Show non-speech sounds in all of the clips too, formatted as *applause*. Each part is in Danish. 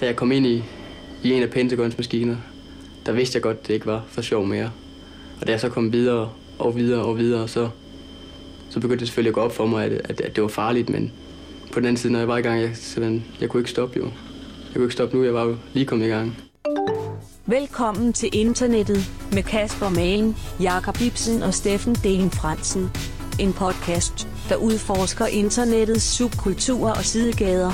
Da jeg kom ind i, i en af Pentagons maskiner, der vidste jeg godt, det ikke var for sjov mere. Og da jeg så kom videre og videre og videre, så, så begyndte det selvfølgelig at gå op for mig, at, at, at det var farligt, men på den anden side, når jeg var i gang, jeg, simpelthen, jeg kunne ikke stoppe jo. Jeg kunne ikke stoppe nu, jeg var jo lige kommet i gang. Velkommen til internettet med Kasper Magen, Jakob Ibsen og Steffen Dane Fransen. En podcast, der udforsker internettets subkulturer og sidegader.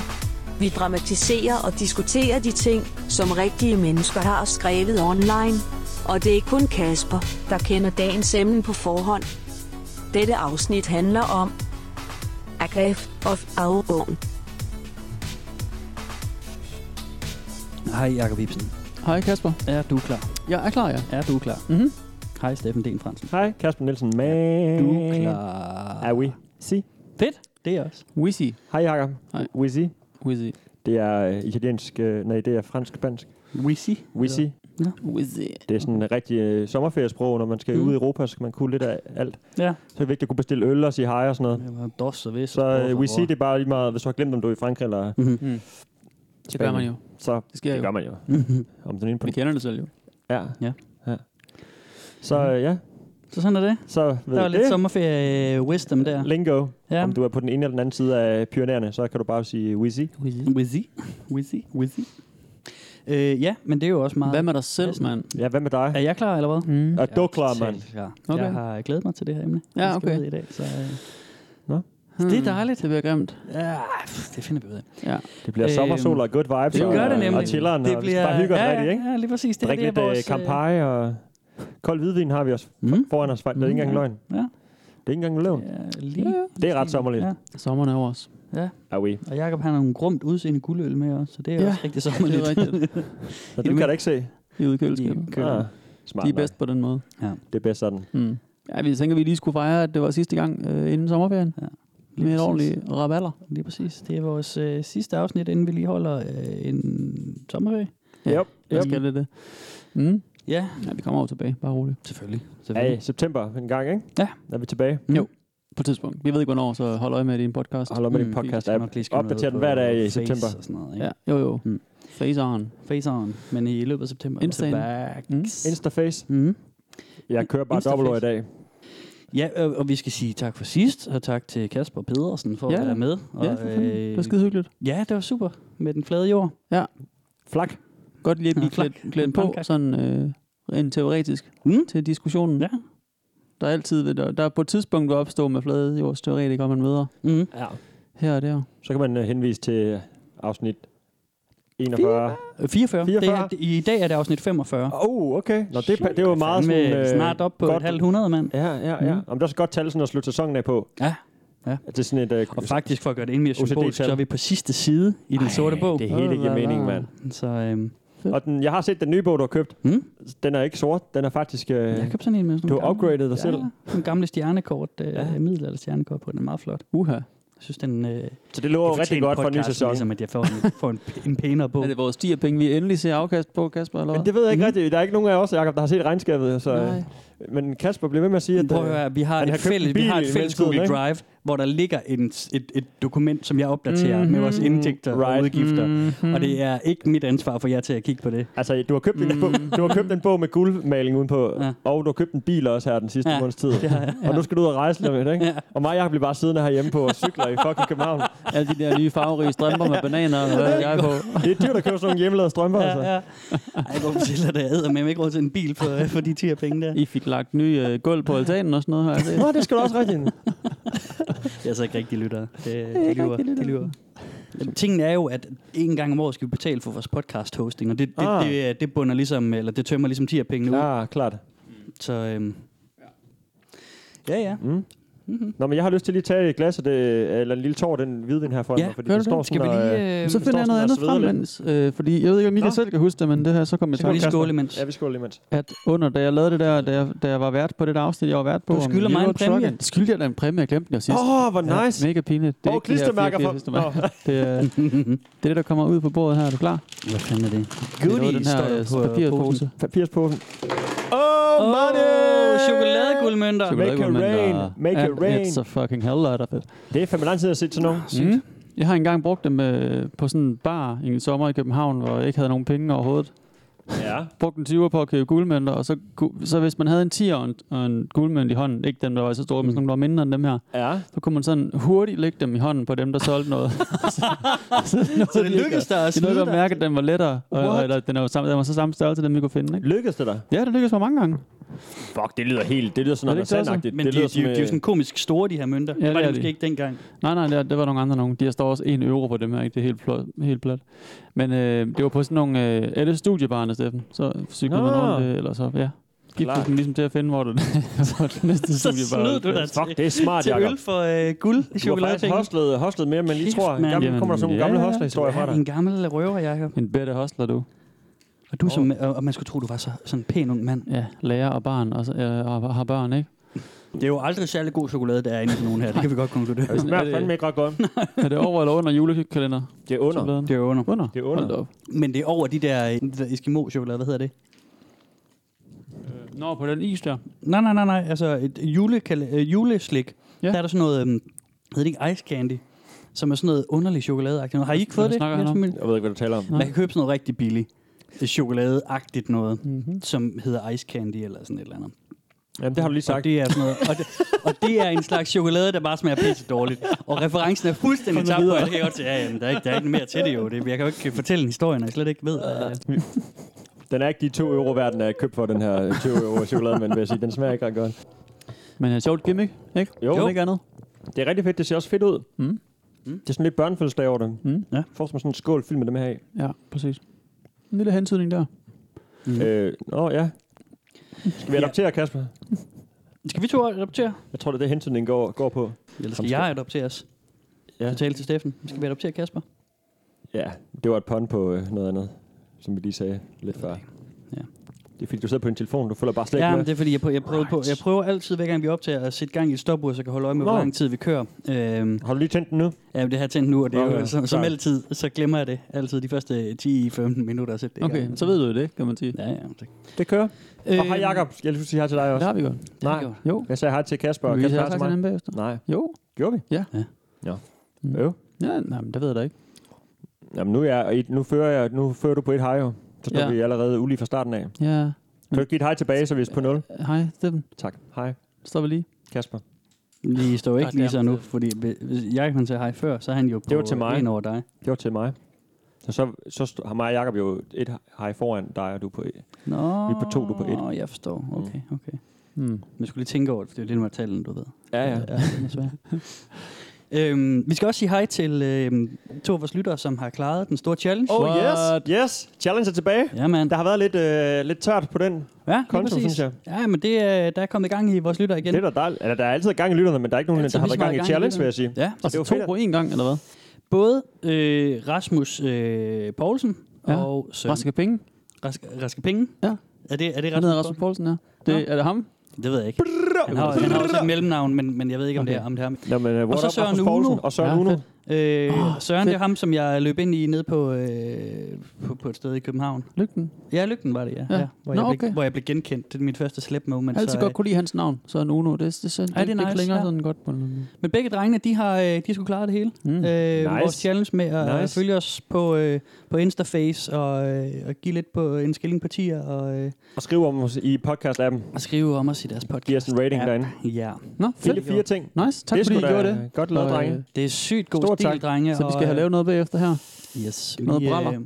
Vi dramatiserer og diskuterer de ting, som rigtige mennesker har skrevet online. Og det er kun Kasper, der kender dagens emne på forhånd. Dette afsnit handler om Agref of Augen. Hej Jakob Ibsen. Hej Kasper. Er du klar? Jeg er klar, ja. Er du klar? Mhm. Hej Steffen Den Fransen. Hej, Kasper Nielsen. Man. Du er klar. Er vi? Si. Fedt. Det er også. Wizzy. Hej, Jakob. Hej. Wizzy. Wizzy. Det er øh, italiensk, øh, nej, det er fransk-spansk. Wizzy. Wizzy. Wizzy. Det er sådan en rigtig øh, sommerferiesprog. Når man skal Mm. ud i Europa, så skal man kunne lidt af alt. Ja. Så er det vigtigt at kunne bestille øl og sige hej og sådan noget. Det var en dos og vis. Så øh, Wizzy, det er bare lige meget, hvis du har glemt, om du er i Frankrig eller Mhm. Mm. Det gør Spanien. man jo. Så Det sker det jo. gør man jo. Mhm. Om den ene på Vi den. kender det selv jo. Ja. Ja. ja. Så øh, ja, Så sådan er det. så ved Der var jeg lidt det. sommerferie øh, wisdom der. Lingo. Ja. Om du er på den ene eller den anden side af pionererne, så kan du bare sige Wizzy. Wizzy. Wizzy. Wizzy. Øh, ja, men det er jo også meget... Hvad med dig selv, Næsten. mand? Ja, hvad med Er dig? jeg klar eller hvad? Mm. Er du klar, mand? Ja. Okay. Jeg har glædet mig til det her emne. Ja, vi skal okay. ud I dag, så, øh, Hmm. Det er dejligt. Det bliver grimt. ja, pff, det finder vi ud af. Ja. Det bliver Øhm, sommersol og good vibes. det og- gør det Og nemlig. chilleren, det bliver, og bare hygger ja, ja, rigtigt, ikke? Ja, ja, lige præcis. Det, Drik det er lidt øh, vores... øh, Campari og kold hvidvin har vi også Mm. foran os. Det er ikke engang Mm, ja. løgn. Det Ja, er ikke engang løgn. ja, lige. Ja, ja. Det er ret sommerligt. Ja. Sommeren er over os. Er vi? Og Jakob han har nogle grumt udseende guldøl med også, så det *laughs* er Ja, også rigtig Det *laughs* sommerligt. er rigtigt. *laughs* Så det du kan mindste- da ikke se. I ude i køleskabet. Ah, smart De er bedst på den måde. nok. Det er bedst sådan. Mm. Ja, vi tænker, vi lige skulle fejre, at det var sidste gang øh, inden sommerferien. Lige Med et præcis. ordentligt raballer. Lige præcis. Det er vores øh, sidste afsnit, inden vi lige holder øh, en sommerferie. Ja. Yep. Hvad Yep. skal det det? Mm. Ja, Ja, vi kommer jo tilbage. Bare roligt. selvfølgelig. Ja, i september en gang, ikke? Ja. Der er vi tilbage. Hmm. På et tidspunkt. Vi ved ikke, hvornår, så hold øje med din podcast. Hold op med Mm, din fint. podcast Jeg app. skal nok lige skrive Opdater noget den på hver dag i Face september. Hmm. Og sådan noget, ikke? Ja, jo jo. Mm. Mm. Faceren. Faceren, men i løbet af september. Altså, Insane. Mm. Instaface. Mm. Jeg kører bare Instaface. dobbelt i dag. Ja, og, og vi skal sige tak for sidst, og tak til Kasper Pedersen for ja. Ja. at være med. Og, Ja, for fanden. Det var øh, skide hyggeligt. ja, det var super med den flade jord. Flak. Godt lige at blive Ja, flak. klædt, klædt på, Pankak. sådan øh, rent teoretisk, Mm. til diskussionen. Ja. Der er altid, ved- der, der er på et tidspunkt vil opstå med flade jordsteoretikere, man møder Mm. Ja. her og der. Så kan man øh, henvise til afsnit 41. 44. 44. Det er, I dag er det afsnit 45. Åh, oh, okay. Nå, det, er pa- det var meget Fandme sådan... øh, snart op på godt- et halvt hundrede, mand. Ja, ja, ja. Mm. Om det er så godt tal sådan at slutte sæsonen af på. Ja, ja. At Det er sådan et... øh, Og faktisk, for at gøre det endnu mere OCD-tal. symbolisk, så er vi på sidste side i den Ej, sorte bog. Det hele giver mening, mand. Så øhm, Og den, jeg har set den nye bog, du har købt. Hmm? Den er ikke sort. Den er faktisk... Øh, jeg købte sådan en med sådan du nogle har upgradet dig ja, selv. Ja, en gamle stjernekort, øh, ja. Ja. middelalder stjernekort på. Den er meget flot. Uha. Jeg synes, den... Øh, det Så det lover jo rigtig fortjener godt for en ny podcasten, sæson. Ligesom. Ligesom, at jeg får en, får en, en pænere bog. Er det vores stierpenge, vi endelig ser afkast på, Kasper, eller Men hvad? det ved jeg Mm. ikke rigtigt. Der er ikke nogen af os, Jacob, der har set regnskabet. Så, øh, Nej. men Kasper bliver ved med at sige, at... Prøv at øh, høre, vi har, han et har købt en fælles, vi bil har i et fælles mellemtiden, Google ikke? Drive, hvor der ligger en, et, et dokument, som jeg opdaterer mm-hmm. med vores Mhm. indtægter right. og Right. udgifter. Mm-hmm. Og det er ikke mit ansvar for jer til at kigge på det. Mm. Altså, du har, købt en, bog, du har købt en bog med guldmaling udenpå, Ja. ja. og du har købt en bil også her den sidste *laughs* Ja, ja. måneds tid. Ja. Og nu skal du ud og rejse lidt, ikke? Ja. Og mig og Jacob bliver bare siddende herhjemme på og cykler i fucking København. *laughs* Alle de der nye farverige strømper med bananer, og hvad ved jeg på. Det er dyrt at købe sådan nogle hjemmelavede strømper, ja, altså. Ja, ja. Ej, hvor fortæller det, jeg æder med, ikke råd til en bil for, øh, for de 10 penge der. I fik lagt ny øh, gulv på altanen og sådan noget, har jeg set. Nå, det skal du *laughs* også rigtigt. Det er altså ikke rigtig lyttere. Det, de lyver. De lyver. Jamen, tingen er jo, at en gang om året skal vi betale for vores podcast hosting, og det, det, ah. Ah. det, øh, det, bunder ligesom, eller det tømmer ligesom 10 pengene ud. Ja, klart. Så, øhm, ja, ja. Mm. Mm-hmm. Nå, men jeg har lyst til lige at tage et glas af det, eller en lille tår af den hvidvin her foran Ja, mig, fordi gør det du står det? sådan Skal vi og, lige... Øh, Så så finder jeg noget andet sådan og sveder frem, lidt. mens, øh, fordi jeg ved ikke, om I Nå. lige selv kan huske det, men det her, så kom jeg i kan tanke vi lige om, skåle imens. Ja, vi skåler lige imens. at under, da jeg lavede det der, da jeg, da jeg var vært på det der afsnit, jeg var vært på. Du om skylder mig en Euro præmie. Trucking. Skylder jeg dig en præmie? Jeg glemte den jo sidst. Åh, oh, hvor Ja, nice. mega pinligt. Det Åh, ikke de her klistermærker fire- fire fra- klistermærker. *laughs* Det er, det er det, der kommer ud på bordet her. Er du klar? Hvad fanden er det? Det er noget af den her øh, står der på, øh, papirpose. posen. Papirsposen. Oh, money! Åh, chokoladegulmønter. Chokolade- Make a Chokoladegulvmænd, rain, og- make a and rain. It's a fucking hell lot of it. Det er fandme lang tid, jeg har set sådan nogen. Mm. Jeg har engang brugt dem øh, på sådan en bar i en sommer i København, hvor jeg ikke havde nogen penge overhovedet. Ja. Brugte en 20'er på at købe guldmønter, og så, ku- så hvis man havde en 10'er og en, og en guldmønt i hånden, ikke dem, der var så store, men sådan nogle, der var mindre end dem her, Mm. Ja. så kunne man sådan hurtigt lægge dem i hånden på dem, der solgte *laughs* noget. Så det lykkedes Det er der at noget, snyde at dig. mærke, at den var lettere, og, og, What? eller, den, er jo samme, den var så samme størrelse, den vi kunne finde. Ikke? Lykkedes det dig? Ja, det lykkedes mig mange gange. Fuck, det lyder helt... Det lyder sådan Er det noget ikke tosset? sandagtigt. Men det de, de, lyder øh, de, de er jo sådan komisk store, de her mønter. Ja, det var det det er måske de. ikke *laughs* dengang. Nej, nej, det, det var nogle andre nogen. De har står også en euro på dem her, ikke? Det er helt, flot, helt plat. Men øh, det var på sådan nogle øh, alle studiebarne, Steffen. Så cyklede man Nå. rundt, øh, eller så, ja. Gik Klart. ligesom, ligesom til at finde, *laughs* hvor det så det næste Så studiebarn. snød du dig Fuck, til, det er smart, til Jacob. øl for øh, Du guld i har faktisk chokoladetingen. hostlet, hostlet mere, end man lige Kæft, tror. mand. Gammel, kommer der sådan nogle Jamen, gamle ja, hostlerhistorier Du fra er dig. en gammel røver, Jacob. En bedre hostler, du. Og, du som, og og man skulle tro, du var så, sådan en pæn ung mand. Ja, lærer og barn, og, så- øh, og har børn, ikke? Det er jo aldrig særlig god chokolade, der er inde i sådan nogen her. Det kan vi godt konkludere. Det smager *laughs* Er det- fandme ikke ret godt. Er det over eller under julekalender? Det er under. Chokoladen? Det er jo under. Under? Det er under. Hold da op. Men det er over de der, øh, de der Eskimo-chokolade. Hvad hedder det? Nå, på den is der. Nej, nej, nej, nej. Altså et julekal- øh, juleslik. Ja. Ja. Der er der sådan noget, øhm, hedder det ikke ice candy? Som er sådan noget underlig chokolade noget. Har I ikke fået Hvad det? snakker i han jeres om? familie? Jeg ved ikke, hvad du taler om. Man kan købe sådan noget rigtig billigt. øh, Chokoladeagtigt noget, Mm-hmm. som hedder ice candy eller sådan et eller andet. Jamen, det har du lige Og sagt. det er sådan noget. Og det, og det er en slags chokolade, der bare smager pisse dårligt. Og referencen er fuldstændig tabt på. Jeg kan godt sige, ja, jamen, der, er ikke, der er ikke mere til det jo. Det, jeg kan jo ikke fortælle en historie, når jeg slet ikke ved. Uh, Den er ikke de 2 euro værd, den er købt for, den her *laughs* 20 euro chokolade, men vil jeg sige, den smager ikke ret godt. Men er sjovt gimmick, ikke? Jo. jo. ikke andet. Det er rigtig fedt, det ser også fedt ud. Mm. Det er sådan lidt børnefødselsdag over det. Mm. Ja. Forestil mig sådan en skål fyldt med dem her i. Ja, præcis. En lille hentydning der. Mm. Øh, nå ja. Skal vi Ja. adoptere, Kasper? skal vi to adoptere? Jeg tror, det er det, hentydningen går, går på. Eller skal jeg adopteres? Ja. Ja. Tale til Steffen. Skal vi adoptere Kasper? Ja, det var et pun på øh, noget andet, som vi lige sagde lidt før. Ja. Det er fordi, du sidder på din telefon, du følger bare slet Ja, ikke men med. det er fordi, jeg, prøver, jeg, prøver på, jeg prøver altid, hver gang vi optager, at sætte gang i et stopur, så jeg kan holde øje med, hvor Nå. lang tid vi kører. Øhm, Har du lige tændt den nu? ja, men det har jeg tændt nu, og det er Nå, jo, ja, som, som klart. altid, så glemmer jeg det altid de første 10-15 minutter at sætte det i Okay, gang. så ved du jo det, kan man sige. Ja, ja. tak. Det kører. Øh, og Øhm, hej Jacob. Skal jeg lige sige hej til dig Det også? har vi godt. det har Nej. vi gjort. Jo. Jeg sagde hej til Kasper, og Vi Kasper har hej sagt til til mig. ham bagefter. Nej, Jo. gjorde vi? Ja. Ja. Nå. Mm. Øv. Ja, nej, men det ved jeg da ikke. Jamen, nu, er jeg, i- nu, fører jeg, nu fører du på et hej jo. Så står Ja. ja. vi allerede ulige fra starten af. Kan Ja. du ikke give et hej tilbage, så vi er på 0? Hej, Steffen. Tak. Hej, Stopper lige. Kasper. Vi står ikke Godt, lige ja. så nu, fordi hvis- hvis Jakob han sagde hej før, så er han jo på Det var til mig. en over dig. Det var til mig. Og så, så st- har mig og Jacob jo et hej foran dig, og du er på et. Nå, Vi er på to, du er på et. Nå, jeg forstår. Okay, okay. Mm. Men jeg skulle lige tænke over det, for det er jo lidt med tallene, du ved. Ja, ja. den er svær. *laughs* øhm, vi skal også sige hej til øhm, to af vores lyttere, som har klaret den store challenge. Oh What? yes, yes. Challenge er tilbage. Ja, mand. Der har været lidt, øh, lidt tørt på den. Ja, lige konto, præcis. synes jeg. Ja, men det, er- der er kommet gang i vores lytter igen. Det er da dejligt. Altså, der er altid gang i lytterne, men der er ikke nogen, der Altid har været lige så gang i meget gang i challenge, vil jeg sige. Ja, Det Altså var to fedt, på én gang, eller hvad? både øh, Rasmus øh, Poulsen Ja. og Søren. Raske penge. Rask, Raske Penge. Ja. Er det, er det Han hedder Rasmus? Rasmus Poulsen, ja. Det, Nå. er det ham? Poulsen? Det ved jeg ikke. Han har, han har også et mellemnavn, men, men jeg ved ikke, om, det er, Okay. Øh, om det er ham. Nå, men, uh, Og så Søren Uno. Poulsen og Søren Ja, Uno. fedt. Øh, Søren, fedt. det er ham, som jeg løb ind i nede på, øh, på, på et sted i København. Lygten. Ja, Lygten var det, ja. Ja. ja. ja. Hvor, Nå, jeg blev, okay. hvor jeg blev genkendt. Det er mit første slip moment. Jeg har altid godt kunne lide hans navn, Søren Uno. Det, det, det, det, det er det, nice, det længere ja. sådan godt på en eller anden måde. Men begge drengene, de har øh, de skulle klare det hele. Mm. Øh, nice. Vores challenge med at nice. Nice. følge os på, øh, på Instaface og, øh, og give lidt på en skilling på tier og, øh, Og skriv om os i podcast-appen. og skrive om os i deres podcast. Giv os en rating Ja. derinde. Ja, Nå, fedt. Fire, fire ting. Nice. Tak Det er fordi I sgu da gjorde det. Godt lavet, Og, øh, drenge. det er sygt god Stor stil, tak. drenge. Så vi skal og, have øh, lavet noget bagefter her. yes, noget vi, øh, braller.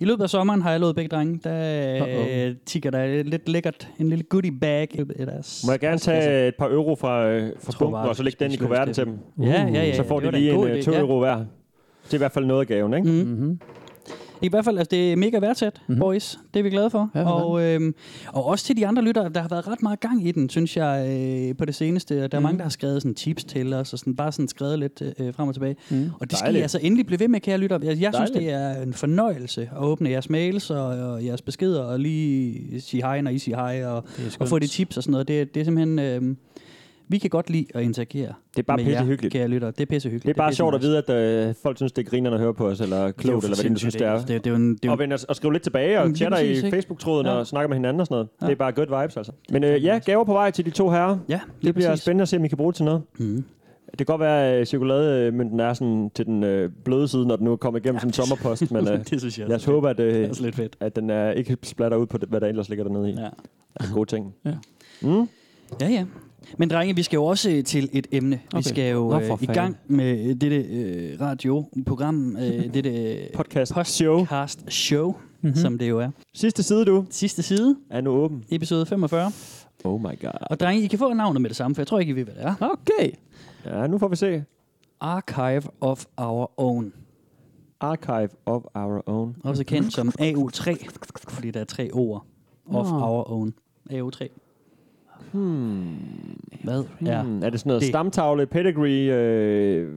I løbet af sommeren har jeg lovet begge drenge, der Uh-oh. øh, tigger der lidt lækkert, en lille goodie bag. i løbet af deres- Må jeg gerne tage et par euro fra, øh, fra tror bare, bunken, og så du lægge skal den i spise kuverten til steffen. dem? Ja, ja, ja. Så får det de var da lige god en idé. øh, 2 Ja. euro hver. Det er i hvert fald noget af gaven, ikke? Mm. Mm-hmm. I hvert fald, altså, det er mega værdsat, Mhm. mm-hmm. boys. Det er vi glade for. Ja, for og, øhm, og også til de andre lyttere, der har været ret meget gang i den, synes jeg, øh, på det seneste. Og der er Mhm. mange, der har skrevet sådan, tips til os, og sådan, bare sådan, skrevet lidt øh, frem og tilbage. Mm. Og det skal Dejligt. I altså endelig blive ved med, kære lytter. Jeg, jeg synes, det er en fornøjelse at åbne jeres mails og, og jeres beskeder, og lige sige hej, når I siger hej, og, og få de tips og sådan noget. Det, det er simpelthen... Øh, vi kan godt lide at interagere Det er bare med pisse jer, hyggeligt. kære lytter. Det er pisse hyggeligt. Det er bare sjovt at vide, at øh, folk synes, det er grinerne at høre på os, eller klogt, eller hvad det nu synes, det er. Det, det er jo en, det er jo Og, vend, os- og skrive lidt tilbage Jamen, og lige chatter præcis, i ikke? Facebook-tråden Ja. og snakker med hinanden og sådan noget. Ja. Det er bare good vibes, altså. Men øh, ja, gaver på vej til de to herrer. Ja, Det bliver spændende at se, om I kan bruge det til noget. spændende. Mm. Det kan godt være, at chokolademynten er sådan til den øh, bløde side, når den nu er kommet igennem ja, som sommerpost, *laughs* men øh, det synes jeg lad os håbe, at, Det øh, er også lidt fedt. at den er ikke splatter ud på, det, hvad der ellers ligger dernede i. Ja. Ja. Altså, gode ting. Ja. Mm? Ja, ja. Men drenge, vi skal jo også øh, til et emne. Okay. Vi Okay. skal jo Nå, øh, for i fanden. gang med øh, dette øh, radioprogram, *laughs* øh, dette øh, Podcast show. podcast show, mm-hmm. Mhm. som det jo er. Sidste side, du, Sidste side, er nu åben. episode 45. Oh my god. Og drenge, I kan få navnet med det samme, for jeg tror ikke, I ved, hvad det er. Okay. Ja, nu får vi se. Archive of Our Own. Archive of our own. Også kendt Mm. som AO3, fordi der er tre ord. Of Nå. Our Own. AO3. Hmm. Hvad Ja. er Hmm. Er det sådan noget Det- det. stamtavle, pedigree, øh,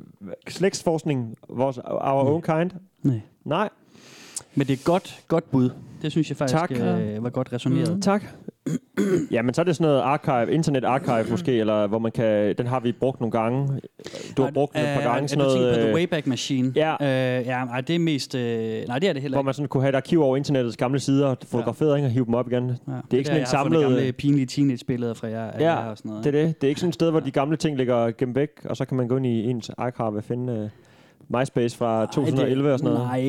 slægtsforskning, vores, our own kind? Nej. Nej, Men det er godt, godt bud. Det synes jeg faktisk Tak. Mm. Øh, var godt resoneret. Mhm. tak. Jamen, så er det sådan noget archive, internet archive Mm. måske, eller hvor man kan, den har vi brugt nogle gange. Du har brugt den et par Øh, gange, er sådan du tænker noget, på The øh, Wayback Machine? ja. Øh, ja, nej, det er mest... Øh, nej, det er det heller hvor ikke. man sådan kunne have et arkiv over internettets gamle sider, fotograferet ja. og hive dem op igen. Ja. det er ikke sådan en der, jeg har fundet samlet- gamle pinlige teenage-billeder fra jer. Ja, Ja, og sådan noget. Det er det. Det er ikke sådan et sted, hvor de gamle ting ligger gemt væk, og så kan man gå ind i ens archive og finde øh, MySpace fra 2011 og sådan noget. Nej,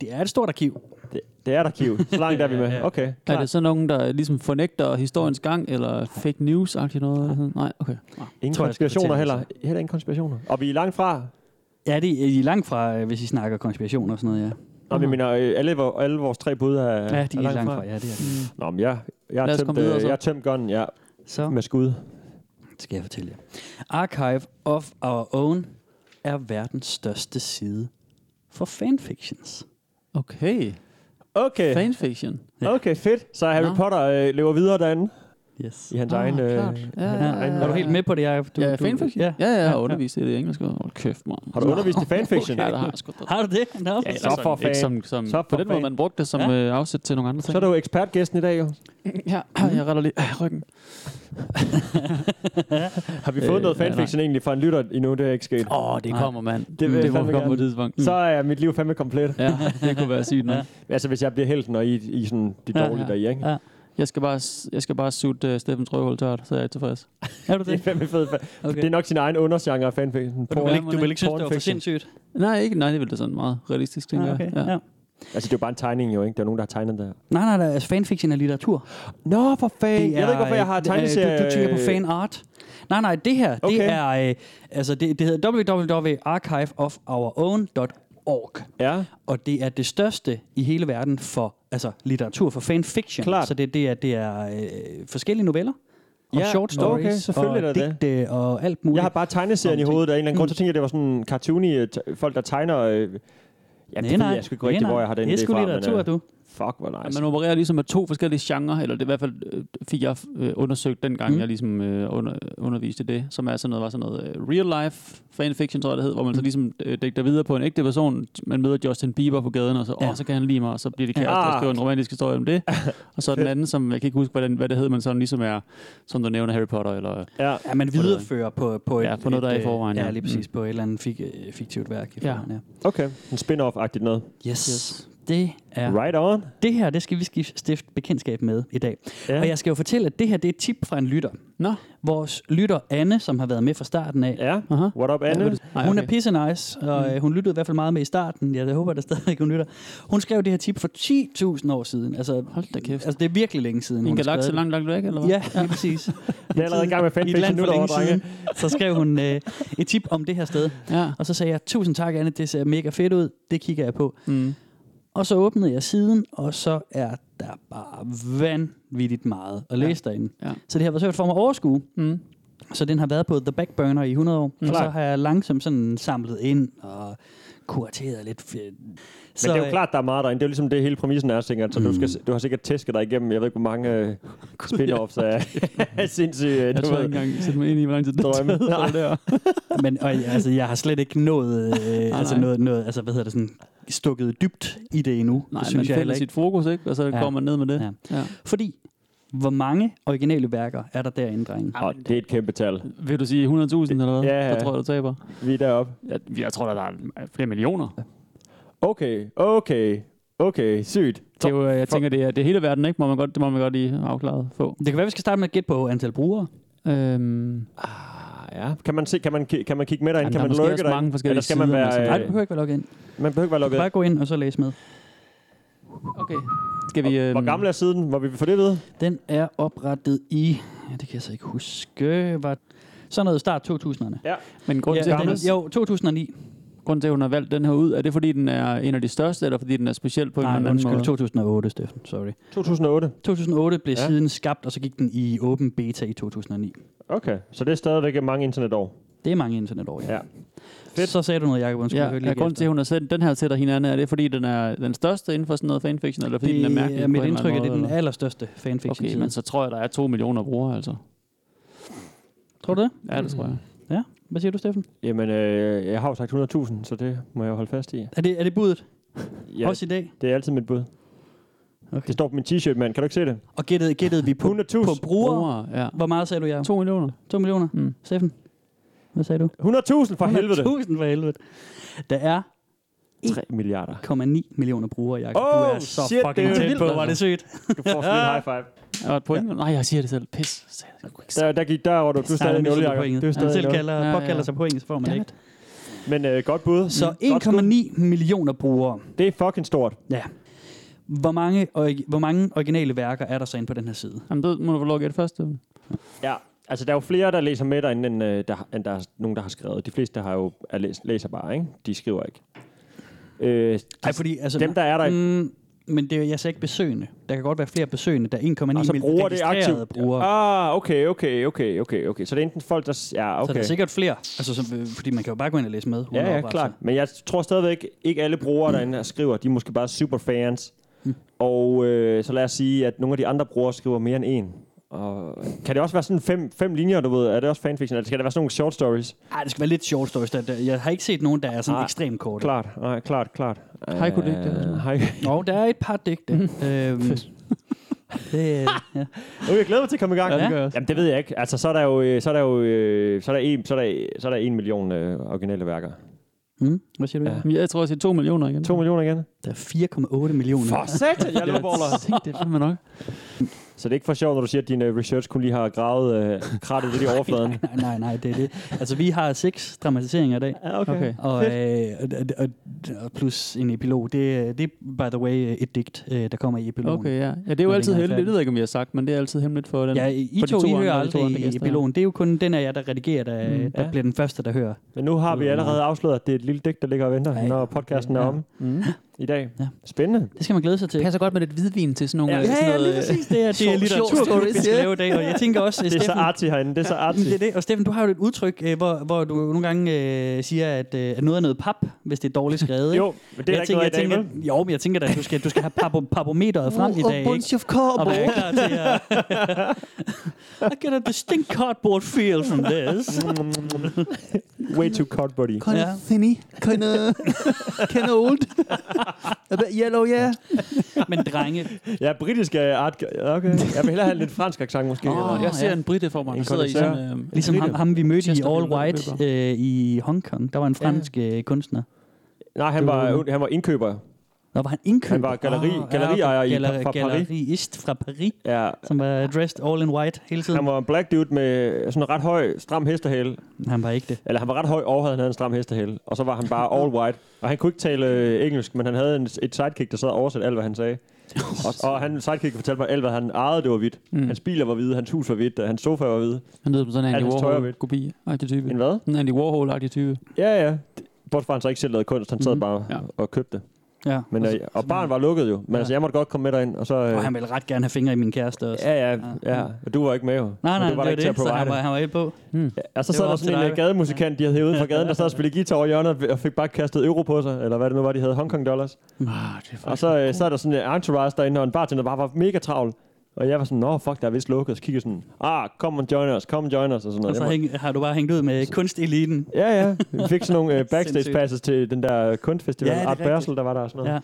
det er et stort arkiv. Det, det er et arkiv. Så langt er vi *laughs* med. Okay, Klar. Er klar. det så nogen, der ligesom fornægter historiens gang, eller fake news-agtigt noget? Nej, okay. Ingen tror jeg, altså. jeg skal konspirationer fortælle heller. Heller ingen konspirationer. Og vi er langt fra. Ja, det er I er langt fra, øh, hvis I snakker konspiration og sådan noget, ja. Nå, men jeg mener, øh, alle, vor- alle vores tre bud er, Ja, de er langt fra, ja, det er det. Nå, men jeg, jeg, Lad har os tømt, komme videre øh, så. jeg har tømt gunnen, ja, Så med skud. skal jeg fortælle jer. Archive of Our Own er verdens største side for fanfictions. Okay. Okay, Fanfiction. okay, fedt. Så Harry Nå. Potter øh, lever videre derinde Yes. i hans Ah, egen... Øh, klart. Ja, ja, ja, Er du helt med på det, Jacob? Du, ja, fanfiction? Ja. Ja, ja, jeg har undervist i det engelske. Hold kæft, mand. har du undervist i fanfiction? *laughs* Ja, der har jeg sgu da. Har du det? No. Ja, Så for Altså, Ikke som, fan. som Så på for den måde, fan. man brugte det som Ja. øh, afsæt til nogle andre ting. Så er du ekspertgæsten i dag, jo. *clears throat* Ja, jeg retter lige øh, ryggen. *laughs* Har vi fået Øh, noget nej, nej. fanfiction egentlig fra en lytter endnu? Det er ikke sket. Åh, oh, det kommer, mand. Det vil jeg det må fandme komme på et gerne. tidspunkt. Mm. Så er mit liv fandme komplet. Ja, det kunne være *laughs* sygt nok. Altså, hvis jeg bliver helten, og I, I er sådan de Ja, dårlige ja. der i, ikke? Ja. Jeg skal bare, jeg skal bare sutte uh, Steffens røvhul tørt, så er jeg tilfreds. *laughs* Er du Det er det? fandme fedt. Okay. Det er nok sin egen undergenre af fanfiction. Du vil, Porn. ikke, du vil ikke synes, det var for Pornfiction. sindssygt? Nej, ikke. Nej, det ville da sådan meget realistisk, tænker Ah, jeg. Ja. Altså, det er jo bare en tegning, jo, ikke? Der er nogen, der har tegnet det. Nej, nej, nej, altså fanfiction er litteratur. Nå, for fanden. Det Jeg ved ikke, hvorfor jeg har øh, tegneserie... Du, du tænker på fan art. Nej, nej, det her, okay. det Okay. er, øh, altså det, det hedder www.archiveofourown.org. Ja, Og det er det største i hele verden for altså, litteratur, for fanfiction. Klart. Så det, det er, det er øh, forskellige noveller, og Ja, short stories, okay, selvfølgelig er og det det. digte, og alt muligt. jeg har bare tegneserien i Om ting. hovedet af en eller anden grund. Så tænker jeg, det var sådan cartoony øh, t- folk, der tegner... Øh, ja, det ved jeg sgu ikke nej, rigtigt, nej. hvor jeg har den Det er idé sgu fra, litteratur, men, øh, du. Fuck, hvor Ja, nice. man opererer ligesom med to forskellige genrer, eller det er i hvert fald øh, fik jeg øh, undersøgt dengang, Mm. mm. jeg ligesom øh, under, underviste i det, som er sådan noget, var sådan noget øh, real life fanfiction, tror jeg det hed, hvor Mhm. man så ligesom øh, dækker videre på en ægte person. Man møder Justin Bieber på gaden, og så, Ja. ja. åh, så kan han lide mig, og så bliver de kærester Ah. og skriver en romantisk historie om *laughs* det. og så den anden, som jeg kan ikke huske, hvordan, hvad det hed, men sådan ligesom er, som du nævner, Harry Potter, eller Ja. Ja, man noget. viderefører på, på, et, Ja, på noget, der er i øh, forvejen, Ja, ja. Mm. lige præcis, på et eller andet fik, øh, fiktivt værk i Ja. forvejen, ja. Okay, en spin-off-agtigt noget. Yes. yes. Det er Right on. Det her, det skal vi skif- stifte bekendtskab med i dag. Ja. Ja. Og jeg skal jo fortælle, at det her, det er et tip fra en lytter. Nå. Vores lytter, Anne, som har været med fra starten af. Ja. Aha. What up, Anne? Ej, Mm. Hun er pisse nice, og øh, hun lyttede i hvert fald meget med i starten. Jeg håber, der stadig hun lytter. Hun skrev det her tip for 10.000 år siden. Altså, Hold da kæft. altså, det er virkelig længe siden, I en hun skrev galakse det. langt, langt væk, eller hvad? Ja, lige *laughs* præcis. Jeg er allerede i gang med I et fanfiction land nu, for der længe drenge. siden, så skrev hun øh, et tip om det her sted. ja. Og så sagde jeg, tusind tak, Anne, det ser mega fedt ud. Det kigger jeg på. Mm. Og så åbnede jeg siden, og så er der bare vanvittigt meget at læse ja. derinde. Ja. Så det har været svært for mig at overskue. Mm. Så den har været på The Backburner i 100 år. Mm. Og så Klart. har jeg langsomt sådan samlet ind og kurateret lidt. Så, Men det er jo *laughs* klart, der er meget derinde. Det er jo ligesom det hele præmissen er, sikkert. Så mm. du, skal, du har sikkert tæsket dig igennem, jeg ved ikke, hvor mange øh, spin-offs *laughs* er sindssygt. Øh, Jeg du tror ikke ved, engang, sætte mig ind i, hvor lang tid det drømme. tager. Nej. øh, *laughs* men og, altså, jeg har slet ikke nået, øh, altså, Ah, nej. noget, noget, altså, hvad hedder det, sådan, stukket dybt i det endnu. Nej, det synes man synes jeg fælder heller ikke. sit fokus, ikke? Og så Ja. ja. går man ned med det. Ja. Ja. ja. Fordi, hvor mange originale værker er der derinde, drenge? Åh, det er et kæmpe tal. Vil du sige 100.000 eller hvad? Ja, ja. Så tror jeg, du taber. Vi er deroppe. Jeg, jeg tror, der er flere millioner. Okay, okay, okay, sygt. Det er jo, øh, jeg for- tænker, det er, det er hele verden, ikke? Må man godt, det må man godt lige afklare få. Øh, Det kan være, vi skal starte med at gætte på antal brugere. Øhm, Ah, Ja, kan man, se, kan man, ki- kan man kigge med Jamen, derind? kan der er man måske lurke også derind? mange forskellige Eller skal man sider, man være... skal- øh, Nej, du behøver ikke være logget ind. man behøver ikke være Du kan lukket bare gå ind og så læse med. Okay. Skal vi... øhm, ind. Hvor gammel er siden? Må vi få det at vide? Den er oprettet i, ja, det kan jeg så ikke huske, var sådan noget start 2000'erne. Ja. Men grunden, ja, ja, til, den, den, jo. jo, 2009. grunden til, at hun har valgt den her ud, er det fordi, den er en af de største, eller fordi den er speciel på en Nej, eller anden undskyld, måde? 2008, Steffen, sorry. 2008. 2008 blev Ja. ja. siden skabt, og så gik den i åben beta i 2009. Okay, så det er stadigvæk mange internetår. Det er mange internetår, ja. Ja. ja. Fedt. Så sagde du noget, Jacob, undskyld. jeg hørte Ja, lige er grunden til, efter. at hun har sendt den her til dig, hinanden, er det fordi, den er den største inden for sådan noget fanfiction, eller fordi, den er mærkelig? det er på mit en eller indtryk, anden at det er måde, den eller? allerstørste fanfiction Okay, men så tror jeg, der er to millioner brugere, altså. Tror du det? Ja, det tror jeg. Ja. Hvad siger du, Steffen? Mm. Jamen, øh, jeg har jo sagt 100.000, så det må jeg jo holde fast i. Er det, er det budet? Ja, Også i dag? det er altid mit bud. Okay. Det står på min t-shirt, mand. Kan du ikke se det? Og gættede, gættede vi på, 100.000. på bruger. Brugere, ja. Hvor meget sagde du, Jacob? To millioner. 2 millioner. Mm. Steffen, hvad sagde du? 100.000 for helvede. 100.000 for helvede. Der er 3 milliarder. 1,9 millioner brugere, Jacob. Oh, du er så shit, fucking det er tæt vildt, på, altså. var det sygt. Ah. Du *laughs* får sådan en high five. Er der et point? Ja. Nej, jeg siger det selv. Pis. Jeg kunne ikke se Der, der gik der, hvor du, du er stadig en misser nul, du Jacob. pointet. Du er Han stadig selv en nul. kalder, Ja, ja. påkalder sig point, så får man Damn ikke. Men øh, godt bud. Så Godt skud. 1,9 millioner brugere. Det er fucking stort. Ja. Hvor mange, orgi- hvor mange originale værker er der så inde på den her side? Jamen, det må du få lov at gætte først. Steffen. Ja. Altså, der er jo flere, der læser med derinde, end, øh, der, end der er nogen, der har skrevet. De fleste har jo, er læs, læser bare, ikke? De skriver ikke. Øh, Nej, fordi altså... dem, der er der, Mm, men det er jeg sagde ikke besøgende. Der kan godt være flere besøgende. Der er 1,9 og så millioner bruger det registrerede aktivt. brugere. Ah, okay, okay, okay, okay, okay. Så det er enten folk, der... s- Ja, Så der okay. er sikkert flere. Altså, som, øh, fordi man kan jo bare gå ind og læse med. Ja, ja, Oprette klart. sig. Men jeg tror stadigvæk ikke alle brugere, derinde her skriver, de er måske bare superfans. Mm. Og øh, så lad os sige, at nogle af de andre brugere skriver mere end en. Og kan det også være sådan fem, fem linjer, du ved? Er det også fanfiction? Eller skal det være sådan nogle short stories? Ej, det skal være lidt short stories. Der, der, jeg har ikke set nogen, der er sådan Nej, ekstremt korte. Klart, nej, klart, klart. Øh, Haiku digte eller sådan noget. Hej. Og der er et par *laughs* digte. øhm, det, øh, ja. Nu jeg glæder mig til at komme i gang. Ja, det gør jeg også. Jamen, det ved jeg ikke. Altså, så er der jo, øh, så er der jo, øh, så er der en, så er der, så er der en million øh, originale værker. mm, hvad siger du? Ja. Jamen, Jeg tror, jeg siger to millioner igen. To millioner igen. Der er 4,8 millioner. For satan, *laughs* jeg løber over. Jeg tænkte, det er fandme nok. Så det er ikke for sjovt, når du siger, at din øh, research kun lige har gravet øh, krattet lidt i overfladen. *laughs* Nej, nej, nej, det er det. Altså, vi har seks dramatiseringer i dag. Ja, Okay. Og, øh, og, og, og plus en epilog. Det, er- det er, by the way, et digt, øh, der kommer i epilogen. Okay, ja. ja det er jo Når altid den er hemmeligt. færdig. Det ved jeg ikke, om vi har sagt, men det er altid hemmeligt for den. Ja, I For de to, to I andre- hører de to andre aldrig gæster, ja. epilogen. Det er jo kun den af jer, der redigerer, der, Mm. mm, der Ja. bliver den første, der hører. Men nu har vi allerede afsløret, at det er et lille digt, der ligger og venter, Ja, ja. når podcasten er Ja. omme Mm. i dag. Ja. Spændende. Det skal man glæde sig til. passer godt med lidt hvidvin til sådan nogle... Ja, øh, sådan noget, øh, Det er, det er Sjov- litteratur, sjov vi skal stories, ja. lave i dag, og jeg tænker også, Det er så Steffen, artigt herinde, det er så Jamen, det artigt. er det. Og Steffen, du har jo et udtryk, øh, hvor, hvor du nogle gange øh, siger, at, øh, at noget er noget pap, hvis det er dårligt skrevet. ikke? Jo, men det er der ikke noget af i dag, jeg vel? tænker, Jo, men jeg tænker da, at du skal, du skal have papo, papometeret frem i dag. Ikke? of cardboard. Og være klar til *laughs* at... I get a distinct cardboard feel from this. Way too cut, buddy. Kind Ja. of thinny, kind of, kind of old, a bit yellow, yeah. Men drenge, *laughs* Ja, britisk er art... Okay. Jeg vil hellere have lidt fransk accent, måske. Oh, eller- jeg ser en britte for mig, En der sidder i kondensør. sådan... Øh, ligesom ham, ham vi mødte i Chester All Bieber, White øh, i Hongkong. Der var en fransk øh, kunstner. Nej, han var, han var indkøber. Nå, var han indkøber? Han var galleri- Ah, galleriejer i- fra Paris. Ah, Gallerist fra Paris, Ja, som var dressed all in white hele tiden. han var en black dude med sådan en ret høj, stram hestehale. Han var ikke det. Eller han var ret høj og havde han havde en stram hestehale. Og så var han bare all white. Og han kunne ikke tale øh, engelsk, men han havde en, et sidekick, der sad og oversatte alt, hvad han sagde. Og, og han sidekick fortalte mig alt, hvad han ejede, det var hvidt. Mm. Mm. Hans biler var hvide, hans hus var hvidt, og hans sofa var hvid. han lyder som sådan en Er Andy det hans tøj er hvidt? Warhol-kopi. Agtig type. En hvad? Sådan en Andy Warhol-agtig type. Ja, ja. Bortset fra, han så ikke selv lavede kunst, han sad Mm-hmm. mm. bare ja. Ja. og købte det. Ja. Men, og, øh, og barn var lukket jo, men ja. altså, jeg måtte godt komme med derind, og så... Øh, og han ville ret gerne have fingre i min kæreste også. ja, ja, ja. Og du var ikke med jo. Nej, Og nej, du det var der det, ikke det så til at han var, provide han var helt på. Hmm. det. Ja, og så Det sad var der op sådan til en dig. øh, gademusikant, de havde hævet ud fra gaden, der sad og spillede guitar over hjørnet, og fik bare kastet euro på sig, eller hvad det nu var, de havde Hongkong dollars. Ah, det er Og så, øh, så er der sådan en entourage derinde, og en bartender, der bare var mega travl. Og jeg var sådan, nå fuck, der er vist lukket. Så kiggede jeg sådan, ah, come and join us, come and join us, og sådan noget. Og så Jeg hæng, har du bare hængt ud med kunsteliten. var- Ja, ja. Vi fik sådan *laughs* nogle øh, backstage Sindssygt. passes til den der kunstfestival, Ja, det ja, er Art Basel, der var der og sådan noget. Ja. Ja.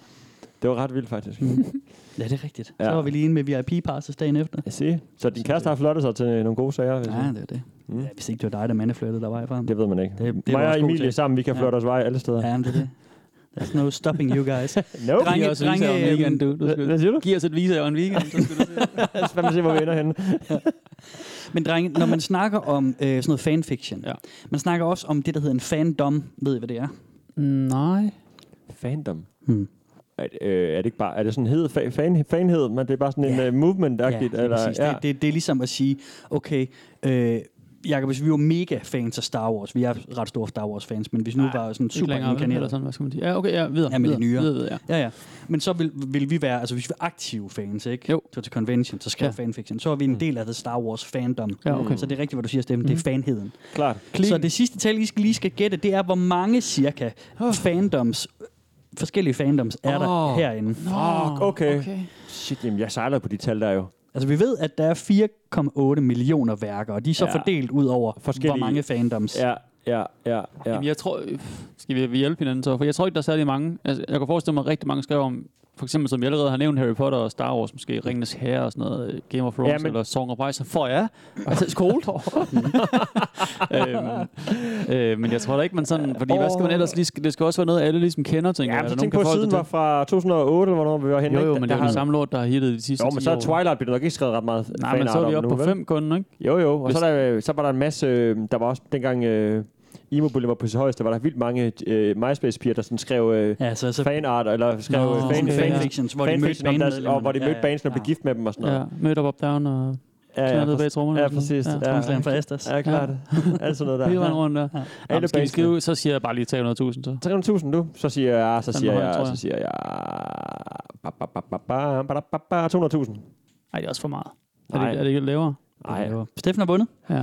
Det var ret vildt faktisk. *laughs* ja, det er rigtigt. Ja. Så var vi lige inde med VIP-passes dagen efter. Jeg siger. Så din kæreste har flottet sig til øh, nogle gode sager, hvis Ja, ja. det er det. Mm. Mm. Ja, hvis ikke det var dig, der mandeflyttede der vej fra ham. Det ved man ikke. Det- det er Mig du og også god Emilie til. sammen, vi kan Ja. flotte os vej alle steder. Ja, men det er det. There's no stopping you *laughs* guys. øhm, Nope. Drenge, Giv os et drenge, visa drenge over en weekend, weekend, du. du skal, Hvad siger du? giv os et visa over en weekend, så skal du se. *laughs* Lad os se, hvor vi ender henne. *laughs* Men drenge, når man snakker om øh, sådan noget fanfiction, Ja. ja. man snakker også om det, der hedder en fandom. Ved I, hvad det er? Nej. Fandom. Hmm. Er, øh, er det ikke bare, er det sådan hed, fa- fan, fanhed, men det er bare sådan en Ja. uh, movement-agtigt? lige præcis. Det, det, det er ligesom at sige, okay, øh, Jacob, hvis vi var mega fans af Star Wars, vi er ret store Star Wars-fans, men hvis nu var sådan Super super længere, inkarneret. Eller inkarneret, sådan, hvad skal man sige? Ja, okay, ja, videre. Ja, med de videre, nyere. Videre, videre, ja. Ja, ja. Men så vil, vil vi være, altså hvis vi er aktive fans, ikke? Jo. Så til convention, så skrev Ja. Mm. ja. fanfiction. Så er vi en del af det Star Wars fandom. Ja, okay. Så det er rigtigt, hvad du siger, Steffen. Det Mhm. er fanheden. Klart. Kling. Så det sidste tal, I skal lige skal gætte, det er, hvor mange cirka fandoms, forskellige fandoms, er der Åh. herinde. Fuck, okay. Shit, jamen, jeg sejler på de tal der jo. Altså vi ved, at der er 4,8 millioner værker, og de er så Ja. ja. fordelt ud over, Forskellige- hvor mange fandoms. Ja, ja, ja, ja. Jamen, jeg tror, øh, skal vi, vi hjælpe hinanden så? For jeg tror ikke, der er særlig mange. Altså, jeg kan forestille mig, at rigtig mange skrev om, for eksempel som jeg allerede har nævnt, Harry Potter og Star Wars, måske Ringenes Herre og sådan noget, øh, Game of Thrones Ja, men- eller Song of Ice and Fire. Ja, altså *laughs* skole. øhm, øh, men jeg tror da ikke, man sådan, fordi hvad skal man ellers lige, det skal også være noget, alle ligesom kender, tænker Ja, jeg. men Der så er nogen, tænk kan på, at forholde siden sig var fra 2008, eller hvornår vi var til. henne. Jo, jo, ikke? men det Der er jo har- det samme lort, der har hittet de sidste Jo, men 10 så er år. Twilight blev der nok ikke skrevet ret meget Nej, men så fanart er vi om oppe nu, på vel? fem kun, ikke? Jo, jo, og Hvis- så, er der, øh, så var der en masse, øh, der var også dengang øh, emo var på sit højeste, var der vildt mange øh, MySpace-piger, der sådan skrev øh, Ja, så, så fanart, eller skrev Nå, øh, sådan fan, fan, ja. fan, fanfictions, hvor de mødte fanfiction, om deres, bandmedlemmerne. og hvor de mødte bands, når blev gift med dem og sådan noget. Ja, mødt op, up, down og Ja, ja, knaldede præ- bag trommerne. ja og sådan. præcis. Ja, Tromslæren fra Estas. Ja, klart. Alt sådan noget der. Hele vejen Ja. rundt der. Ja. Alle Jamen, skal vi bandsene. skrive, så siger jeg bare lige 300.000 så. 300.000 nu, så siger jeg, så Sådan siger var det, tror jeg, jeg. så siger jeg, ba, ba, ba, ba, ba, ba, ba, ba, 200.000. Nej, det er også for meget. Er Nej. det, er det ikke lavere? Nej, Ja. Steffen har vundet, Ja.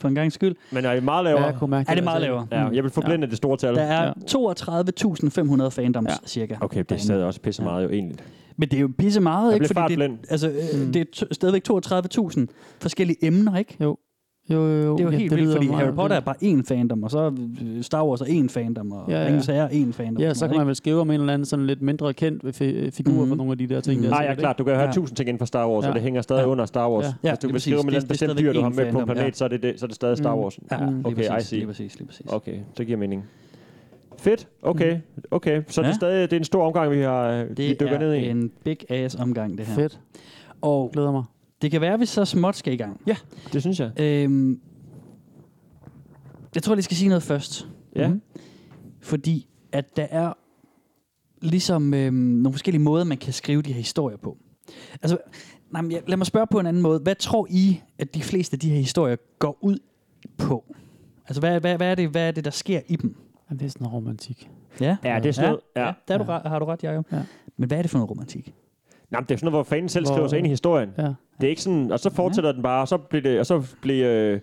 for en gang skyld. men er det meget ja lavere? jeg kunne mærke, Er det meget altså- Ja, lavere? jeg vil forblænde det store tal. Der er 32.500 fandoms, Ja. ja. cirka. Okay, det er derinde. stadig også pisse meget jo egentlig. Men det er jo pisse meget, Jeg ikke? blev fartblind. det, altså, øh, Mm. det er to, stadigvæk 32.000 forskellige emner, ikke? Jo, jo, jo. Det er jo Ja, helt vildt, lyder fordi meget Harry Potter er vildt. bare én fandom, og så øh, Star Wars er én fandom, og Ja, ja, ja. ja. Ringens Herre er én fandom. Ja, og så sådan kan man noget, vel skrive om en eller anden sådan lidt mindre kendt fi- figur mm-hmm. for Mhm. nogle af de der ting. Der, Nej, sikkert, ja, ikke? klart. Du kan høre Ja. tusind ting inden for Star Wars, Ja. og det hænger stadig Ja. under Star Wars. Ja. Ja, Hvis du lige vil skrive præcis. om et Det- eller andet det er bestemt stadigvæk dyr, du har én med på en fandom, ja. planet, så er det, det, så er det stadig Star Mm. Wars. ikke? Mm, Ja, okay, lige I præcis, see. Lige præcis, lige præcis. Mm. Okay, det giver mening. Fedt. Okay, okay. Så det er Ja. stadig det er en stor omgang, vi har det vi Det dykker ned er i. en big ass omgang, det her. Fedt. Og Glæder mig. det kan være, at vi så småt skal i gang. Det synes jeg. Øhm, jeg tror, jeg lige skal sige noget først. Ja. Mhm. Fordi at der er ligesom øhm, nogle forskellige måder, man kan skrive de her historier på. Altså, nej, men jeg, lad mig spørge på en anden måde. Hvad tror I, at de fleste af de her historier går ud på? Altså, hvad, hvad, hvad, er, det, hvad er det, der sker i dem? Jamen, det er sådan en romantik. Ja, Ja, det er sådan noget. Ja. der er du, re- har du ret, Jacob. Ja. Ja. Men hvad er det for noget romantik? Nej, det er sådan noget, hvor fanden selv Hvor- skriver sig ind i historien. Ja. Det er ikke sådan, og så fortsætter den bare, og så bliver, det, og så bliver øh,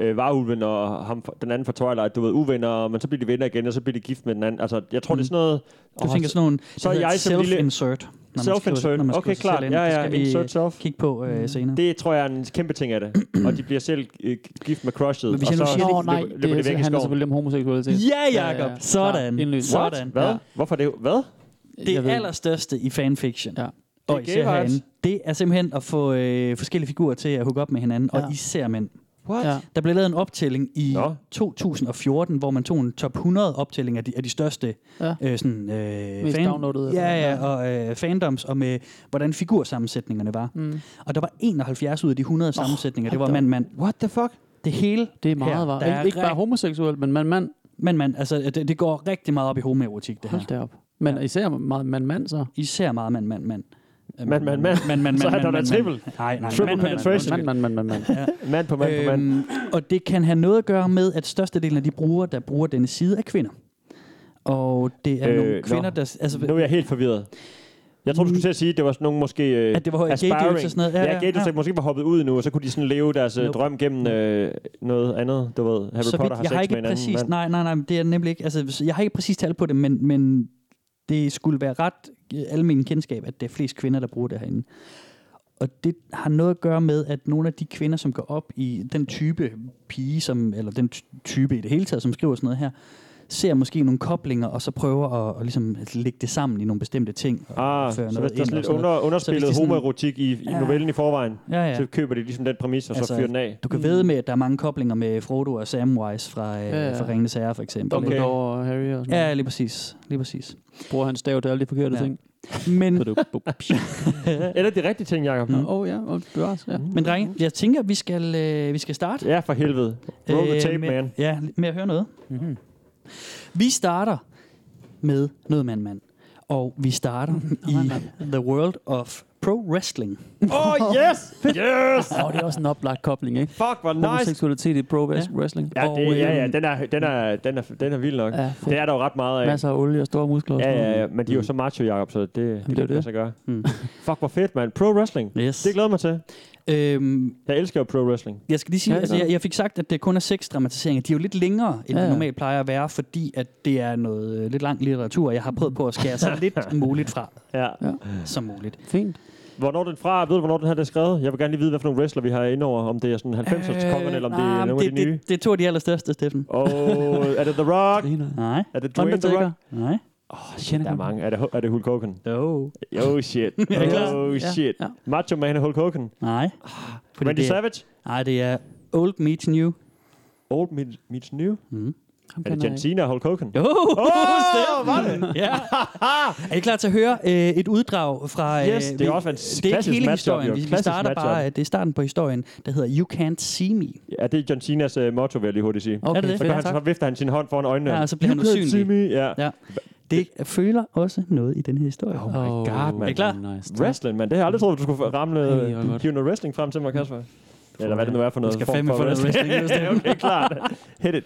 øh, varulven og ham, den anden fra Twilight, du ved, uvenner, men så bliver de venner igen, og så bliver de gift med den anden. Altså, jeg tror, mm. det er sådan noget... Du oh, tænker sådan nogle så er jeg som lille- self-insert. når man skriver- når man Self-insert. skriver Okay, sig klart. selv ind. Ja, Det ja, skal vi, øh, insert self. kigge på Mm. øh, senere. Det tror jeg er en kæmpe ting af det. og de bliver selv øh, gift med crushet. Men hvis jeg og nu så siger Nå, løber, det- nej, løber det, det væk i handler skoven. selvfølgelig om homoseksualitet. Ja, Jacob. Sådan. Klart, indløst. Sådan. What? Hvad? Ja. Hvorfor det? Hvad? Det Jeg ved- allerstørste i fanfiction, Ja. ja. Det er og især gay vibes. herinde, det er simpelthen at få øh, forskellige figurer til at hooke op med hinanden, ja. Ja. og især mænd. What? Ja. Der blev lavet en optælling i Nå. Nå. 2014, hvor man tog en top 100 optælling af de, af de største Ja. øh, sådan, øh, Mest downloadede, eller ja, ja, hvad? og øh, fandoms, og med hvordan figursammensætningerne var. Mm. Og der var 71 ud af de 100 oh, sammensætninger, det var hold da op. mand-mand. What the fuck? Det hele, Det er meget her, var. der er Ikke, ikke bare rigtig- homoseksuelt, men mand-mand. mand-mand, altså det, det går rigtig meget op i homoerotik, det her. Hold da op. Men især meget mand-mand så. Især meget mand-mand-mand. Mand, mand, mand. mand, mand, Så er mand, der da mand, triple. mand. Nej, nej. Triple mand, mand, penetration. mand, Mand-mand-mand-mand. Mand på mand på mand. mand. Øhm, og det kan have noget at gøre med, at størstedelen af de brugere, der bruger denne side, er kvinder. Og det er øh, Øh, nogle kvinder, nå. der... Altså, Nu er jeg helt forvirret. Jeg tror, du skulle til at sige, at det var sådan nogle måske... Øh, At det var gay dudes og aspiring. sådan noget. Ja, Ja, ja, ja, gay dudes, ja. der måske var hoppet ud nu, og så kunne de sådan leve deres øh, Nope. drøm gennem øh, noget andet. Du ved, Harry så Potter vidt, har jeg sex har ikke med en anden præcis, mand. Ah, nej, nej, nej, men det er nemlig ikke, altså, så jeg har ikke præcis tal på det, men, men det skulle være ret øh, almen kendskab, at det er flest kvinder, der bruger det herinde. Og det har noget at gøre med, at nogle af de kvinder, som går op i den type pige, som, eller den ty- type i det hele taget, som skriver sådan noget her, ser måske nogle koblinger, og så prøver at, at, ligesom, at lægge det sammen i nogle bestemte ting. Og Ah, føre så noget hvis der er sådan ind og lidt sådan noget. under, Så hvis det underspillet er sådan- homoerotik i, i Ja. novellen i forvejen, Ja, ja. så køber de ligesom den præmis, og så Altså, fyrer den af. Mm. Du kan ved med, at der er mange koblinger med Frodo og Samwise fra, Mm. øh, Ja, ja, ja. ja. fra Ringenes Herre, for eksempel. Okay. Okay. Dumbledore og Harry og sådan Ja, noget. lige præcis. Lige præcis. Bruger han stav til alle de forkerte Ja. ting. Men, Så det er jo- *laughs* Eller Mm. de rigtige ting, Jacob. Mm. Åh oh, ja, og bevares, ja. men drenge, jeg tænker, at vi skal, øh, vi skal starte. Ja, for helvede. Roll the Øh, tape, med, man. Mhm. Ja, med at høre noget. Mm-hmm. Vi starter med noget mand, mand. Og vi starter i The World of Pro Wrestling. Oh, yes! Yes! Og det er også en oplagt kobling, ikke? Fuck, hvor nice! Homoseksualitet i pro Ja. wrestling. Ja, Og, det, ja, ja, øhm, den er, den er, den er, den er vild nok. Ja, fedt. Det er der jo ret meget af. Masser af olie og store muskler. og Ja, sådan ja, noget. Mm. ja, men de er jo så macho, Jacob, så det, det, det det er kan det. det. sig gøre. Mm. *laughs* Fuck, hvor fedt, mand. Pro wrestling. Yes. Det glæder jeg mig til. øhm, Jeg elsker jo pro wrestling. jeg skal lige sige, Ja, ja, altså, ja. jeg, jeg fik sagt, at det kun er seks dramatiseringer. De er jo lidt længere, end Ja, ja, ja. de normalt plejer at være, fordi at det er noget øh, lidt lang litteratur, og jeg har prøvet på at *laughs* skære så lidt muligt fra Ja. *laughs* som muligt. Fint. Hvornår den fra? Ved du, hvornår den her er skrevet? Jeg vil gerne lige vide, hvad for nogle wrestler vi har indover. Om det er sådan 90'ers kongerne, eller om det ah, er men nogle af de nye. Det, det er to af de allerstørste, Steffen. Og er det The Rock? Nej, Er det Dwayne The Undertaker. Rock? nej. Åh, Shanahan. Der er mange. Er det, er det Hulk Hogan? Jo. Oh shit. *laughs* I klar? Oh Ja, shit. ja. Macho Man og Hulk Hogan. Ah, Nej. Fordi Randy det er, Savage? nej, det er Old Meets New. Mm. Old meets, meets New? Ham Er kender det jeg John Cena og Hulk Hogan? Jo, oh, *laughs* Steffen. var det? *laughs* ja. *laughs* Er I klar til at høre øh, et uddrag fra... Yes, det er vi- også en det er ikke klassisk hele matchup, historien. jo. Vi, vi Klassisk starter matchup. bare... Det er starten på historien, der hedder You Can't See Me. Ja, det er John Cenas uh, motto, vil jeg lige hurtigt sige. Okay, Er det det? Så, fedt. gør han, så vifter han sin hånd foran øjnene. Ja, og så bliver han You can't see usynlig. me. Ja. Ja. Det føler også noget i den her historie. Oh my Åh, god, er mand. I klar? Wrestling, mand. Det har jeg aldrig troet, du skulle ramle Ej, hvor godt. hive noget wrestling frem til mig, Kasper. Eller hvad det nu er for noget. skal form fandme for få noget wrestling nu, Steffen. okay, klart. Hit it.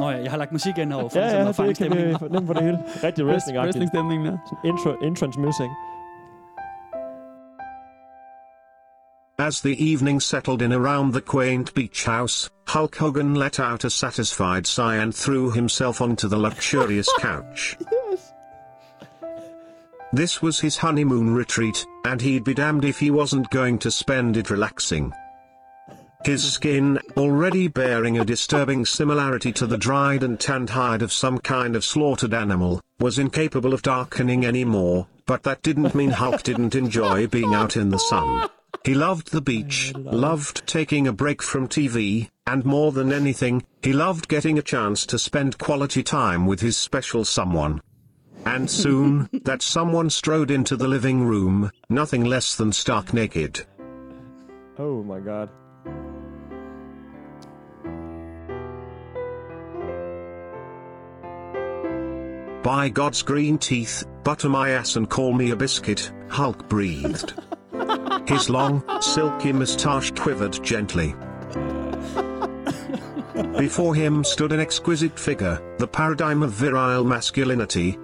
Nå ja, jeg har lagt musik ind over, for Ja, ja, ja, ligesom ja, at fange det kan vi stemningen. fornemme på det hele. Rigtig wrestling-agtigt. Wrestling-stemningen der. Sådan Intro, entrance music. As the evening settled in around the quaint beach house, Hulk Hogan let out a satisfied sigh and threw himself onto the luxurious couch. This was his honeymoon retreat, and he'd be damned if he wasn't going to spend it relaxing. His skin, already bearing a disturbing similarity to the dried and tanned hide of some kind of slaughtered animal, was incapable of darkening anymore, but that didn't mean Hulk didn't enjoy being out in the sun. He loved the beach, loved taking a break from TV, and more than anything, he loved getting a chance to spend quality time with his special someone. And soon, that someone strode into the living room, nothing less than stark naked. Oh my god. By God's green teeth, butter my ass and call me a biscuit, Hulk breathed. His long, silky moustache quivered gently. Before him stood an exquisite figure, the paradigm of virile masculinity.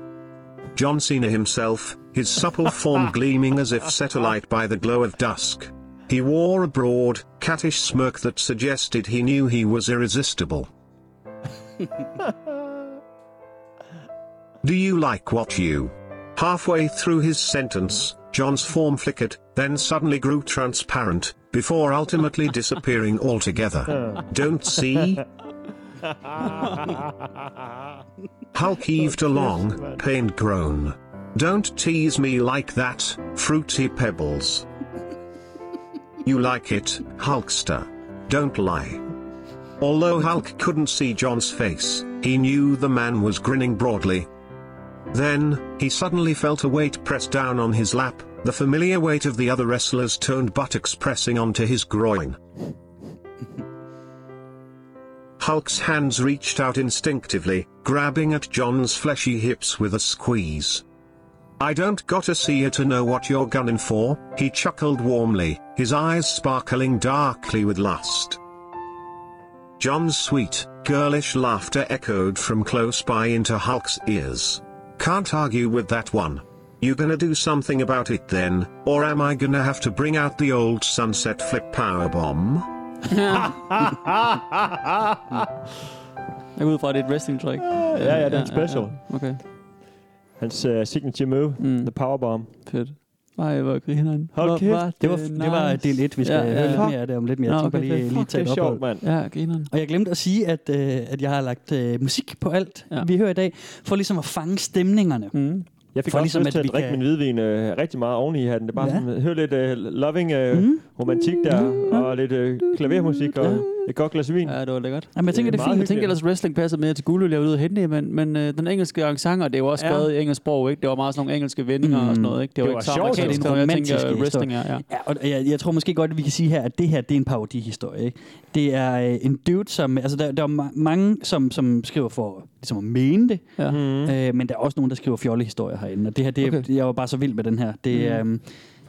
John Cena himself, his supple form gleaming as if set alight by the glow of dusk. He wore a broad, cattish smirk that suggested he knew he was irresistible. Do you like what you? Halfway through his sentence, John's form flickered, then suddenly grew transparent, before ultimately disappearing altogether. Don't see? Mm. Hulk heaved a long, pained groan. Don't tease me like that, fruity pebbles. You like it, Hulkster. Don't lie. Although Hulk couldn't see John's face, he knew the man was grinning broadly, then, he suddenly felt a weight press down on his lap, the familiar weight of the other wrestler's toned buttocks pressing onto his groin. Hulk's hands reached out instinctively, grabbing at John's fleshy hips with a squeeze. I don't gotta see you to know what you're gunning for, he chuckled warmly, his eyes sparkling darkly with lust. John's sweet, girlish laughter echoed from close by into Hulk's ears. Can't argue with that one. You gonna do something about it then, or am I gonna have to bring out the old sunset flip powerbomb? Jeg går ud fra, at det er et wrestling-trick. ja, ja, det er en special. øh, Okay, Hans uh, signature move, mm. the powerbomb. fedt. Nej, hvor grineren. Hold Hvor kæft, var Det var, det var del 1, vi skal ja, ja. høre lidt mere af det om lidt mere. Nå, Jeg okay, tænker bare lige, fedt. Fuck, lige det tage er et sjovt, ophold. mand. Ja, grineren. Og jeg glemte at sige, at, øh, at jeg har lagt øh, musik på alt, Ja. ja. vi hører i dag, for ligesom at fange stemningerne. Mm. Jeg fik For også ligesom, lyst at til at vi drikke kan- min hvidvin øh, rigtig meget oveni her. Det er bare Ja. ja. sådan, hør lidt øh, loving øh, mm. romantik der, og lidt øh, klavermusik og et godt glas vin. Ja, det var lækkert. Jamen, jeg tænker, det er er meget fint. Jeg tænker hyggeligt. ellers, wrestling passer mere til guld, jeg ud af hente, men, men øh, den engelske accent, og det er jo også Ja. skrevet i engelsk sprog, ikke? Det var meget sådan nogle engelske vendinger mm. og sådan noget, ikke? Det, Det var var ikke så sjovt, amerikansk, det det var var jeg en tænker, øh, romantisk wrestling er, ja. Ja, og jeg, jeg tror måske godt, at vi kan sige her, at det her det er en parodihistorie. Ikke? Det er øh, en dude, som... Altså, der, der er ma- mange, som, som skriver for ligesom at mene det, ja. Mhm. Mm. mm. øh, men der er også nogen, der skriver fjollehistorier herinde. Og det her, det, Okay. okay. jeg var bare så vild med den her. Mhm. Det, mm. øh,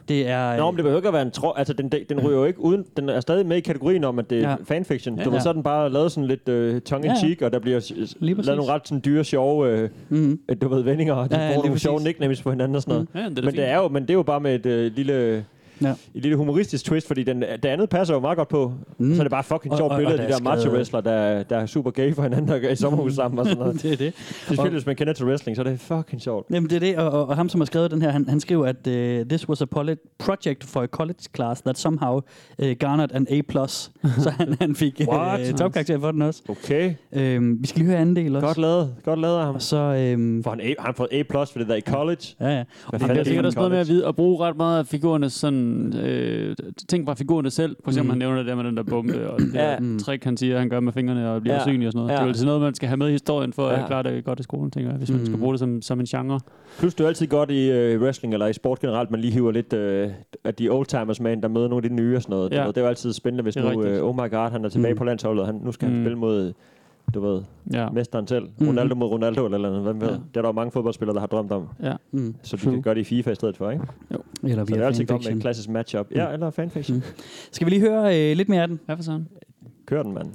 det er... øh, Nå, men det behøver ikke at være en tro... Altså, den, den ryger jo ikke uden... Den er stadig med i kategorien om, at det er Ja. ja. fanfiction. Ja, Du ja. ved, ja. så er den bare lavet sådan lidt øh, tongue-in-cheek, ja. og der bliver s- s- Lige lavet præcis. nogle ret sådan dyre, sjove... Øh, mm, du ved, vendinger, og de Ja, ja, ja, lige bruger nogle sjove præcis. Mhm. nicknames på hinanden og sådan noget. Ja, det er da men, fint. det er jo, men det er jo bare med et øh, lille... ja. et lille humoristisk twist, fordi den, det andet passer jo meget godt på. Mm. Mm. Så er det bare fucking Og- sjovt og- billede af og de der der er skrevet- macho wrestler, der, der er super gay for hinanden og gør i sommerhus sammen og sådan *laughs* noget. det er det. Det spiller, hvis man kender til wrestling, så er det fucking sjovt. Jamen, det er det, og, og, og ham, som har skrevet den her, han, han skriver, at uh, this was a polit- project for a college class that somehow uh, garnered an A+. *laughs* så han, han fik What? uh, topkarakter for den også. Okay. Uh, vi skal lige høre anden del også. Godt lavet. Godt lavet af ham. Og så... øhm, Um, For han, A, har han fået A plus for det der i college. ja, ja. Hvad Det er sikkert for også noget med college? at vide, at bruge ret meget af figurernes sådan, øh, ting fra figurerne selv. For eksempel, mm. han nævner det der med den der bombe, og det Ja. Mm. ja. trick, han siger, han gør med fingrene og bliver Ja. ja. usynlig og sådan noget. Ja. Det er Ja. jo altid noget, man skal have med i historien for ja. Ja. Mm. at klare det godt i skolen, tænker jeg, hvis man skal bruge det som, som en genre. Plus, det er jo altid godt i øh, wrestling eller i sport generelt, man lige hiver lidt øh, af de oldtimers med ind, der møder nogle af de nye og sådan noget. Ja. Ja. Det er jo altid spændende, hvis Det er nu, rigtigt. øh, oh my god, han er tilbage Mm. mm. på landsholdet, og han, nu skal mm. Mm. han spille mod, du ved, Ja. Mm. mesteren selv. Ronaldo mod Ronaldo eller noget, hvem ved. Ja. Ja. Det er der jo mange fodboldspillere, der har drømt om. ja. Mm. Så de True. kan gøre det i FIFA i stedet for, ikke? Eller Så det er via altid godt med fanfiction. et klassisk matchup. Ja, eller fanfiction. Mm. Skal vi lige høre uh, lidt mere af den? Hvad for sådan? Kør den, mand.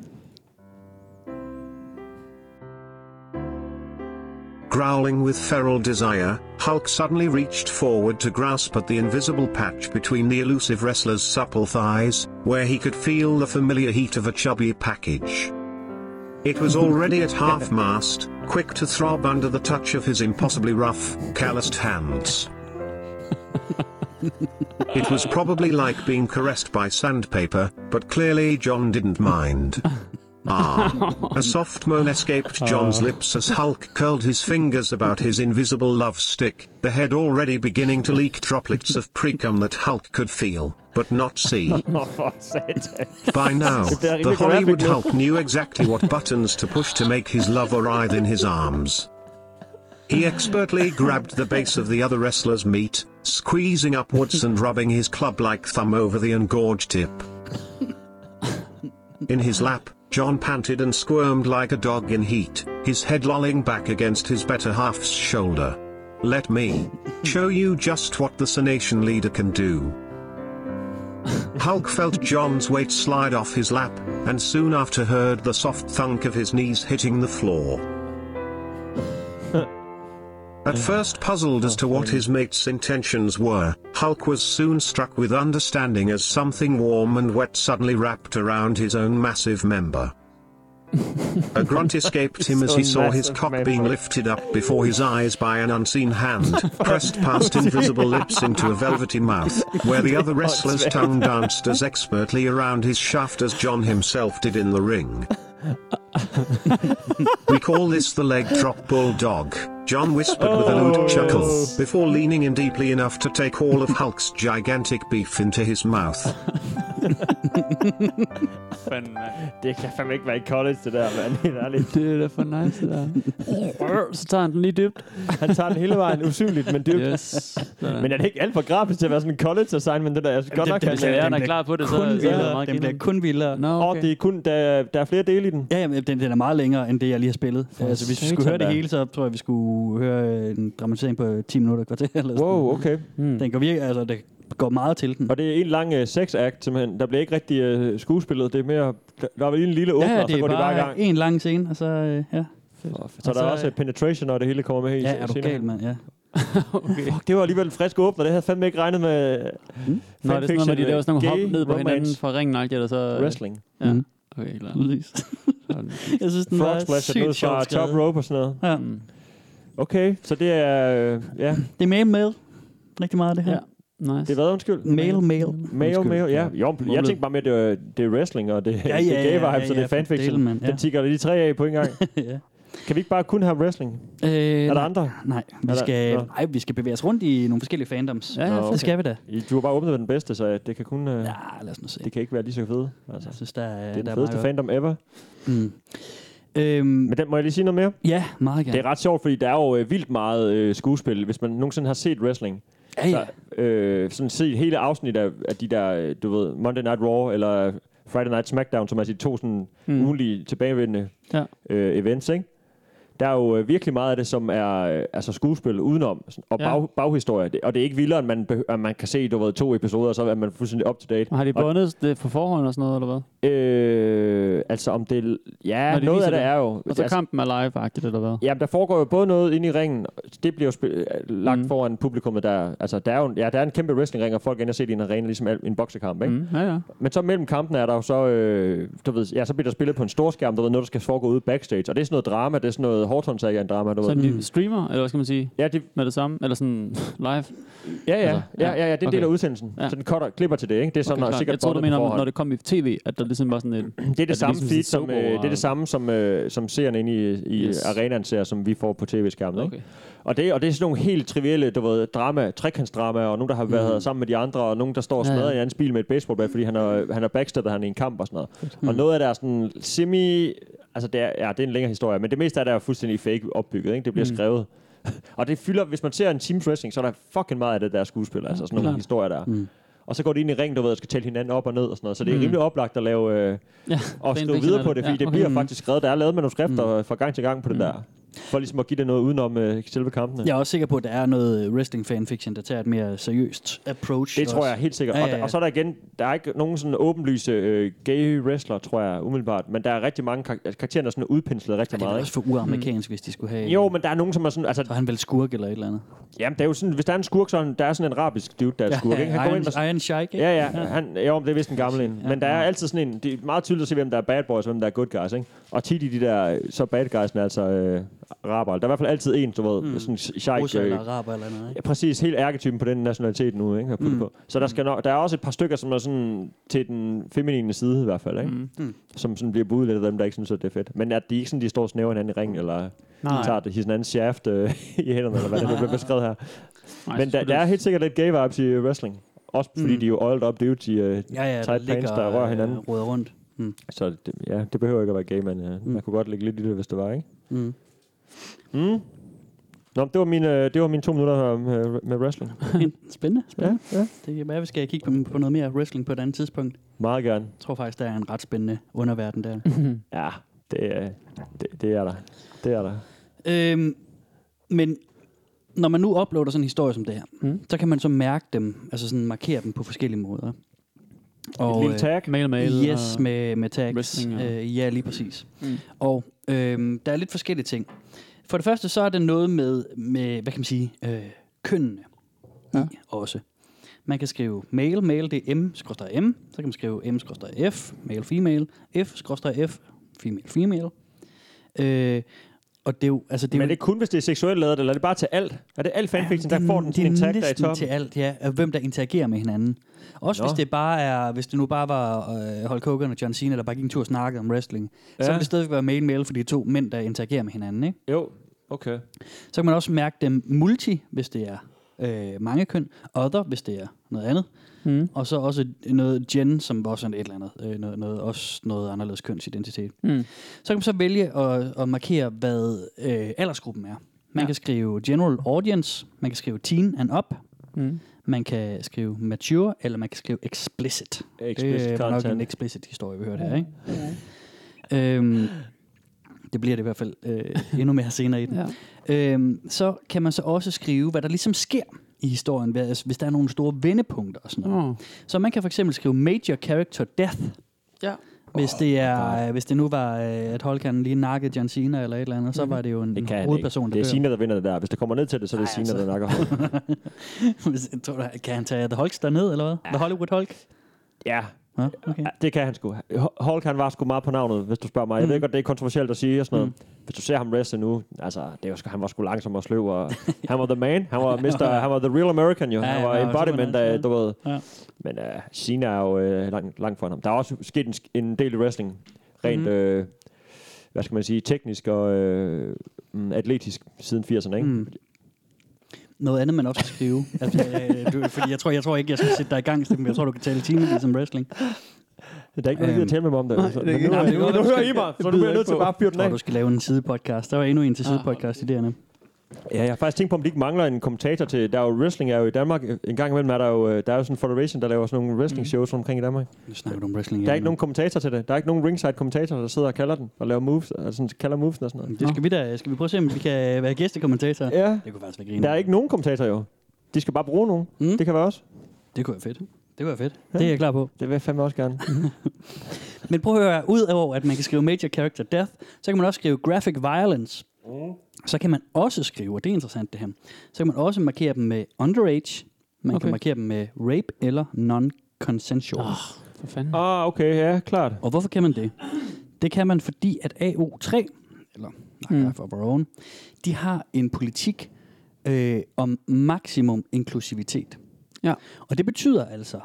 Growling with feral desire, Hulk suddenly reached forward to grasp at the invisible patch between the elusive wrestler's supple thighs, where he could feel the familiar heat of a chubby package. It was already at *laughs* half mast, quick to throb under the touch of his impossibly rough, calloused hands. It was probably like being caressed by sandpaper, but clearly John didn't mind. Ah. A soft moan escaped John's lips as Hulk curled his fingers about his invisible love stick, the head already beginning to leak droplets of precum that Hulk could feel, but not see. *laughs* Nå, for satan. By now, Is there the even Hollywood graphic now? Hulk knew exactly what buttons to push to make his lover writhe in his arms. He expertly grabbed the base of the other wrestler's meat, squeezing upwards and rubbing his club like thumb over the engorged tip. In his lap, John panted and squirmed like a dog in heat, his head lolling back against his better half's shoulder. Let me show you just what the Senation leader can do. Hulk felt John's weight slide off his lap, and soon after heard the soft thunk of his knees hitting the floor. At first puzzled as to what his mate's intentions were, Hulk was soon struck with understanding as something warm and wet suddenly wrapped around his own massive member. A grunt *laughs* escaped him as he So saw his massive cock member. being lifted up before his eyes by an unseen hand, *laughs* pressed past invisible lips into a velvety mouth, where the other wrestler's tongue danced as expertly around his shaft as John himself did in the ring. We call this the leg drop bulldog, John whispered with a lewd chuckle, before leaning in deeply enough to take all of Hulk's gigantic beef into his mouth. Fanden, Det kan fandme ikke være i college, det der, mand. Helt ærligt. *laughs* det er da for nice, det *laughs* der. Så tager han den lige dybt. Han tager den hele vejen usynligt, men dybt. Yes. Men er det ikke alt for grafisk til at være sådan en college assignment, det der? Jeg synes godt det- nok, det han Ja, den han er bliver klar på det, så, så Kun er det vildere. meget Den bliver grineren. kun vildere. Nå, Okay. Og okay. det er kun, der, der er flere dele i den. Ja, jamen, den, den er meget længere, end det, jeg lige har spillet. altså, hvis vi skulle satan høre det da. hele, så tror jeg, vi skulle høre øh, en dramatisering på 10 minutter et kvarter. Eller sådan. Mm. Wow, okay. Hmm. Den går virkelig, altså, det går meget til den. Og det er en lang uh, sex-act, simpelthen. Der bliver ikke rigtig uh, skuespillet. Det er mere... Der, der er lige en lille åbner, ja, og så det er går de bare i gang. bare en lang scene, og så... Øh, ja. Så Og der er så- også øh, penetration, og det hele kommer med i ja, er du senere. gal, mand? *laughs* Ja. Okay. Fuck, det var alligevel en frisk åbner. Det havde jeg fandme ikke regnet med. Nå, øh, det er sådan noget, med, de laver sådan nogle hop ned på hinanden fra ringen, eller så... Wrestling. Ja. Mm. Okay, klar. Præcis. *laughs* jeg synes, den Frog var splash er sygt noget fra sjovt top skrevet. rope og sådan noget. Ja. Mm. Okay, så det er... Øh, ja, Det er med med rigtig meget, det her. Ja. Ja. Nice. Det var undskyld. Mail, mail. Mail, Undskyld. mail, ja. Jo, jeg tænkte bare med, at det, var- det er wrestling, og det, ja, ja, det er gay vibe, ja, ja, så det er for fanfiction. delen, mand, ja. Den tigger de tre af på en gang. ja. Kan vi ikke bare kun have wrestling? Øh, Er der andre? Nej, Er vi der- skal, Nå. nej, vi skal bevæge os rundt i nogle forskellige fandoms. Ja, ja, okay. okay. Det skal vi da. I- Du har bare åbnet ved den bedste, så det kan kun... Ja. Ja, lad os nu se. Det kan ikke være lige så fede. Altså, Jeg synes, der, er- det er der den er fedeste meget fandom ever. godt. Mm. Øhm, Men den, må jeg lige sige noget mere? ja, meget gerne. Det er ret sjovt, fordi der er jo øh, vildt meget øh, skuespil, hvis man nogensinde har set wrestling. ja, ja. Så, øh, sådan set hele afsnit af, af de der, øh, du ved, Monday Night Raw eller Friday Night Smackdown, som er de to sådan mm. ugenlige tilbagevendende Ja. øh, events, ikke? Der er jo øh, virkelig meget af det, som er øh, altså skuespil udenom sådan, og Ja. bag, baghistorie. Det- Og det er ikke vildere, end man, behø- at man kan se du ved, to episoder, og så er man fuldstændig up to date. Og har de Og- bundet det på forhånd og sådan noget, eller hvad? Øh, altså om det... Ja, Når de de noget viser af det det. er jo... Og så altså, kampen er live-agtigt, eller hvad? Jamen, der foregår jo både noget inde i ringen. Det bliver jo spil- lagt mm. Mm. foran publikummet. Der, altså, der er jo en, ja, der er en kæmpe wrestlingring, og folk ender set i en arena, ligesom al- en boksekamp. Ikke? Mm. Mm, ja, ja. Men så mellem kampene er der jo så, øh, du ved, ja, så bliver der spillet på en stor skærm, du ved, noget, der skal foregå ude backstage. Og det er sådan noget drama, det er sådan noget hårdhåndsager drama, du Så ved. Mm. de streamer, eller hvad skal man sige, Ja, det, med det samme? Eller sådan *laughs* live? ja, ja, Altså, ja, ja, ja, det er en del okay. af udsendelsen. Ja. Så den cutter, klipper til det, ikke? Det er sådan klart. okay, sikkert jeg tror, du bundet på mener, forhånd. når det kom i tv, at der ligesom var sådan et... Det er *clears throat* det, det samme ligesom feed, sådan som, et øh, soap det er opera? det samme, som, øh, som seerne inde i, i yes. Yes. arenaen ser, som vi får på tv-skærmen. Okay. Okay. Og det, og det er sådan nogle helt trivielle, du ved, drama, trekantsdrama, og nogen, der har været mm. sammen med de andre, og nogen, der står og Mhm. Ja, ja. smadrer ja, ja. i hans bil med et baseballbat, fordi han har, han har backstabbet han i en kamp og sådan noget. Mhm. Mm. Og noget af det er sådan semi... Altså, det er, ja, det er en længere historie, men det meste af det er jo fuldstændig fake opbygget, ikke? Det bliver Mhm. mm. skrevet. *laughs* og det fylder, hvis man ser en teams wrestling, så er der fucking meget af det der skuespil, altså sådan nogle klart. Mhm. historier der. Mm. Og så går de ind i ring, du ved, og skal tælle hinanden op og ned og sådan noget. Så det er Mm. rimelig oplagt at lave... Øh, Ja, fan og skrive fiction videre er på det, fordi ja, okay. det Mm. bliver faktisk skrevet. Der er lavet manuskripter mm. fra gang til gang på det der. For ligesom at give det noget udenom øh, selve kampene. Jeg er også sikker på, at der er noget øh, wrestling fanfiction, der tager et mere seriøst approach. Det tror også. jeg helt sikkert. Ja, Og, ja, der- ja. og så er der igen, der er ikke nogen sådan åbenlyse øh, gay wrestler, tror jeg, umiddelbart. Men der er rigtig mange kar- karakterer, der er sådan udpenslet Ja, rigtig det er vel meget. også for uamerikansk, mm. hvis de skulle have... Ikke? Jo, men der er nogen, som er sådan... Altså, Så er han vel skurk eller et eller andet. jamen, der er jo sådan, hvis der er en skurk, så er en- der er sådan en arabisk dude, der er skurk. Ikke? Han går Iron, ind og Iron Sheik, ikke? Ja, ja. Han, jo, men det er vist en gammel en. Men der er altid sådan en... Det er meget tydeligt at se, hvem der er bad boys, og hvem der er good guys, ikke? Og tit i de der... øh, Så bad guys'ene, altså øh, araber. Der er i hvert fald altid en, du ved, mm. sådan sheik... Russer Øh, eller araber eller noget, ja, ikke? præcis, helt ærketypen på den nationalitet nu, ikke? Har mm. på. Så der, skal nok, der er også et par stykker, som er sådan til den feminine side i hvert fald, ikke? Mm. Som sådan bliver budet lidt af dem, der ikke synes, at det er fedt. Men at de ikke sådan, de står og snæver hinanden i ringen, eller Nej. tager det, hinanden shaft øh, *laughs* i hænderne, eller hvad det er, der bliver beskrevet her. Nej, Men så der, skulle der er det- helt sikkert lidt gay vibes i øh, wrestling. Også fordi mm. de er jo oiled up dudes i uh, Ja, ja, tight pants, der rører hinanden. Øh, råder rundt. Så det, ja, det behøver ikke at være gay, men uh, mm. man kunne godt lægge lidt i det, hvis det var, ikke? Mm. Mm. Nå, det var mine, øh, det var mine to minutter her med, med wrestling. spændende, Ja, spændende. ja. Ja. Det kan være, vi skal kigge på, på noget mere wrestling på et andet tidspunkt. Meget gerne. Jeg tror faktisk, der er en ret spændende underverden der. *laughs* Ja, det, øh, det, det er der. Det er der. øhm, men når man nu uploader sådan en historie som det her, mm. så kan man så mærke dem, altså sådan markere dem på forskellige måder. Og, Et lille øh, tag. Mail, mail. Yes, og- med, med tags. wrestling og- Øh, ja, lige præcis. Mm. Mm. Og øhm, der er lidt forskellige ting. For det første, så er det noget med, med hvad kan man sige, øh, kønnene ja. i også. Man kan skrive male, male det er m, skråstreg m. Så kan man skrive m, skråstreg f, male, female, f, skråstreg f, female, female. Øh, og det er jo, altså det er Men jo er det kun, hvis det er seksuelt lavet, eller er det bare til alt? Er det alt fanfiction, der det er- får den sådan en det er tag, der er i næsten toppen? til alt, ja. af Hvem der interagerer med hinanden. Også Nå. Nå. hvis det bare er, hvis det nu bare var øh, Hulk Hogan og John Cena, der bare gik en tur og snakkede om wrestling, ja. Ja. så ville det stadigvæk være mail-mail for de to mænd, der interagerer med hinanden. Ikke? Jo, okay. Så kan man også mærke dem multi, hvis det er øh, mange køn, other, hvis det er noget andet, Hmm. Mm. og så også noget gen, som også er et eller andet, øh, noget, noget, også noget anderledes kønsidentitet. Mm. Hmm. Så kan man så vælge at, at markere, hvad øh, aldersgruppen er. Man Ja. ja. kan skrive general audience, man kan skrive teen and up, Mm. man kan skrive mature, eller man kan skrive explicit. Explicit det er nok content. en explicit historie, vi hørte her, ikke? øhm, det bliver det i hvert fald øh, endnu mere senere i den. Ja. Øhm, så kan man så også skrive, hvad der ligesom sker i historien, hvad- altså, hvis der er nogle store vendepunkter og sådan noget. Oh. Så man kan for eksempel skrive major character death, Ja. hvis det, er, øh, hvis det nu var, øh, at Holkan lige nakkede John Cena eller et eller andet, så var det jo en, Det en kan han ikke. hovedperson, Det er der dør. *laughs* Sina, der vinder det der. Hvis det kommer ned til det, så er det Ej, Sina, altså. der *laughs* nakker hårdt. Hvis- tror du, kan han tage The Hulkster ned, eller hvad? The Hollywood Hulk? Ja, Ja, okay. Ja, det kan han sgu. Ho- Hulk, han var sgu meget på navnet, hvis du spørger mig. Jeg Mm. ved godt, det er kontroversielt at sige og sådan noget. Hvis du ser ham wrestle nu, altså, det var, sgu- han var sgu langsom og sløv. *laughs* Og han var the man. *laughs* Han var, mister, han var the real American, jo. Ja, han ja, var han var embodiment superman, af, du ved. Ja. Men uh, Cena er jo uh, langt, langt foran ham. Der er også sket en, sk- en del i wrestling. Rent, Mhm. øh, hvad skal man sige, teknisk og øh, mm, atletisk siden 80'erne, ikke? Mm. Noget andet, man også skal skrive. altså, øh, du, fordi jeg tror, jeg tror ikke, jeg skal sætte dig i gang, Steffen, men jeg tror, du kan tale timevis om wrestling. Der er ikke nogen, der gider Øhm. tale med mig om det. Nej, så- det men kan- nu, nej, det kan nu, nu, godt nu være, hører du I skal- mig, det så nu bliver byder jeg jeg nødt til ikke på. bare at fyre den Jeg tror, af. Ah, du skal lave en sidepodcast. Der var endnu en til sidepodcast i DRM. Ja, jeg har faktisk tænkt på, om de ikke mangler en kommentator til... Der er jo wrestling er jo i Danmark. En gang imellem er der jo, øh, der er jo sådan en federation, der laver sådan nogle wrestling shows rundt omkring i Danmark. Nu Mm. snakker du om wrestling. Der er ikke nogen kommentator til det. Der er ikke nogen ringside kommentator, der sidder og kalder den og laver moves, altså sådan, kalder moves og sådan noget. Det skal vi da. Skal vi prøve at se, om vi kan være gæstekommentatorer? Ja, Det kunne faktisk være grine. der er ikke nogen kommentator jo. De skal bare bruge nogen. Mm. Mm. Det kan være også. Det kunne være fedt. Det kunne være fedt. Det er jeg klar på. Det vil jeg fandme også gerne. *laughs* Men prøv at høre, ud over at man kan skrive major character death, så kan man også skrive graphic violence. Så kan man også skrive, og det er interessant det her, så kan man også markere dem med underage, man okay. Okay. kan markere dem med rape eller non-consensual. Oh. For fanden. ah, okay, ja, klart. Og hvorfor kan man det? Det kan man, fordi at AO3, eller mm. for Baron, de har en politik øh, om maksimum inklusivitet. Ja. Og det betyder altså,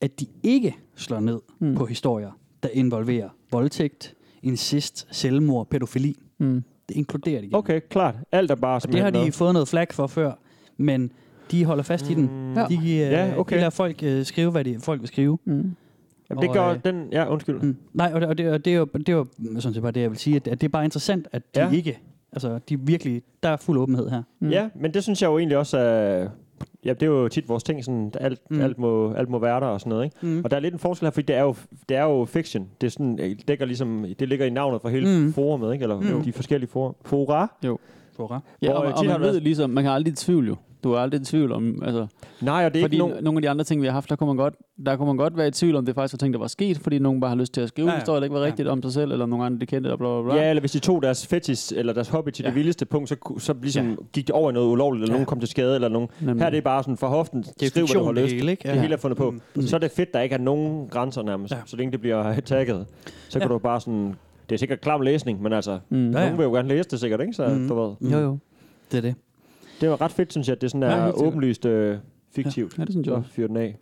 at de ikke slår ned mm. på historier, der involverer voldtægt, incest, selvmord, pædofili. Mm. Det inkluderer de. Okay, klart. Alt er bare Det har simpelthen de noget. fået noget flag for før, men de holder fast i den. Mm. Ja. De, øh, Ja, okay. de lader folk øh, skrive, hvad de, folk vil skrive. Mm. Jamen, det og, gør øh, den... Ja, undskyld. Mm. Nej, og det, og det, og det, er jo, det er jo sådan set bare det, jeg vil sige, at, at det er bare interessant, at de Ja. ja. ikke, altså de er virkelig, der er fuld åbenhed her. Mm. Ja, men det synes jeg jo egentlig også er... Ja, det er jo tit vores ting, sådan, at alt, Mm. mm. alt, må, alt må være der og sådan noget, ikke? Mm. Og der er lidt en forskel her, fordi det er jo, det er jo fiction. Det, er sådan, det, dækker ligesom, det ligger i navnet for hele Mm. mm. forumet, ikke? Eller Mm. mm. de forskellige forum. fora. Ja, Hvor, og, øh, og tit har man ved det været- ligesom, man kan aldrig i tvivl jo. Du er aldrig i tvivl om, altså, Nej, og det er fordi ikke nogen... no- nogle af de andre ting, vi har haft, der kunne man godt, der kunne man godt være i tvivl om, det faktisk var ting, der var sket, fordi nogen bare har lyst til at skrive Ja, ja, ja. ja. historier, der ikke var Ja. rigtigt om sig selv, eller om nogle andre, de kendte, eller bla bla bla. Ja, eller hvis de tog deres fetish eller deres hobby til ja. Ja. det vildeste punkt, så, ku- så ligesom Ja. ja. gik det over i noget ulovligt, eller ja. nogen kom til skade, eller nogen... Nemlig. Her er det bare sådan fra hoften, skriv, hvad du fiktion, har det lyst. hele, ikke? Ja. Ja. Det hele er fundet på. Mm. Mm. Så er det fedt, der ikke er nogen grænser nærmest, Ja. ja. så længe det bliver øh, tagget. Så kan Ja. du bare sådan... Det er sikkert klam læsning, men altså, Mm. Ja, ja. Nogen vil jo gerne læse det sikkert, ikke? Så, Mm. mm. du ved. Jo, jo. Det er det. Det var ret fedt, synes jeg, at det sådan Ja, er helt sikkert. åbenlyst øh, fiktivt. Ja, det synes jeg Så også. fyr den af.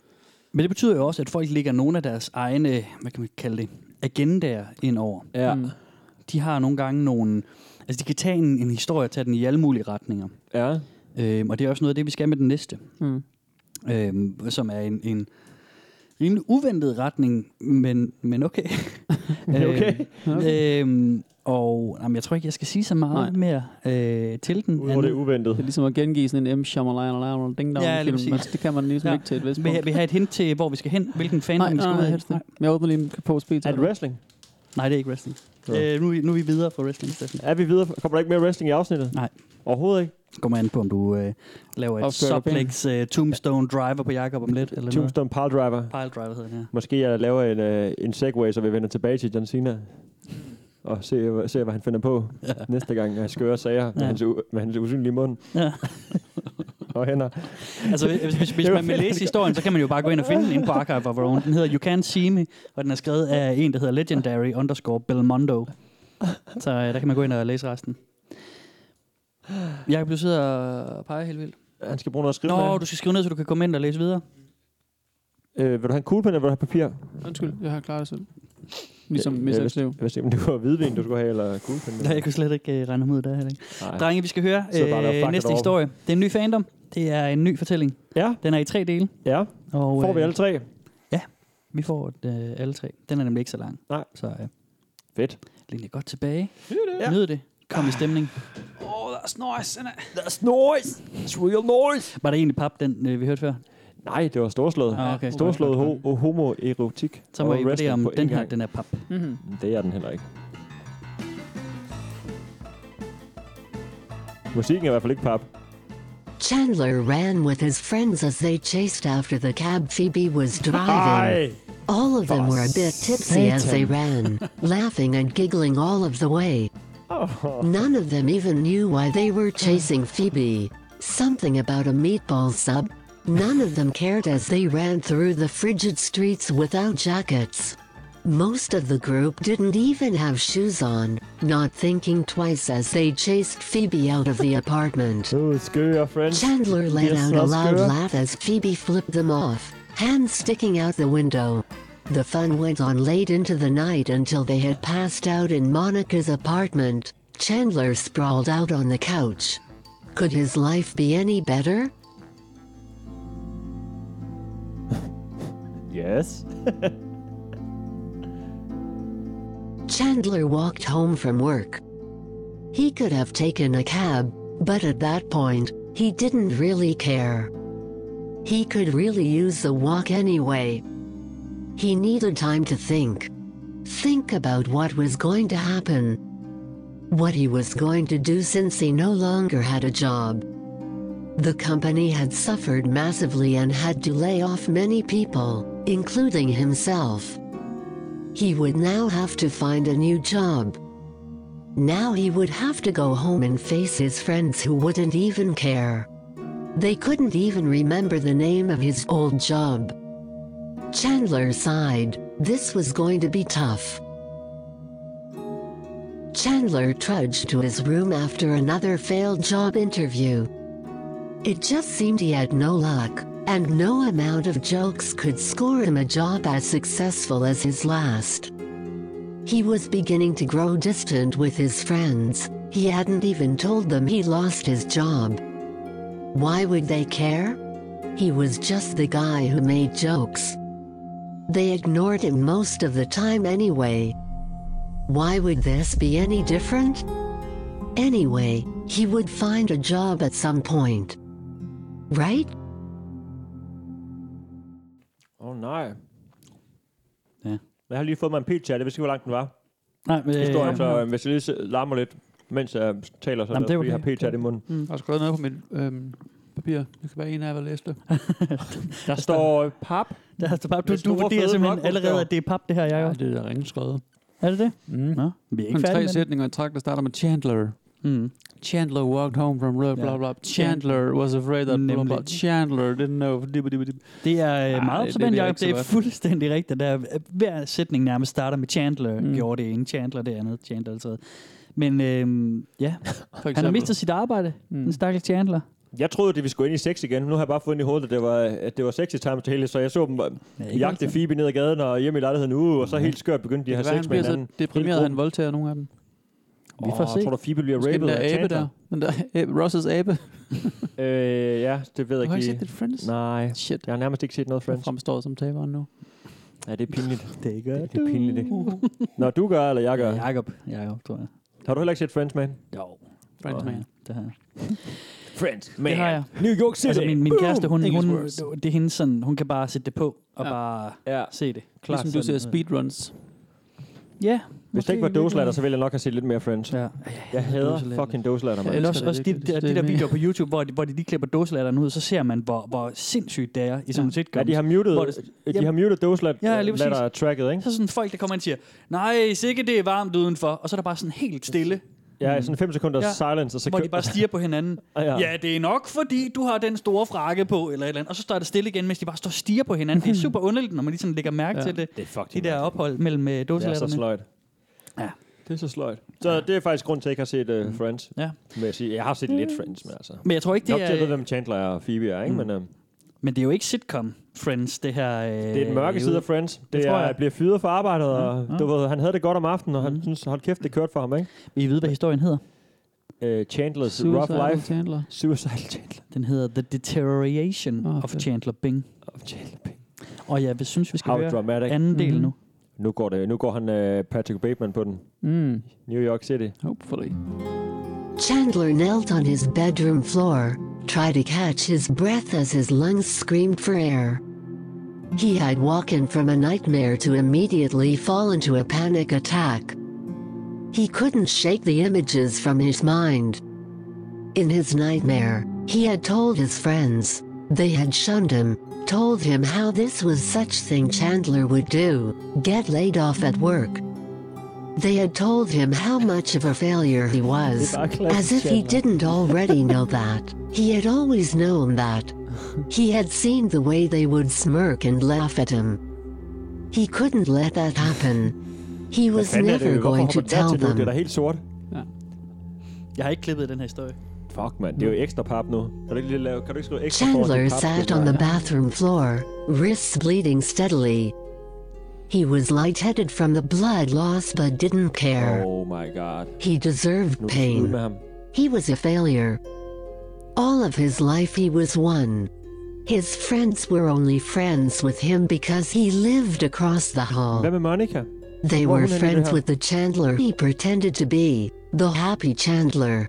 Men det betyder jo også, at folk lægger nogle af deres egne, hvad kan man kalde det, agendaer indover. Ja. Mm. De har nogle gange nogle, altså de kan tage en, en historie og tage den i alle mulige retninger. Ja. Øhm, og det er også noget af det, vi skal med den næste, Mm. øhm, som er en, en rimelig uventet retning, men, men okay. *laughs* Okay. okay. Øhm, og jamen, jeg tror ikke, jeg skal sige så meget Nej. mere øh, til den. Udover det Anne. Det er uventet. ligesom at gengive sådan en M. Shyamalan ding dong Ja, lige film, præcis. men det kan man ligesom Ja. ja. ikke til et vist Vil, punkt. vil have et hint til, hvor vi skal hen? Hvilken fandom Nej, vi skal nej, ud nej, af? helst ikke. Men jeg åbner lige en på speed. Er det wrestling? nej, det er ikke wrestling. Nå. Øh, nu, er vi- nu er vi videre fra wrestling, Steffen. Er vi videre? Kommer der ikke mere wrestling i afsnittet? Nej. Overhovedet ikke. Kommer an på, om du øh, laver et Opgør dig suplex øh, tombstone driver på Jakob om lidt. Eller noget. Tombstone Pile Driver. Pile driver hedder den her. Måske jeg laver en, øh, en segway, så vi vender tilbage til John Cena. Og se, se, hvad han finder *laughs* på næste gang, han skøre sager med, Ja. hans, u- med hans usynlige mund Ja. og hænder. *laughs* Altså, hvis, hvis, hvis Det var man vil fedt, læse historien, så kan man jo bare gå ind og finde den inde på Archive of Our Own. Den hedder You Can't See Me, og den er skrevet af en, der hedder Legendary underscore Belmondo. Så øh, der kan man gå ind og læse resten. Jakob, du sidder og peger helt vildt. Han skal bruge noget at skrive Nå, med. du skal skrive ned, så du kan komme ind og læse videre. Øh, vil du have en kuglepen, eller vil du have papir? Undskyld, jeg har klaret det selv. Ligesom Øh, Miss øh, hvis- Liv. Jeg vidste ikke, om det var hvidvin, du skulle have, eller kuglepen. Nej, jeg kunne slet ikke øh, regne ham ud der heller ikke. Nej. Drenge, vi skal høre Så er der bare øh, fucket næste over. historie. Det er en ny fandom. Det er en ny fortælling. Ja, Den er i tre dele. ja. Og, Får vi øh, alle tre? Vi får øh, alle tre. Den er nemlig ikke så lang. Nej. Så øh, Fedt. læn jer godt tilbage. Nyd det. Nyd det. Kom i stemning. That's noise! That's real noise! Var der egentlig pap, den øh, vi hørte før? Nej, det var storslået. Ah, okay. Storslået ho- og homoerotik. Så må og I vurdere, wrestling om på den én her, gang. den er pap. Mm-hmm. Det er den heller ikke. Musikken er i hvert fald ikke pap. Chandler ran with his friends as they chased after the cab Phoebe was driving. All of them were a bit tipsy as they ran, laughing and giggling all of the way. None of them even knew why they were chasing Phoebe. Something about a meatball sub, None of them cared as they ran through the frigid streets without jackets. Most of the group didn't even have shoes on, not thinking twice as they chased Phoebe out of the apartment. Uh, skøre, friend. Chandler let Yes, out så a loud skøre. laugh as Phoebe flipped them off, hands sticking out the window. The fun went on late into the night until they had passed out in Monica's apartment. Chandler sprawled out on the couch. Could his life be any better? Yes. Chandler walked home from work. He could have taken a cab, but at that point, he didn't really care. He could really use the walk anyway. He needed time to think. Think about what was going to happen. What he was going to do since he no longer had a job. The company had suffered massively and had to lay off many people, including himself. He would now have to find a new job. Now he would have to go home and face his friends who wouldn't even care. They couldn't even remember the name of his old job. Chandler sighed, this was going to be tough. Chandler trudged to his room after another failed job interview. It just seemed he had no luck, and no amount of jokes could score him a job as successful as his last. He was beginning to grow distant with his friends, he hadn't even told them he lost his job. Why would they care? He was just the guy who made jokes. They ignored him most of the time anyway. Why would this be any different? Anyway, he would find a job at some point. Right? Åh oh, nej. Ja. Jeg har lige fået mig en pizza, det vidste ikke, hvor langt den var. Nej, men, øh, Historien, så øh, hvis jeg lige s- larmer lidt, mens jeg taler, så er Jamen, det, fordi det er jeg har okay. pizza i munden. Mm. Jeg har skrevet noget på mit øhm, papir. Det kan være en af jer, der *laughs* læste. Der står øh, pap. der, er pap. Du, Med du store, vurderer fede simpelthen mørkbogstaver. allerede, at det er pap, det her, jeg Ja, også. det er da ringe skrevet. Er det det? Mhm. Mm. Nå, vi er ikke Kun tre færdige med sætninger i træk, der starter med Chandler. det. Mm. Chandler walked home from blah blah Ja. blah. Chandler was afraid that blah Nemlig. blah. Chandler didn't know. Dib, dib, dib. Det er Ej, øh, meget det- observant, det er Jacob. ikke så Det er godt. fuldstændig rigtigt. Der, er- hver sætning nærmest starter med Chandler. Mm. Mm. Gjorde det ene, Chandler det andet, Chandler det tredje. Men øhm, ja, For han eksempel. har mistet sit arbejde, Mm. mm. den stakkels Chandler. Jeg troede, det vi skulle ind i sex igen. Nu har jeg bare fået ind i hovedet, at det var, at det var sexy times til hele, så jeg så dem øh, Ja, ikke jagte altid. Phoebe ned ad gaden og hjem i lejligheden uge, og så helt skørt begyndte de at Hvad, have han sex med bliver så hinanden. deprimeret, at han voldtager nogle af dem. Vi får Åh, se. Tror du, Phoebe bliver Måske den rapet der af abe der. Chandler? Den der *laughs* abe, Ross's abe. *laughs* Øh, ja, det ved Du jeg har ikke ikke set lige. det Friends? Nej, Shit. jeg har nærmest ikke set noget Han Friends. fremstår som taberen nu. Ja, det er pinligt. *laughs* Det gør Det er pinligt, ikke? Når du gør, eller jeg gør. Jacob, Jacob, tror jeg. Har du heller ikke set Friends, man? Jo. Friends man. Det har jeg. Friends, man. Det har jeg. New York City. Altså, min, min kæreste, hun, English hun, words. det er hende sådan, hun kan bare sætte det på Ja. og ja. bare Ja. se det. Klart Ligesom du sådan. ser speedruns. Ja. Hvis det ikke var Doselatter, så ville jeg nok have set lidt mere Friends. Ja. Jeg hader Dåselatter. fucking Doselatter, Jeg mand. elsker Eller også, det også de, virkelig. de, Det er de, der mega- videoer på YouTube, hvor de, hvor de lige klipper dåselatteren ud, så ser man, hvor, hvor sindssygt det er i sådan en sitcom. Ja, de har Hvor muted, det- de har muted Ja, lige præcis. Doselatter-tracket, ikke? Så er sådan folk, der kommer ind og siger, nej, sikke det er varmt udenfor. Og så er der bare sådan helt stille, Ja, sådan 5 sekunder Ja. silence, og så hvor de bare stiger på hinanden. *laughs* Ja. ja. ja, det er nok, fordi du har den store frakke på, eller et eller andet. Og så står det stille igen, mens de bare står og stiger på hinanden. Det er super underligt, når man lige sådan lægger mærke Ja. ja. til det. Det er De fucking der ophold mellem øh, Det er så dåselatterne. sløjt. Ja. Det er så sløjt. Så det er faktisk grund til, at jeg ikke har set uh, Friends. Mm. Ja. Mm. Vil jeg, sige. jeg har set lidt Friends, men altså... Men jeg tror ikke, Nok det til at vide, er, Mm. hvem Chandler og Phoebe er, ikke? Men uh, men det er jo ikke sitcom, Friends, det her. Øh, det det er den mørke side af Friends. Det, det tror er, jeg. at blive fyret for arbejdet, og du ved, han havde det godt om aftenen, og han synes, hold kæft, det kørte for ham, ikke? I ved, hvad historien hedder. Uh, Chandler's Suicidal Rough Life. Chandler. Suicidal Chandler. Den hedder The Deterioration Åh, oh, of fedt. Chandler Bing. Oh, Chandler Bing. Og ja, vi synes, vi skal How høre dramatic. Mm-hmm. anden del Mhm. nu. Nu går, det, nu går han uh, Patrick Bateman på den. Mm. New York City. Hopefully. Chandler knelt on his bedroom floor, tried to catch his breath as his lungs screamed for air. He had woken from a nightmare to immediately fall into a panic attack. He couldn't shake the images from his mind. In his nightmare, he had told his friends. They had shunned him, told him how this was such thing Chandler would do, get laid off at work. They had told him how much of a failure he was. As if he didn't already know that. He had always known that. He had seen the way they would smirk and laugh at him. He couldn't let that happen. He was Fanden er det, never hvorfor going hopper to der tell til nu? Det er them. da helt sort. Jeg har ikke klippet den her historie. Fuck, mand. Det er jo ekstra pap nu. Kan du ikke, lige lave, kan du ikke skrive ekstra foran Chandler din pap? sat on the bathroom floor, wrists bleeding steadily. He was lightheaded from the blood loss but didn't care. Oh my god. He deserved Nu er det slut pain. med ham. He was a failure. All of his life he was one. His friends were only friends with him because he lived across the hall. Hvad med Monica? They What were would I do to friends help? with the Chandler he pretended to be, the happy Chandler.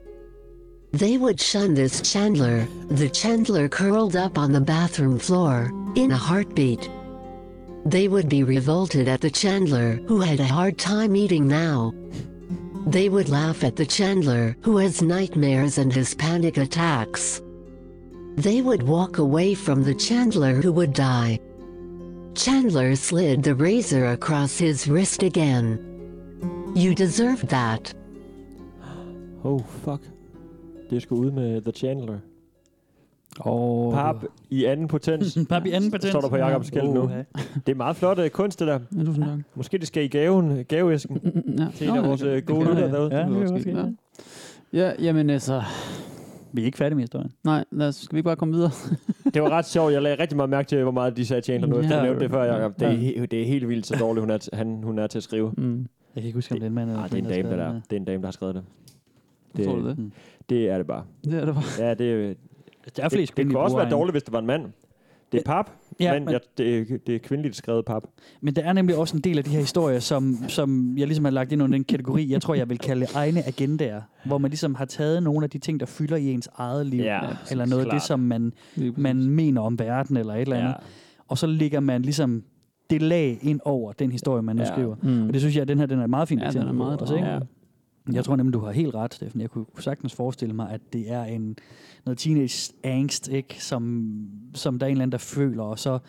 They would shun this Chandler, the Chandler curled up on the bathroom floor, in a heartbeat. They would be revolted at the Chandler who had a hard time eating now. They would laugh at the Chandler who has nightmares and his panic attacks. They would walk away from the Chandler who would die. Chandler slid the razor across his wrist again. You deserved that. Oh, fuck. Det er sgu ud med The Chandler. Oh, Pap i anden *laughs* potens. Papi anden patent. Står der på Jacobs skæld nu. Det er meget flot uh, kunst, det der. Ja, du sådan nok. Måske det skal i gaven, øh, *laughs* gaveæsken. Ja. Til en af vores, øh, gode lyttere derude. Ja, Ja, det det lyder er måske. måske. Ja. Ja, jamen altså, Vi er ikke færdige med historien. nej, lad os, skal vi ikke bare komme videre? *laughs* Det var ret sjovt. Jeg lagde rigtig meget mærke til, hvor meget de sagde Chandler nu. efter Ja. Jeg nævnte det før, Jacob. Det er, he- det er helt vildt, så dårligt hun er, t- han, hun er til at skrive. Mm. Jeg kan ikke huske, om det er en mand eller Ah, det er en dame, der, der, det er en dame, der har skrevet det. Det, tror du det? Mm. Det er det bare. Det er det bare. Ja, det, er- Der er det, flest det kunne kvindelige også være brugere dårligt, hvis det var en mand. Det er pap, Ja, ja, men, men- jeg, det, er- det er kvindeligt skrevet pap. herinde. Men der er nemlig også en del af de her historier, som, som jeg ligesom har lagt ind under den kategori, jeg tror, jeg vil kalde egne agendaer, hvor man ligesom har taget nogle af de ting, der fylder i ens eget liv, Ja, eller noget af det, klart. som man, Lige præcis. man mener om verden, eller et eller andet. Og så lægger man ligesom det lag ind over den historie, man nu Ja. skriver. Mm. Og det synes jeg, at den her den er et meget fint Ja, den eksempel er meget på også, ikke? dragende. Jeg tror nemlig, du har helt ret, Steffen. Jeg kunne sagtens forestille mig, at det er en noget teenage-angst, ikke? Som, som der er en eller anden, der føler, og så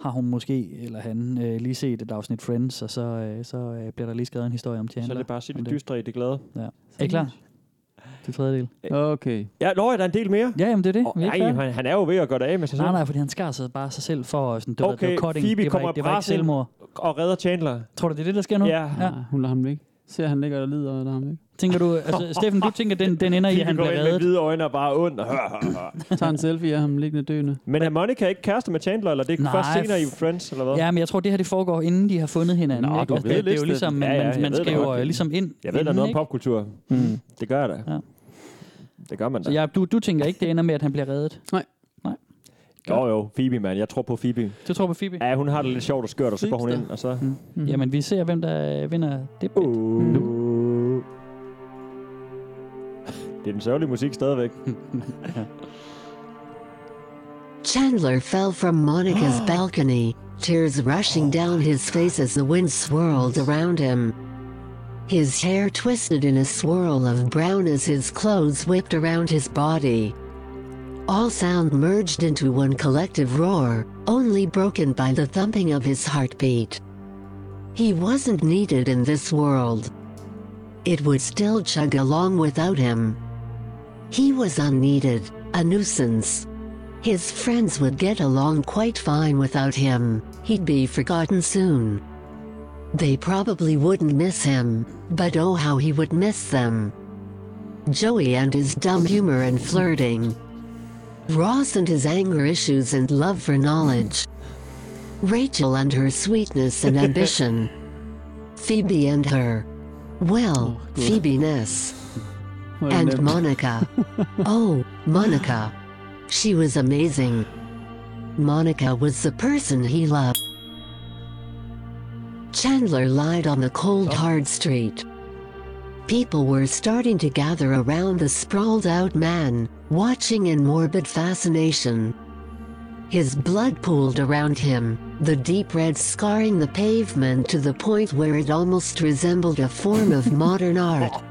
har hun måske, eller han, øh, lige set et afsnit Friends, og så, øh, så øh, bliver der lige skrevet en historie om Chandler. Så er det bare at sige om det dystre i det glade. Ja. Er I klar? Til tredje del. Øh, Okay. Ja, nå, er der en del mere? Ja, jamen det er det. Åh, Vi er Nej, ikke færdige. han, han er jo ved at gøre det af med sig selv. Nej, nej, fordi han skar sig bare sig selv for øh, sådan, det, okay, det Okay, var cutting. Phoebe det var kommer ikke, det var ikke brassende. selvmord. Og redder Chandler. Tror du, det er det, der sker nu? Ja. Ja. Nej, Ah, hun lader ham ikke. Ser han ligger og lider, og lader ham ikke. Tænker du, altså, *laughs* Steffen, du tænker, den, den ender i, Phoebe at han går bliver ind med reddet? hvide øjne og bare er ond. *laughs* og hør, hør, *laughs* hør. Tager en selfie af ham liggende døende. Men er Monica ikke kæreste med Chandler, eller det er Nej, først senere i f- Friends, eller hvad? Ja, men jeg tror, det her det foregår, inden de har fundet hinanden. Nå, ikke? du Altså, ved det, det er jo lidt, ligesom, man, Steffen. Ja, ja, man, jeg man ved det skriver godt. øh, ligesom ind. Jeg ved da inden, noget om ikke? popkultur. Mm. Det gør jeg da. Ja. Det gør man da. Så ja, du, du tænker ikke, det ender med, at han bliver reddet? *laughs* Jo, jo, Phoebe, mand. Jeg tror på Phoebe. Du tror på Phoebe? Ja, hun har det lidt sjovt og skørt, og så går hun ind, og så... Mm. Mm-hmm. Jamen, vi ser, hvem der øh, vinder det bid. Uh. Det er den sørgelige musik stadigvæk. *laughs* Chandler fell from Monica's balcony, tears rushing down his face as the wind swirled around him. His hair twisted in a swirl of brown as his clothes whipped around his body. All sound merged into one collective roar, only broken by the thumping of his heartbeat. He wasn't needed in this world. It would still chug along without him. He was unneeded, a nuisance. His friends would get along quite fine without him, he'd be forgotten soon. They probably wouldn't miss him, but oh how he would miss them. Joey and his dumb humor and flirting. Ross and his anger issues and love for knowledge. Rachel and her sweetness and ambition. Phoebe and her. Well, Phoebe-ness. Hvor er det And nemt. Monica. oh, Monica. She was amazing. Monica was the person he loved. Chandler lied on the cold, hard street. People were starting to gather around the sprawled out man, watching in morbid fascination. His blood pooled around him, the deep red scarring the pavement to the point where it almost resembled a form of modern art.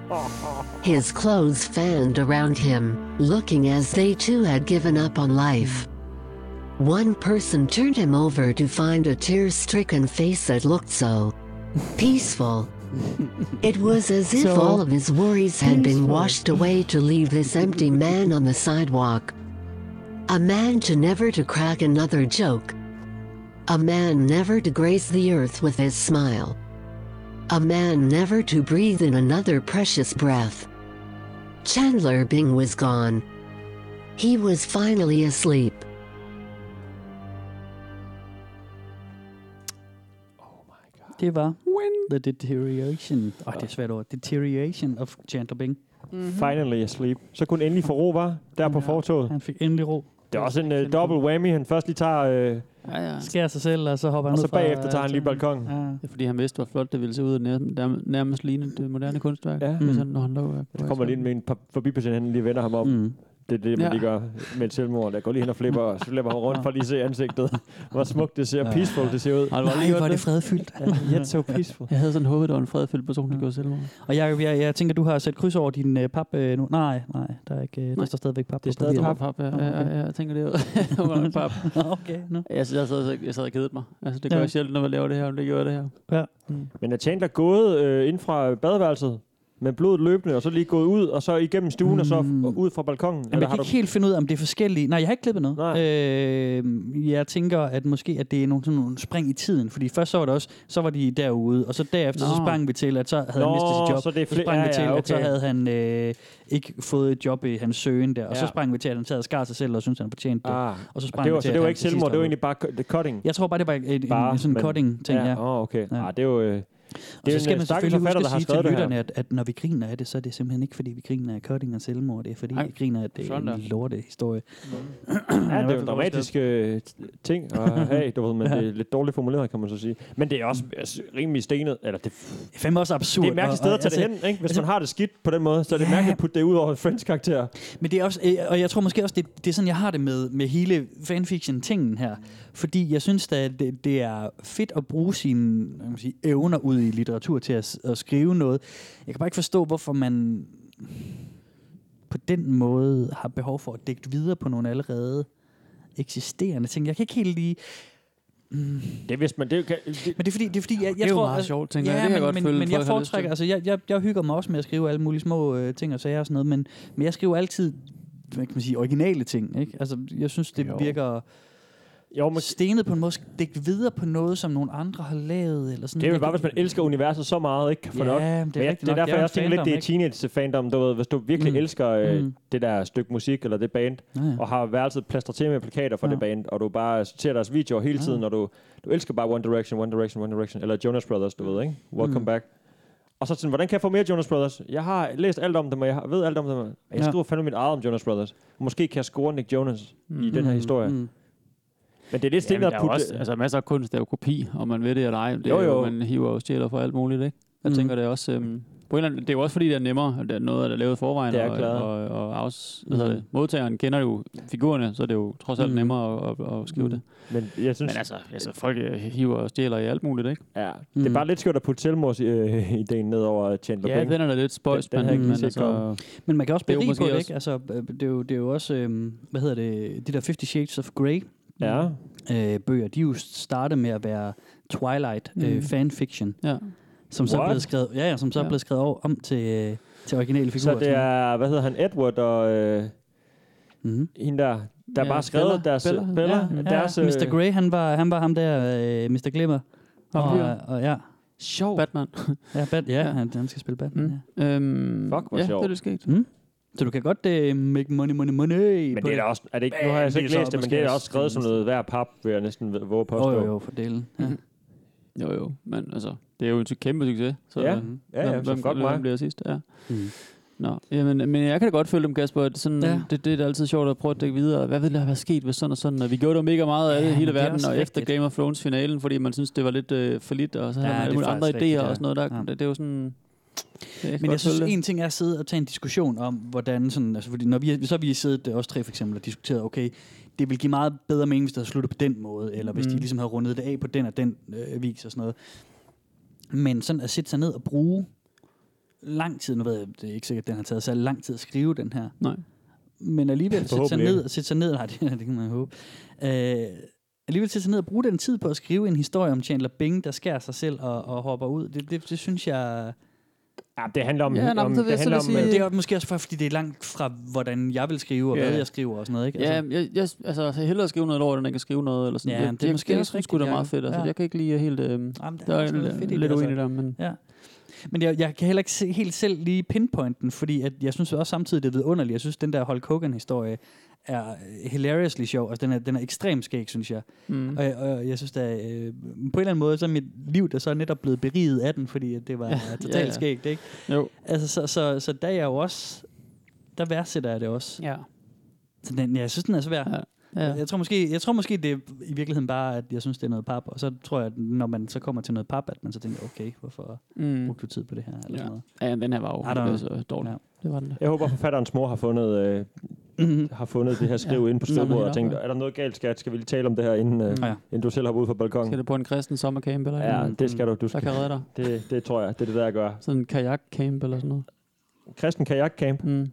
His clothes fanned around him, looking as they too had given up on life. One person turned him over to find a tear stricken face that looked so peaceful. It was as if all of his worries had been washed away to leave this empty man on the sidewalk. A man to never to crack another joke. A man never to grace the earth with his smile. A man never to breathe in another precious breath. Chandler Bing was gone. He was finally asleep. Det var When The Deterioration. Åh, oh, det er et svært ord. Deterioration of Chandler Bing. Mm-hmm. Finally asleep. Så kunne endelig få ro, var Der på fortoget. Han fik endelig ro. Det er også en uh, double whammy. Han først lige tager... Uh, Ja, ja. Skærer sig selv, og så hopper han Og ud så fra, bagefter tager øh, han lige tårnet. balkonen. Ja. Det er fordi, han vidste, hvor flot det ville se ud, og nærmest, nærmest ligne det moderne kunstværk, Ja. ja. altså hvis han, når han lå. så Mm. kommer lige ind med en par- forbipasserende, han lige vender ham om. Mm. Det er det, man Ja. lige gør med et selvmord. Jeg går lige hen og flipper, *laughs* og så flipper han rundt for lige at se ansigtet. Hvor smukt det ser. Peaceful det ser ud. Har du aldrig Nej, gjort hvor er det det? fredfyldt. *laughs* Yet so peaceful. Jeg havde sådan håbet, der var en fredfyldt person, der gjorde selvmord. Og Jacob, jeg, jeg tænker, du har sat kryds over din øh, pap øh, nu. Nej, nej, der, er ikke, øh, der Nej. står stadigvæk pap. Det er på stadig papiret. Pap, pap, ja, ja, ja, ja, jeg tænker det var, *laughs* *laughs* det var nok pap. Okay, no. Jeg, sad- jeg, sad, jeg sad og kedede mig. Altså, det gør Ja. jeg sjældent, når jeg laver det her, men det gjorde jeg det her. Ja. Men er Chandler gået øh, ind fra badeværelset med blodet løbende, og så lige gået ud, og så igennem stuen, og så f- og ud fra balkongen? Mm. Jamen, jeg kan har ikke helt finde ud af, om det er forskellige. Nej, jeg har ikke klippet noget. Nej. Øh, jeg tænker, at måske at det er nogle, sådan nogle spring i tiden. Fordi først så var det også, så var de derude, og så derefter Nå. så Nå. sprang vi til, at så Nå, havde han mistet sit job. så det er fl- sprang ja, vi til, ja, at så okay. havde han øh, ikke fået et job i hans søgen der. Og ja. så Ja. sprang vi til, at han sad og skar sig selv og syntes, han fortjente det. Ah, Og så sprang og det var, vi til, så det at var han ikke til sidst selvmord, det var hoppede. egentlig bare co- the cutting. Jeg tror bare, det var en, bare, Bare, en sådan men- cutting-ting, ja. Åh, oh, okay. Ja. Ja. Ah, det er jo... øh, Det Det og er så en, skal øh, man stakkels selvfølgelig forfatter, huske der har at sige til skrevet det her. lytterne, at, at når vi griner af det, så er det simpelthen ikke, fordi vi griner af cutting og selvmord. Det er, fordi Ej. Nej. vi griner, at det er en Sådan der. lorte historie. *clears throat* Ja, det er jo fald en dramatisk øh, t- ting *laughs* at have, du ved, men det er lidt dårligt formuleret, kan man så sige. Men det er også altså, rimelig stenet, eller det, det Mm. Det er fandme også absurd. altså- er et mærkeligt sted at tage det hen, ikke? Hvis man har det skidt på den måde, så er det mærkeligt at putte det ud over en friends karakter. Men det er også, øh, og jeg tror måske også, det, det er sådan, jeg har det med, med hele fanfiction-tingen her. Fordi jeg synes da, at det, det er fedt at bruge sine hvad kan man sige, evner ud i litteratur til at, s- at skrive noget. Jeg kan bare ikke forstå, hvorfor man på den måde har behov for at dække videre på nogle allerede eksisterende ting. Jeg kan ikke helt lige... Det er, hvis man... Det, er jo- kan, det, mm. Men det er fordi, det er fordi jeg, jeg er jo tror, meget altså- sjovt, tænker jeg. Det kan men, jeg godt men, følge, men folk jeg har lyst til. foretrækker, altså jeg, jeg, jeg hygger mig også med at skrive alle mulige små øh, ting og sager og sådan noget, men, men jeg skriver altid, hvad kan man sige, originale ting, ikke? Altså jeg synes, det jo. Jo. virker jo, men, stenet på en måde, dækt videre på noget, som nogle andre har lavet, eller sådan det er jo Jeg bare, kan- hvis man elsker universet så meget, ikke kan få Ja, nok. det er Men jeg- rigtigt det er nok. Det derfor, er jeg en også tænker lidt, det er teenage-fandom, du ved. Hvis du virkelig Mm. elsker øh, Mm. det der stykke musik eller det band, Ja, ja. og har værelset plastret til med plakater for Ja. det band, og du bare ser deres videoer hele tiden, og du, du elsker bare One Direction, One Direction, One Direction, eller Jonas Brothers, du ved, ikke? Welcome Mm. back. Og så sådan, hvordan kan jeg få mere Jonas Brothers? Jeg har læst alt om dem, og jeg har- ved alt om dem, og jeg Ja. skriver fandme mit eget om Jonas Brothers. Måske kan jeg score Nick Jonas i den her historie. Mm. Men det er lidt Jamen, stenet der at er putte... også, altså, masser af kunst, der er jo kopi, om man ved det eller ej. Det Jo, er jo, jo. man hiver og stjæler for alt muligt, ikke? Jeg Mm. mm. tænker, det er også... Øhm, på en eller anden, det er jo også fordi, det er nemmere, at det er noget, der er lavet i forvejen, Det er og, klart. og, og afs, hvad Mm. hedder det, modtageren kender jo figurerne, så er det jo trods alt Mm. nemmere at, at, at skrive Mm. det. Men jeg synes, Men altså, altså folk øh, hiver og stjæler i alt muligt, ikke? ja, det Mm. er bare lidt skørt at putte selvmordsideen ned over Chandler Ja, Bing. den er da lidt spøjs, Den- den men, havde jeg ikke men set altså, komme. Men man kan også Det er jo berige på måske det, også- ikke? Altså, øh, det er jo, det er jo også, øh, hvad hedder det, de der 50 Shades of Grey, Ja. øh, bøger, de er jo startet med at være Twilight mm. øh, Mm. fanfiction, ja. som så er What? blevet skrevet, ja, ja, som så er Ja. blevet skrevet over, om til, øh, til originale figurer. Så det er, hvad hedder han, Edward og øh, mm-hmm. hende der, der Ja, ja, bare skrevet Bella. deres... Bella. Bella Ja, deres, øh, Mr. Grey, han var, han var ham der, øh, Mr. Glimmer. Og, og, Vampyren. og, ja, Sjov. *laughs* Batman. ja, bat, ja, Ja. Han, han skal spille Batman. Mm. Ja. Mm. Øhm, Fuck, hvor ja, sjovt. det er det sket. Så du kan godt øh, make money, money, money. Men det er da også, er det ikke, nu har Men jeg så det er ikke så læst det, men måske det er da også også skrevet som det noget hver pap, vil jeg næsten ved- våge at påstå. jo, jo, jo, for delen. Ja. Mhm. Jo, jo. Men altså, det er jo en ty- kæmpe succes. Så, Ja. øh, Ja, ja, som godt hvem mig. bliver sidst? Ja. Mm. Nå, jamen, men jeg kan da godt følge dem, Kasper. at Sådan, Ja. ja. det, det, er da altid sjovt at prøve at dække videre. Hvad ville der være sket, hvis sådan og sådan? Og vi gjorde jo mega meget af Ja, det i men hele det er verden, også og efter rigtigt. Game of Thrones-finalen, fordi man synes det var lidt øh, for lidt, og så havde Ja, ja, man det er alle mulige andre faktisk idéer rigtigt, ja. og sådan noget. Der, Ja. ja. det, det er jo sådan... Ja, kan Men godt jeg synes, følge det. en ting er at sidde og tage en diskussion om, hvordan sådan, altså fordi når vi, så har vi siddet, øh, os tre for eksempel, og diskuteret, okay, det ville give meget bedre mening, hvis det havde sluttet på den måde, eller hvis mm. de Mm. ligesom havde rundet det af på den og den øh, vis og sådan noget. Men sådan at sætte sig ned og bruge lang tid, nu ved jeg, det er ikke sikkert, at den har taget særlig lang tid at skrive den her, Nej. men alligevel sætte sig, Forhåbentlig ned, sætte sig ned, nej, det, *laughs* det kan man håbe, øh, alligevel sætte sig ned og bruge den tid på at skrive en historie om Chandler Bing, der skærer sig selv og, og hopper ud, det, det, det synes jeg... Ja, det handler om... Ja, nå, om men det vil jeg handler så om, vil øh, Men sige- det er jo måske også for, fordi det er langt fra, hvordan jeg vil skrive, og Ja. hvad jeg skriver og sådan noget, ikke? Ja, jeg, jeg, altså, jeg hellere skrive noget lort, end jeg kan skrive noget. Eller sådan. Ja, jeg, men det er jeg, måske jeg, også synes sgu, det er rigtigt, meget fedt. Altså. ja. Jeg kan ikke lige helt... Øhm, Jamen, der der er er også noget fedt i lidt, det, lidt altså. uenig der, men... Ja. Men jeg, jeg kan heller ikke se, helt selv lige pinpointen, fordi at jeg synes også samtidig, det er vidunderligt. Jeg synes, den der Hulk Hogan-historie er hilariously sjov. Altså, den er, den er ekstremt skæg, synes jeg. Mm. Og, jeg- og jeg synes, at øh, på en eller anden måde, så er mit liv der så er netop blevet beriget af den, fordi at det var ja, *laughs* totalt ja, ja. skægt, ikke? Jo. Altså, så, så, så der er jeg jo også... Der værdsætter jeg det også. Ja. Så den, jeg synes, den er svær. Ja. Ja. Jeg, tror måske, jeg tror måske, det er i virkeligheden bare, at jeg synes, det er noget pap. Og så tror jeg, at når man så kommer til noget pap, at man så tænker, okay, hvorfor Mm. brugte *laughs* du tid på det her? Eller ja. Ja. sådan noget. ja, den her var jo Ja, der var- så dårlig. ja. Ja. Det var den der. Jeg håber, forfatterens mor har fundet, øh, Mhm. har fundet *laughs* det her skriv ja. inde på Nå, men skrivebordet og helt tænkt, op, er der noget galt, skat? Skal vi lige tale om det her, inden, øh, Mm. Ja. inden du selv hopper ud fra balkongen? Skal det på en kristen sommercamp eller Ja, noget? det skal du. du Der skal. kan redde dig. Det, det tror jeg, det er det, der jeg gør. Sådan en kajakcamp eller sådan noget. Kristen kajakcamp. Mm.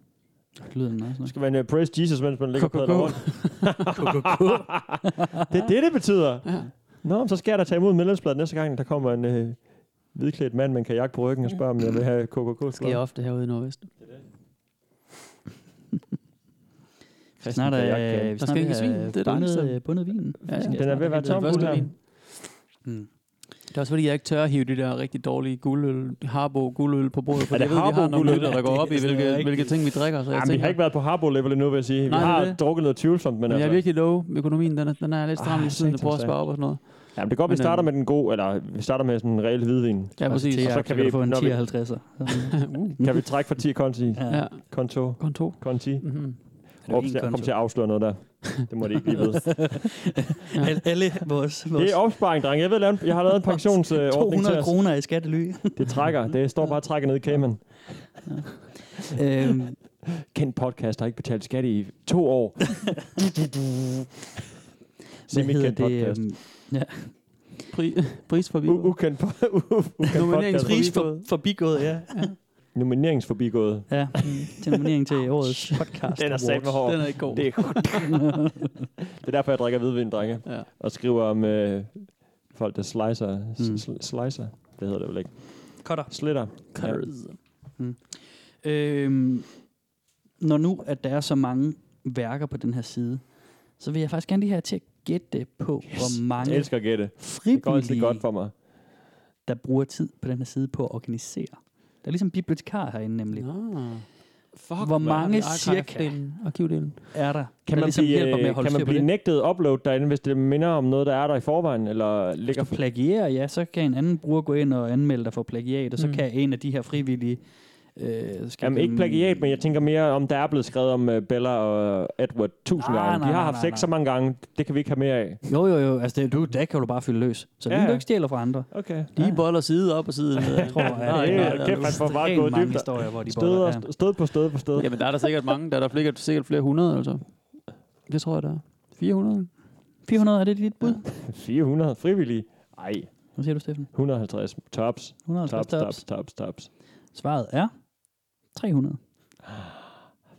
Lyden er også Du noget. skal man uh, praise Jesus, mens man ligger på KKK. rundt. *laughs* det er det, det betyder. Ja. Nå, men så skal jeg da tage imod medlemsbladet næste gang, der kommer en øh, hvidklædt mand med en kajak på ryggen og spørger, om jeg vil have kkk Det sker ofte herude i Nordvest. Snart er, kajakcamp. øh, vi Der snart skal ikke er svin, det er der bundet, andet. øh, bundet vinen. Ja, ja. Den er ved at være Det tom, den første guld her. vin. Mm. Det er også fordi, jeg ikke tør at hive de der rigtig dårlige guldøl, Harbo guldøl på bordet, for Er jeg det ved, vi har Harbo nogle guldøl? lytter, der går op i, sådan noget hvilke, rigtigt. hvilke ting vi drikker. Så jeg Jamen, vi tænker, har ikke været på Harbo-level endnu, vil jeg sige. Vi Nej, det er har det. drukket noget tvivlsomt, men men jeg altså... er virkelig low med øhm, økonomien. Den er, den er lidt stram Ah, lige siden, jeg prøver at satans, spare op og sådan noget. Jamen, det kan godt, vi Men, starter øh, med den gode, eller vi starter med sådan en reel hvidvin. Ja, præcis. Og så kan vi få en når vi- 10-50'er. uh, *laughs* Kan vi trække fra 10 konti? ja, Konto? konto. Konti? Mhm. Mm-hmm. Åh, jeg kom til at afsløre noget der. Det må det ikke blive ved. *laughs* Alle vores, Det vores er opsparing, dreng. Jeg, ved, lave en- jeg har *laughs* lavet en pensionsordning til 200 os. kroner i skattely. *laughs* Det trækker. Det står bare og trækker ned i Cayman. øhm, Kendt podcast har ikke betalt skat i to *laughs* år. hvad hedder Semi-kendt podcast. det? øhm, Pri, pris for U- Viborg. ukendt po- *laughs* u- ukendt podcast. Nomineringsfri. Pris for, forbigået, ja. *laughs* Nomineringsforbigået. ja. mm. Til *laughs* nominering til årets podcast. Den er sat med Den hård. er ikke god. Det er, det er derfor, jeg drikker hvidvin, drenge. Ja. Og skriver om øh, folk, der slicer. Mm. Slicer? Det hedder det vel ikke. *laughs* Cutter. Mm. Slitter. Ja. Øhm, når nu, at der er så mange værker på den her side, så vil jeg faktisk gerne lige have til at gætte på, yes. hvor mange Jeg elsker at gætte. Det går altid frivillige, godt for mig. der bruger tid på den her side på at organisere. Der er ligesom bibliotekar herinde nemlig. Ja. Fuck, Hvor mange cirka? Arkivdelen. Er der? Kan der man, ligesom blive, hjælper med at øh, holde kan styr man på blive det? nægtet upload derinde, hvis det minder om noget, der er der i forvejen? Eller ligger Hvis du plagierer, ja, så kan en anden bruger gå ind og anmelde dig for plagiat, og så mm. Mm. kan en af de her frivillige... Øh, skal Jamen ikke plagiat, men jeg tænker mere om, der er blevet skrevet om uh, Bella og Edward tusind Ah, gange. nej, De har nej, haft nej, sex nej. så mange gange, det kan vi ikke have mere af. Jo, jo, jo, altså det, du, der kan du bare fylde løs. Så Ja, ja. ja. du ikke stjæler fra andre. Okay. De boller side op og side *laughs* ned. Jeg tror, Ja, det er- der kæft, man får bare ekstremt gået mange dybt. historier, hvor de Stød, boller. og st- stød på stød på *laughs* stød. Jamen, der er der sikkert mange. Der er der sikkert, sikkert flere hundrede, altså. Det tror jeg, der er. 400? 400, er det dit bud? 400 frivillige. Ej, Hvad siger du, Steffen? 150 tops. 150 Tops, tops, tops, tops. tops. Svaret er 300.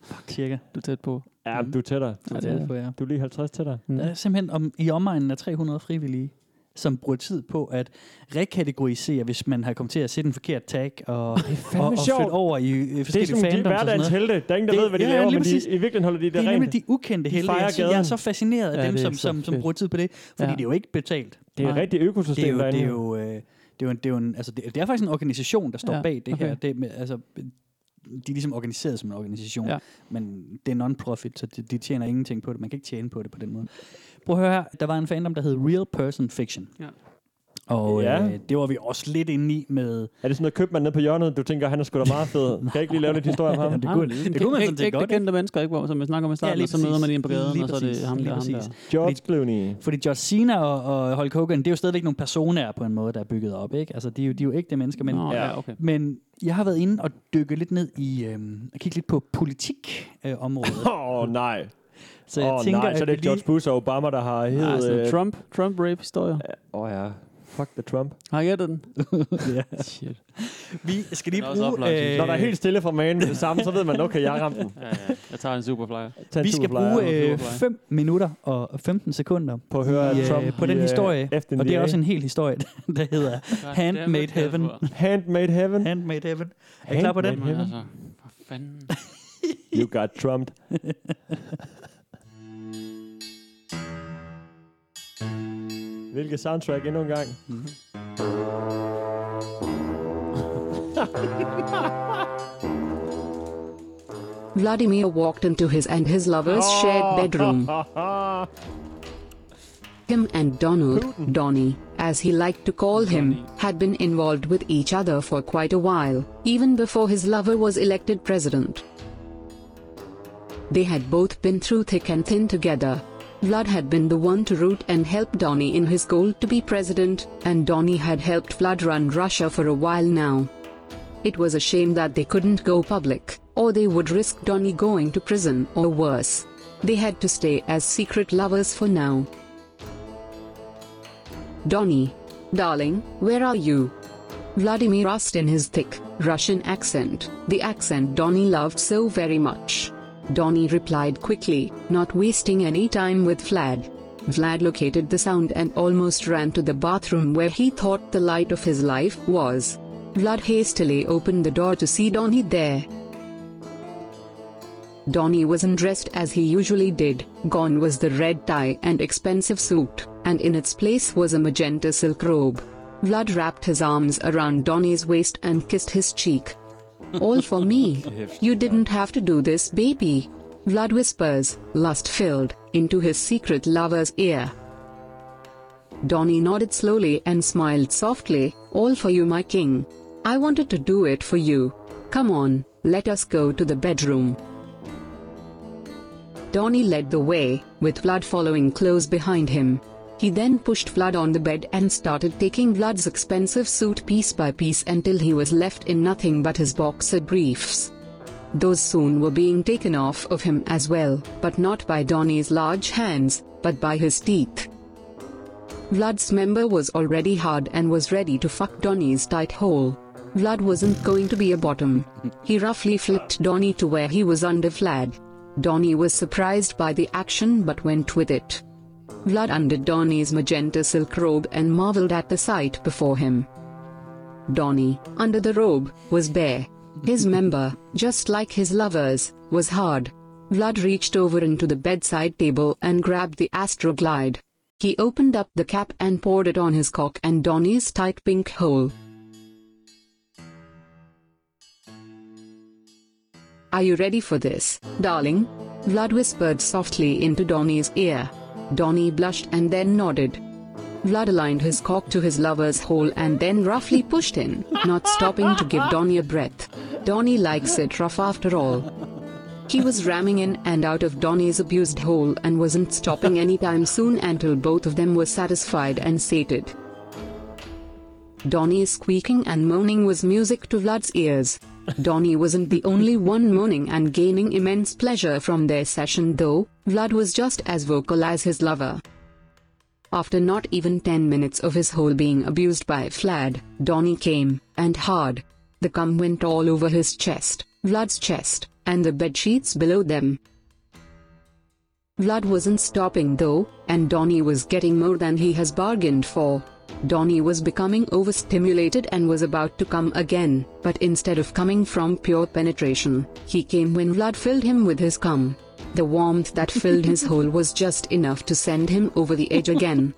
Fuck. Cirka. Du er tæt på. Ja, Mhm. du er tættere. Ja, Ja, det er, på, ja. Du er lige 50 tættere. Mm. Der er Øh, simpelthen om, i omegnen af 300 frivillige, som bruger tid på at rekategorisere, hvis man har kommet til at sætte en forkert tag, og, og, fandme og sjovt. flytte over i øh, Det er forskellige sådan de fandoms og sådan hverdagens noget. helte. Der er ingen, der Det- ved, hvad de ja, laver, lige men de, præcis. i virkeligheden holder de det Det er rent. nemlig de ukendte De heldige. fejrer Jeg, jeg er gaden. så fascineret af Ja, dem, det er som, så som, som fedt. bruger tid på det, fordi Ja. det er jo ikke betalt. Det er et Nej. rigtigt Det er økosystem jo, det er derinde. jo, øh, det er jo, en, det er jo en, altså, det, det er faktisk en organisation, der står Ja, ja, bag det okay. her. okay. Det, er med, altså, de er ligesom organiseret som en organisation, Ja. ja. men det er non-profit, så de, de tjener ingenting på det. Man kan ikke tjene på det på den måde. Prøv at høre her. Der var en fandom, der hed Real Person Fiction. Ja. Og Ja. øh, det var vi også lidt inde i med... Er det sådan noget købmand nede på hjørnet, du tænker, han er sgu da meget *laughs* fed. Kan jeg ikke lige lave lidt historie om ham? det kunne- det kunne man sådan set godt, Ikke kendte mennesker, ikke? Hvor, som man snakker med i starten, lige og så møder præcis. ligesom man en på gaden, Lige og så er det præcis. ham der, Lige ham der. præcis. George Clooney. Fordi John Cena og, og Hulk Hogan, det er jo stadigvæk nogle personer på en måde, der er bygget op. Ikke? Altså, de er jo, de er jo ægte mennesker, men... Nå, ja, okay. Men jeg har været inde og dykke lidt ned i, øhm, og kigge lidt på politikområdet. Øh, området. *laughs* Åh, oh, nej. så Åh, jeg oh, tænker, nej, så at det vi er George Bush og Obama, der har Nej, hed... sådan øh, noget Trump, Trump rape historier. Åh ja, fuck the Trump. Har I gættet den? lige, ja. *laughs* Shit. Vi skal lige Den er også bruge... oplagt, synes jeg. Når der er helt stille fra magen med det samme, så ved man, okay, jeg ramte den. Ja, ja. Jeg tager en superflyer. Tag en vi skal superflyer. bruge Superfly. 5 minutter og 15 sekunder på at høre i, yeah, øh, Trump på den i, øh, historie. FNDA. Og det er også en hel historie, *laughs* der hedder Handmade Heaven. Handmade heaven. Handmade Heaven. Er I klar på den? Handmade Men heaven. altså, for fanden. You got *laughs* trumped. Hvilket soundtrack endnu en gang. Mm-hmm. *laughs* Vladimir walked into his and his lover's shared *laughs* bedroom. Him and Donald, Donnie, as he liked to call him, had been involved with each other for quite a while, even before his lover was elected president. They had both been through thick and thin together. Vlad had been the one to root and help Donnie in his goal to be president, and Donnie had helped Vlad run Russia for a while now. It was a shame that they couldn't go public, or they would risk Donnie going to prison or worse. They had to stay as secret lovers for now. Donnie. Darling, where are you? Vladimir asked in his thick, Russian accent, the accent Donnie loved so very much. Donnie replied quickly, not wasting any time with Vlad. Vlad located the sound and almost ran to the bathroom where he thought the light of his life was. Vlad hastily opened the door to see Donnie there. Donnie wasn't dressed as he usually did, gone was the red tie and expensive suit, and in its place was a magenta silk robe. Vlad wrapped his arms around Donnie's waist and kissed his cheek. All for me. You didn't have to do this, baby. Vlad whispers, lust filled, into his secret lover's ear. Donnie nodded slowly and smiled softly, All for you, my king. I wanted to do it for you. Come on, let us go to the bedroom. Donnie led the way, with Vlad following close behind him. He then pushed Vlad on the bed and started taking Vlad's expensive suit piece by piece until he was left in nothing but his boxer briefs. Those soon were being taken off of him as well, but not by Donnie's large hands, but by his teeth. Vlad's member was already hard and was ready to fuck Donnie's tight hole. Vlad wasn't going to be a bottom. He roughly flipped Donnie to where he was under Vlad. Donnie was surprised by the action but went with it. Vlad undid Donnie's magenta silk robe and marveled at the sight before him. Donnie, under the robe, was bare. His member, just like his lover's, was hard. Vlad reached over into the bedside table and grabbed the Astroglide. He opened up the cap and poured it on his cock and Donnie's tight pink hole. Are you ready for this, darling? Vlad whispered softly into Donnie's ear. Donnie blushed and then nodded. Vlad aligned his cock to his lover's hole and then roughly pushed in, not stopping to give Donnie a breath. Donnie likes it rough after all. He was ramming in and out of Donnie's abused hole and wasn't stopping anytime soon until both of them were satisfied and sated. Donnie's squeaking and moaning was music to Vlad's ears. Donnie wasn't the only one moaning and gaining immense pleasure from their session, though, Vlad was just as vocal as his lover. After not even 10 minutes of his hole being abused by Vlad, Donnie came, and hard. The cum went all over his chest, Vlad's chest, and the bed sheets below them. Vlad wasn't stopping though, and Donnie was getting more than he has bargained for. Donnie was becoming overstimulated and was about to come again, but instead of coming from pure penetration, he came when Vlad filled him with his cum. The warmth that filled his hole was just enough to send him over the edge again.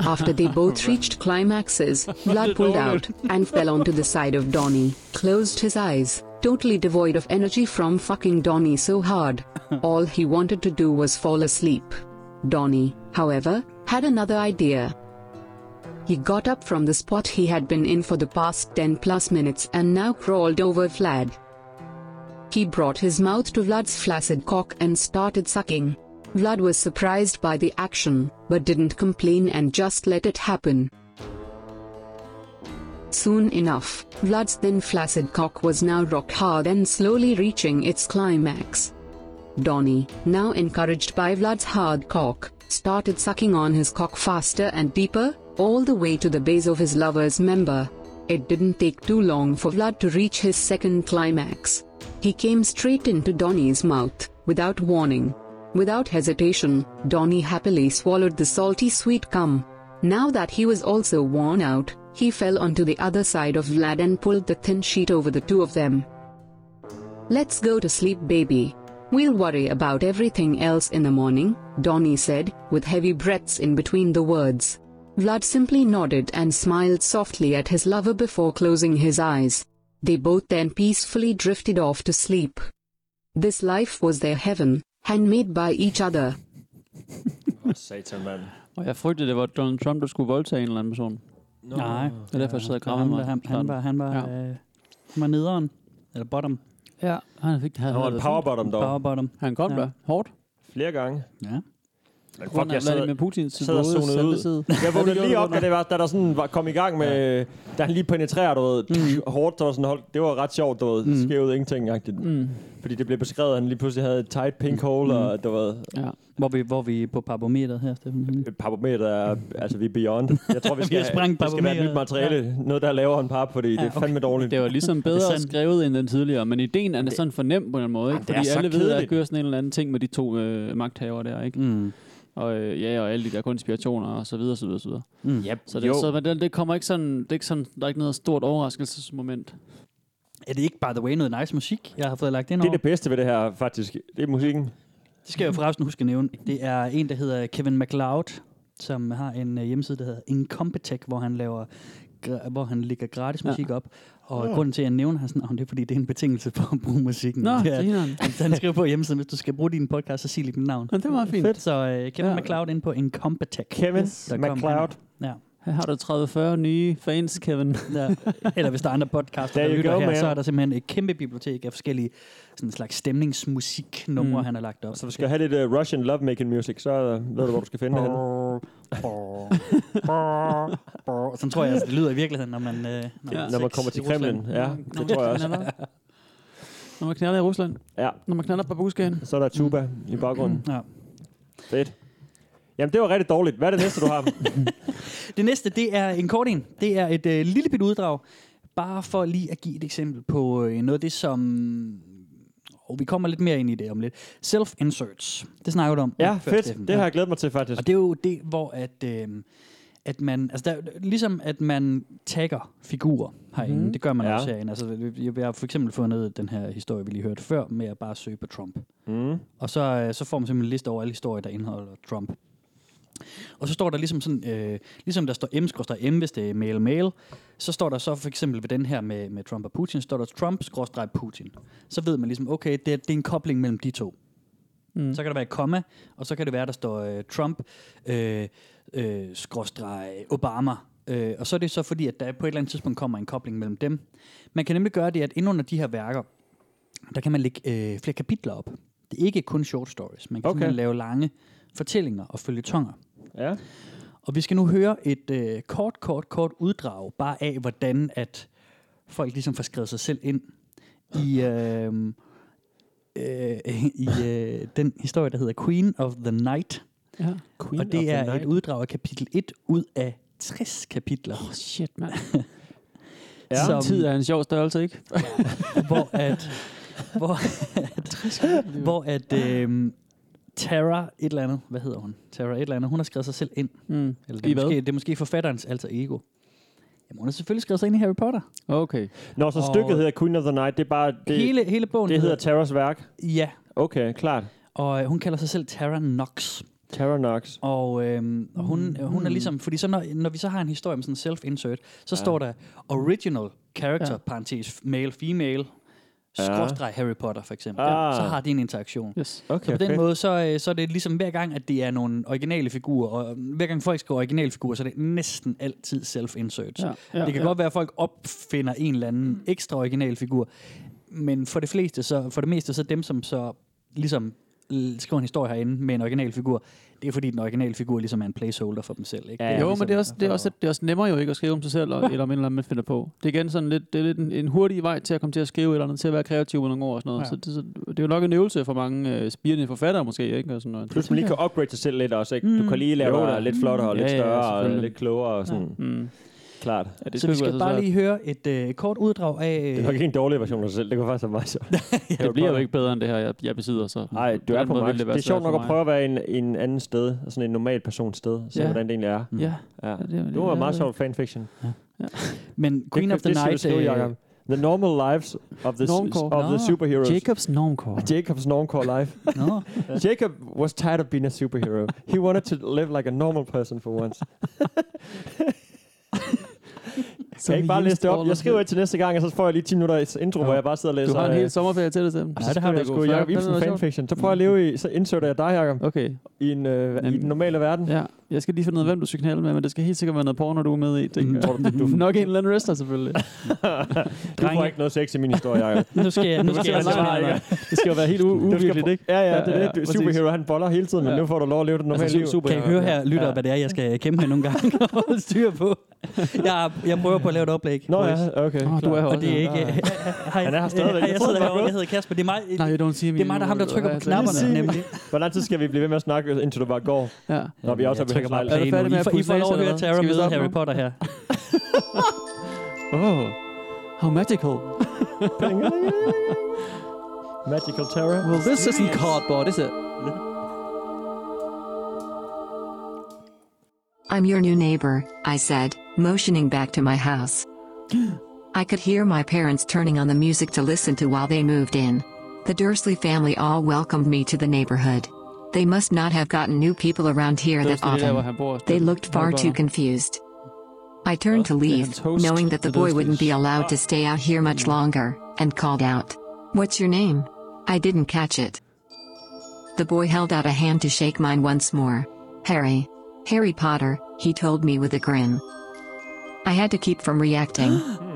After they both reached climaxes, Vlad pulled out and fell onto the side of Donnie, closed his eyes, totally devoid of energy from fucking Donnie so hard. All he wanted to do was fall asleep. Donnie, however, had another idea. He got up from the spot he had been in for the past 10 plus minutes and now crawled over Vlad. He brought his mouth to Vlad's flaccid cock and started sucking. Vlad was surprised by the action, but didn't complain and just let it happen. Soon enough, Vlad's thin flaccid cock was now rock hard and slowly reaching its climax. Donnie, now encouraged by Vlad's hard cock, started sucking on his cock faster and deeper, all the way to the base of his lover's member. It didn't take too long for Vlad to reach his second climax. He came straight into Donnie's mouth, without warning. Without hesitation, Donnie happily swallowed the salty sweet cum. Now that he was also worn out, he fell onto the other side of Vlad and pulled the thin sheet over the two of them. Let's go to sleep, baby. We'll worry about everything else in the morning, Donnie said, with heavy breaths in between the words. Vlad simply nodded and smiled softly at his lover before closing his eyes. They both then peacefully drifted off to sleep. This life was their heaven, handmade by each other. Åh, satan, mand. Og jeg frygtede, det var Donald Trump, der skulle voldtage en eller anden person. No. Nej, Det er derfor, jeg sidder og han, græder var, mig. han, han var, han var, Ja. ja. øh, han var nederen. Eller bottom. Ja, han fik det. Han var en powerbottom dog. Power bottom. Han kom Ja. Mm. der hårdt. Flere gange. Ja. Men Fuck, fuck, jeg sad, med Putins sad og våde zonede ud. selvbeside. jeg Ja, *laughs* det vågnede gjorde lige du op, da, godt det var, da der sådan var, kom i gang med... Da han lige penetrerer, du ved, Mm. hårdt, der var sådan, hold, det var ret sjovt, du ved, mm. skævet ingenting -agtigt. Mm. Fordi det blev beskrevet, at han lige pludselig havde et tight pink hole, mm. og du ved, nok. Ja. Hvor vi, hvor vi er på parbometeret her, Steffen. Papometer er, altså vi er beyond. Jeg *laughs* tror, vi skal, Vi har sprængt det skal være et nyt papometeret. materiale. Noget, der er lavere end pap, fordi ja, det er fandme dårligt. Det var ligesom bedre sandt. skrevet end den tidligere, men ideen er sådan fornem på en måde, ikke? det er fordi så alle ved, at der kedeligt. kører sådan en eller anden ting med de to øh, magthavere der, ikke? Mm. Og øh, ja, og alle de der konspirationer og så videre, så videre, så videre. Mm. yep, Så det, så, men det, det kommer ikke sådan, det er ikke sådan, der er ikke noget stort overraskelsesmoment. Er det ikke, by the way, noget nice musik, jeg har fået lagt ind det er over? det bedste ved det her, faktisk. Det er musikken. Det skal jeg forresten huske at nævne. Det er en, der hedder Kevin MacLeod, som har en øh, hjemmeside, der hedder Incompetech, hvor han laver gra- hvor han lægger gratis musik op. Og grunden til, at jeg nævner hans navn, det er, fordi det er en betingelse for at bruge musikken. Nå, det er, grineren. at han skriver på hjemmesiden, hvis du skal bruge din podcast, så sig lige mit navn. Men det var fint. Fedt. Så uh, Kevin Ja. ja. MacLeod ind på Incompetech. Kevin Der kom MacLeod. han. Ja. Her har du 30-40 nye fans, Kevin. *laughs* Ja. Eller hvis der er andre podcasts, There der you lytter go, her, man. så er der simpelthen et kæmpe bibliotek af forskellige sådan en slags stemningsmusiknumre, Mm. mm. han har lagt op. Så hvis du skal have lidt uh, Russian lovemaking music, så uh, ved du, hvor du skal finde det *laughs* henne. Sådan tror jeg, altså, det lyder i virkeligheden, når man... Øh, når Ja. man Når man sex kommer i til Rusland. Kremlin. Ja, Når det man tror jeg også. knaller. Når man knaller i Rusland. Ja, Når man knaller på Mm. buskagen. så er der tuba i baggrunden. Ja. Fedt. Jamen, det var rigtig dårligt. Hvad er det næste, *laughs* du har? Det næste, det er en kort en. Det er et øh, lille bit uddrag, bare for lige at give et eksempel på øh, noget af det, som... Og vi kommer lidt mere ind i det om lidt. Self-inserts. Det snakker du om. ja, før, Steffen. fedt. Det Ja. har jeg glædet mig til, faktisk. Og det er jo det, hvor at, øh, at man, altså der, ligesom at man tagger figurer herinde, Mhm. mm. det gør man Mhm. Ja. ja. også herinde. Altså, jeg, jeg har for eksempel fundet den her historie, vi lige hørte før, med at bare søge på Trump. Mm. Og så, øh, så får man simpelthen en liste over alle historier, der indeholder Trump. Og så står der ligesom sådan, øh, ligesom der står M, skråstrej M, hvis det er mail, mail, så står der så for eksempel ved den her med, med Trump og Putin, står der Trump, skråstrej Putin. Så ved man ligesom, okay, det, er- det er en kobling mellem de to. Mm. Så kan der være et komma, og så kan det være, der står øh, Trump, øh, øh, skråstreg Obama. Øh, og så er det så fordi, at der på et eller andet tidspunkt kommer en kobling mellem dem. Man kan nemlig gøre det, at inden under de her værker, der kan man lægge øh, flere kapitler op. Det er ikke kun short stories. Man kan Okay. okay. lave lange fortællinger og følgetonger. Ja. Og vi skal nu høre et øh, kort, kort, kort uddrag, bare af, hvordan at folk ligesom får skrevet sig selv ind i, øh, øh, *laughs* i øh, den historie, der hedder Queen of the Night. Ja. Queen og det er et uddrag af kapitel 1 ud af 60 kapitler. Oh, shit, *laughs* mand. Ja. ja. Tid er en sjov størrelse, ikke? hvor at *laughs* hvor at, Mm. hvor at øhm, Tara et eller andet, hvad hedder hun? Tara et eller andet, hun har skrevet sig selv ind. Mm. Eller I det er, hvad? måske, det er måske forfatterens alter ego. Jamen, hun har selvfølgelig skrevet sig ind i Harry Potter. Okay. Nå, så Og- stykket hedder Queen of the Night. Det er bare... Det, hele, hele bogen det hedder Terrors værk. Ja, Okay, klart. og øh, hun kalder sig selv Tara Knox. Terror Knox. Og, øhm, og hun, Mm. øh, hun er ligesom, fordi så når, når vi så har en historie med sådan en self-insert, så ja. står der original character, Ja. ja. parentes, male, female, Ja. skråstreg Harry Potter for eksempel. Ah. Så har de en interaktion. Yes. Okay, Så på den fedt. måde, så, øh, så er det ligesom hver gang, at det er nogle originale figurer, og hver gang folk skriver originale figurer, så er det næsten altid self-inserts. Ja, Ja, ja, ja, det kan ja. godt være, at folk opfinder en eller anden ekstra original figur, men for det fleste, så, for det meste, så dem, som så ligesom l- skriver en historie herinde med en original figur, det er fordi den originale figur ligesom er en placeholder for dem selv. Ikke? Ja, Det ja. Jo, ligesom, men det er, også, det, er også, det er også nemmere jo ikke at skrive om sig selv, *laughs* og- eller om en eller anden, man finder på. Det er igen sådan lidt, det er lidt en, en hurtig vej til at komme til at skrive et eller andet, til at være kreativ med nogle ord og sådan noget. Ja. Ja. Så, det, så, det er jo nok en øvelse for mange øh, spirende forfattere måske, ikke? Og sådan noget. Plus man lige *laughs* kan upgrade sig selv lidt også, ikke? Du kan lige lave Mm. Jo, dig da. lidt flottere og lidt Ja, ja, større og selvfølgelig. lidt klogere og sådan. Mm. Klart. Ja, det så skulle vi ikke være skal så bare svært. lige høre et øh, kort uddrag af... øh, Det er nok ikke en dårlig version af sig selv. Det kunne faktisk være *laughs* meget sjovt. Ja, det bliver jo ikke bedre end det her, jeg, jeg besidder. Så Nej, du den er på måde max. ville Det, være det er svært sjovt nok for at mig. prøve at være en, en anden sted, sådan en normal persons sted, se Ja. ja. hvordan det egentlig er. Ja, Ja. det, Det var det- meget sjovt fanfiction. Men Queen det, of the det skal du Night... øh, skrive, Jacob. The normal lives of the, Normcore. of the Nå. superheroes. Jacobs normcore. Jacob's normcore *laughs* life. Nå, Jacob was tired of being a superhero. he wanted to live like a normal person for *laughs* once. Kan jeg ikke bare læse det op? Jeg skriver det til næste gang, og så får jeg lige 10 minutters intro, hvor jeg bare sidder og læser. Du har en øh, hel sommerferie til det, Sam. så skriver jeg sgu Jacob Ibsen fanfiction. Så prøver jeg at leve i, så inserter jeg dig, Jacob, Okay, i, en, øh, i Jamen. den normale verden. ja. Jeg skal lige finde ud af, hvem du skal knalde med, men det skal helt sikkert være noget porno, du er med i. Mm. tænker jeg. Du er *laughs* nok en eller anden wrestler, *laughs* selvfølgelig. du får ikke noget sex i min historie, Jacob. *laughs* nu skal *laughs* jeg... Nu Du skal skal jeg svare, svare, ikke? dig. Det skal jo være helt u- Du skal uvirkeligt, på- ikke? Ja, ja, det Ja, er ja, det. Du er præcis. superhero, han boller hele tiden, men Ja. nu får du lov at leve det normale Altså, liv. super- Kan I høre her, lytter, Ja. hvad det er, jeg skal kæmpe med nogle gange *laughs* og holde styr på? Jeg, jeg prøver på at lave et oplæg. Nå boys. ja, okay. Åh, du er her Og også. det er ikke... ja. *laughs* Hej, Han er her stadigvæk. *laughs* Jeg, Jeg jeg troede, sidder det var herovre, gået. jeg hedder Kasper. Det er mig, Nej, you don't see me. det er mig der er ham, der trykker på knapperne, nemlig. Hvor lang tid skal vi blive ved med at snakke, indtil du bare går? Ja. Nå, vi er også jeg oppe i trykker hans bare lejlighed. play Er du færdig nu. med I at får, I putte får lov at laser, eller høre hvad? Skal Tara vi møde stoppe Harry nu? Potter *laughs* her. Oh, how magical. Magical Terror. Well, this isn't cardboard, is it? I'm your new neighbor, I said, motioning back to my house. *laughs* I could hear my parents turning on the music to listen to while they moved in. The Dursley family all welcomed me to the neighborhood. They must not have gotten new people around here that Dursley, det er der, hvor often. han bor. They looked far too confused. I turned to leave, Toast knowing that the to Mm. boy those wouldn't be days. allowed to stay out here much longer, and called out, What's your name? I didn't catch it. The boy held out a hand to shake mine once more. Harry. Harry Potter, he told me with a grin. I had to keep from reacting.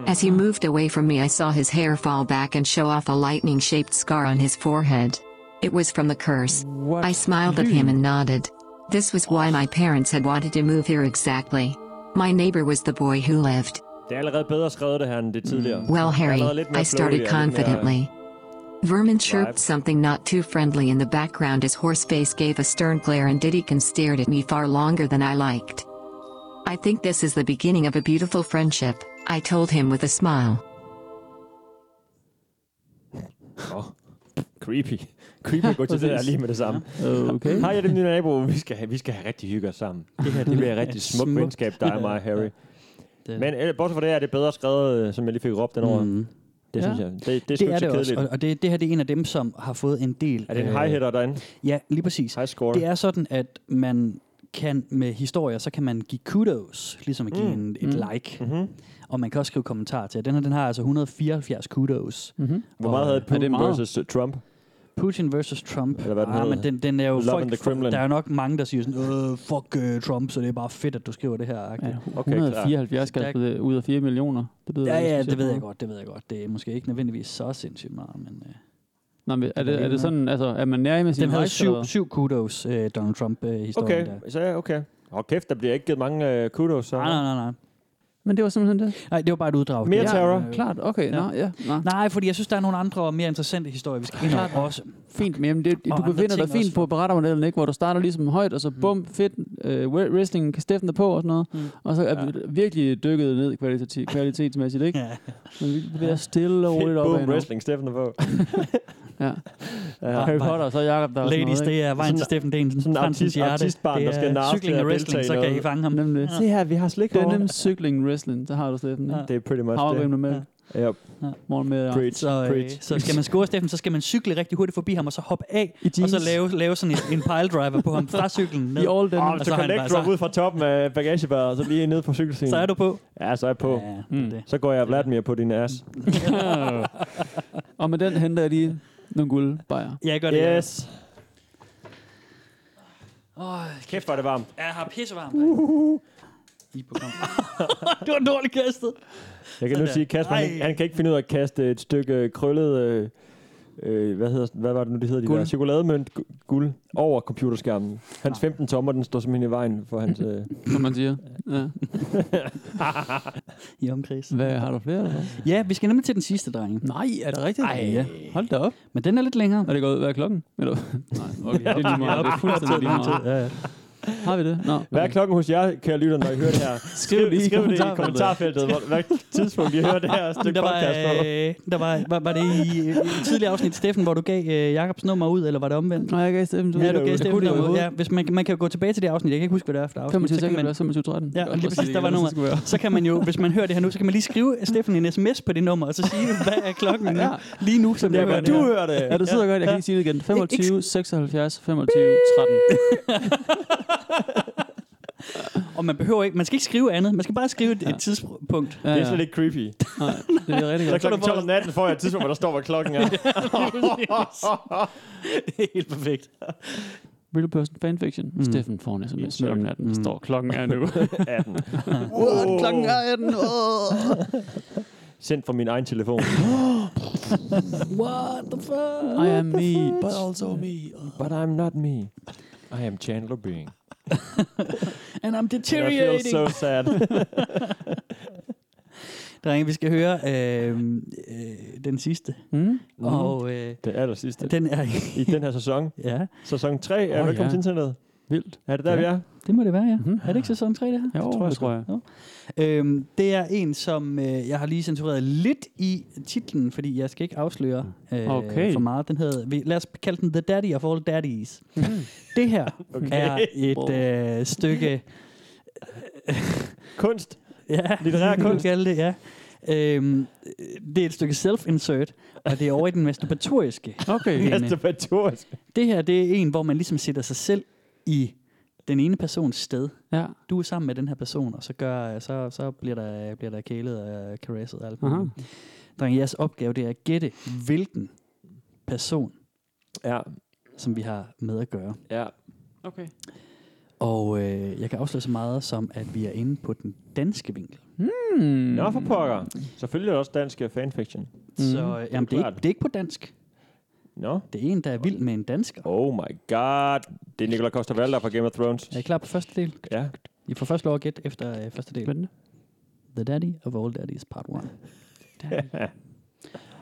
As he moved away from me, I saw his hair fall back and show off a lightning shaped scar on his forehead. It was from the curse. What? I smiled at him and nodded. This was why my parents had wanted to move here exactly. My neighbor was the boy who lived. Det er allerede bedre skrevet det her, end det Mm. tidligere. Well, Harry, Well, let me I upload started it, I didn't, uh, confidently. Vermin Live. chirped something not too friendly in the background as Horseface gave a stern glare and Diddykin stared at me far longer than I liked. I think this is the beginning of a beautiful friendship, I told him with a smile. Creepy. Creepy at *laughs* gå til det der lige med det samme. Okay. Hej, jeg er din nye nabo. Vi skal, have, vi skal have rigtig hygge os sammen. Det her det bliver et *laughs* rigtig smukt Smukt. venskab, dig og mig og Harry. Men øh, bortset fra det er det bedre skrevet, øh, som jeg lige fik råbt den over. Mm. Mm-hmm. Det Ja. synes jeg. Det, det er sgu Det ikke er det så også, kedeligt. og- og det, det her det er en af dem, som har fået en del... Er det en øh, high hitter derinde? Ja, lige præcis. High score? Det er sådan, at man kan med historier, så kan man give kudos, ligesom at give Mm. mm. en, et Mm. like. Mhm. Og man kan også skrive kommentarer til. Den her, den har altså 174 kudos. Mm-hmm. Hvor meget havde Er det Putin meget? versus øh, Trump? Putin versus Trump. Eller hvad den ah, hedder. men den, den er jo Love folk, and the Kremlin. Der er jo nok mange, der siger sådan, øh, fuck øh, Trump, så det er bare fedt, at du skriver det her. Ja, Ja. 174 klar. kaldt det ud af 4 millioner. Det lyder Ja, ikke ja, specielt det ved jeg meget. godt, det ved jeg godt. Det er måske ikke nødvendigvis så sindssygt meget, men... Øh. Nå, men er, Det det, ved er jeg det sådan, altså, er man nær med sin Den havde likes, eller syv, hvad? syv kudos, øh, Donald Trump-historien Okay, der. så ja, okay. Og kæft, der bliver ikke givet mange øh, kudos. Så. Nej, nej, nej, nej. Men det var simpelthen det. Nej, det var bare et uddrag. Mere Det er- terror. øh, Klart, okay. Ja. Nå, ja. Nå. Nej, fordi jeg synes, der er nogle andre og mere interessante historier, vi skal ind over også. Fint, men jamen, det, Og du andre befinder dig ting fint også. på berettermodellen, ikke? hvor du starter ligesom højt, og så bum, fedt, øh, wre- wrestling, Steffen er på og sådan noget, Mm. og så er vi virkelig dykket ned kvalitati- kvalitetsmæssigt, ikke? *laughs* Ja. Men vi bliver stille og roligt Fedt, op boom, wrestling, Steffen er på. *laughs* Ja. Ja. Harry Potter, og så Jacob, der er Ladies, det er vejen til Sådan- Steffen Densen. sådan en artist- artistbarn, der skal narres cykling til og at deltage wrestling, i så kan noget. I fange ham. er nemlig. Se her, vi har slik over. Denim, cykling, wrestling, der har du Steffen. Ja. Ja. Det er pretty much Havregryn det. med mælk, Yep. morgen med ja. Preach, Så, øh, preach. så skal man score Steffen, så skal man cykle rigtig hurtigt forbi ham, og så hoppe af, I og jeans. så lave, lave sådan en, en piledriver på ham fra cyklen ned. I all denim. Åh, oh, og så så har han connect bare- drop *laughs* så- ud fra toppen af bagagebæret, og så lige ned på cykelscenen. Så er du på. Ja, så er jeg på. Ja, det er Mm. det. Så går jeg Vladimir på din ass. *laughs* og med den henter jeg lige nogle guldbejer. Ja, jeg gør det. Yes. Åh, Kæft, var det varmt. jeg har pissevarmt. Uh-huh. I på det var dårligt kastet. Jeg kan nu Sådan. sige, at Kasper, han, Ej. han kan ikke finde ud af at kaste et stykke krøllet... Øh, øh, hvad, hedder, hvad var det nu, det hedder? De Guld. der? Chokolademønt gu- guld over computerskærmen. Hans 15 tommer, den står simpelthen i vejen for hans... Øh, Som man siger. *laughs* Ja. I omkreds. Hvad har du flere? Eller? hvad? Ja, vi skal nemlig til den sidste, drenge. Nej, er det rigtigt? Ej. Ja. Hold da op. Men den er lidt længere. Er det gået ud? Hvad er klokken? Eller? Nej, okay. Det er lige meget. Det er fuldstændig lige meget. ja, ja. Har vi det? Nå. Hvad er klokken hos jer, kære lytter, når I hører *laughs* det her? Skriv, lige i skriv det i kommentarfeltet. kommentarfeltet, hvor, hvad tidspunkt I hører det her stykke der var, podcast på. øh, der var, var, var det i, øh, i et tidligere afsnit, Steffen, hvor du gav øh, Jakobs nummer ud, eller var det omvendt? Nå, jeg gav Steffen. Ja, du gav kunne Steffen det nummer ud. overhovedet. Ja, hvis man, man kan jo gå tilbage til det afsnit, jeg kan ikke huske, hvad det er efter afsnit. 25 så kan man- sekunder, 25 13. Ja, og lige præcis, der var nummeret. Så kan man jo, hvis man hører det her nu, så kan man lige skrive Steffen en sms på det nummer, og så sige, hvad er klokken nu? Ja. Lige nu, som jeg Jamen, hører det du her. hører det. Ja, du sidder Ja. godt. Jeg Ja. kan ikke sige det igen. Ikke- 25, 76, 25, *laughs* 13. Og man behøver ikke, man skal ikke skrive andet, man skal bare skrive et, et tidspunkt. Ja, Det ja. er slet ikke creepy. Nej, det er rigtig Så godt. klokken 12 om natten får jeg et tidspunkt, hvor der står, hvad klokken *laughs* er. *laughs* Det er helt perfekt. Real person fanfiction. Mm. Steffen får en sms midt om natten. Mm. Står klokken er *laughs* nu. 18. Wow. Klokken er 18. *laughs* Oh. Sendt fra min egen *gasps* telefon. What the fuck? I am me, but also me. But I'm not me. I am Chandler Bing. *laughs* And I'm And I deteriorating. feel so *laughs* *laughs* sad. *laughs* Drenge, vi skal høre øh, øh, den sidste. Mm? Mm. Og øh, Det aller sidste. den er... I den her sæson. ja, Sæson 3 er Åh, oh, velkommen ja. til internettet. Vildt. Er det der, Ja. vi er? det må det være, ja. Mhm. Er det ikke sæson 3, det her? Jo, det tror jeg. Øhm, det er en, som øh, jeg har lige censureret lidt i titlen, fordi jeg skal ikke afsløre øh, Okay. for meget. Den hedder, vi, lad os kalde den The Daddy of All Daddies. det her okay. er et øh, stykke... Kunst. Ja, Litterær kan man kunst. Kalde det, ja. Øhm, det er et stykke self-insert, og det er over i den masturbatoriske. Okay. ene. Masturbatorisk. Det her, det er en, hvor man ligesom sætter sig selv i den ene persons sted. Ja. Du er sammen med den her person, og så, gør, så, så bliver, der, bliver der kælet og caresset og alt Aha. muligt. Drenge, jeres opgave det er at gætte, hvilken person, Ja, som vi har med at gøre. *laughs* ja. Okay. Og øh, jeg kan afsløre så meget som, at vi er inde på den danske vinkel. Hmm. Mm. Nå for pokker. Selvfølgelig er der også dansk øh, fanfiction. Mm, så øh, jamen, det, er ikke, klart. det er ikke på dansk. Nå. Det er en, der er vild med en dansker. Oh my god. Det er Nicolai costa Valder fra Game of Thrones. Er I klar på første del? Ja. I får først lov at gætte efter øh, første del. Spændende. The Daddy of All Daddies Part 1. *laughs*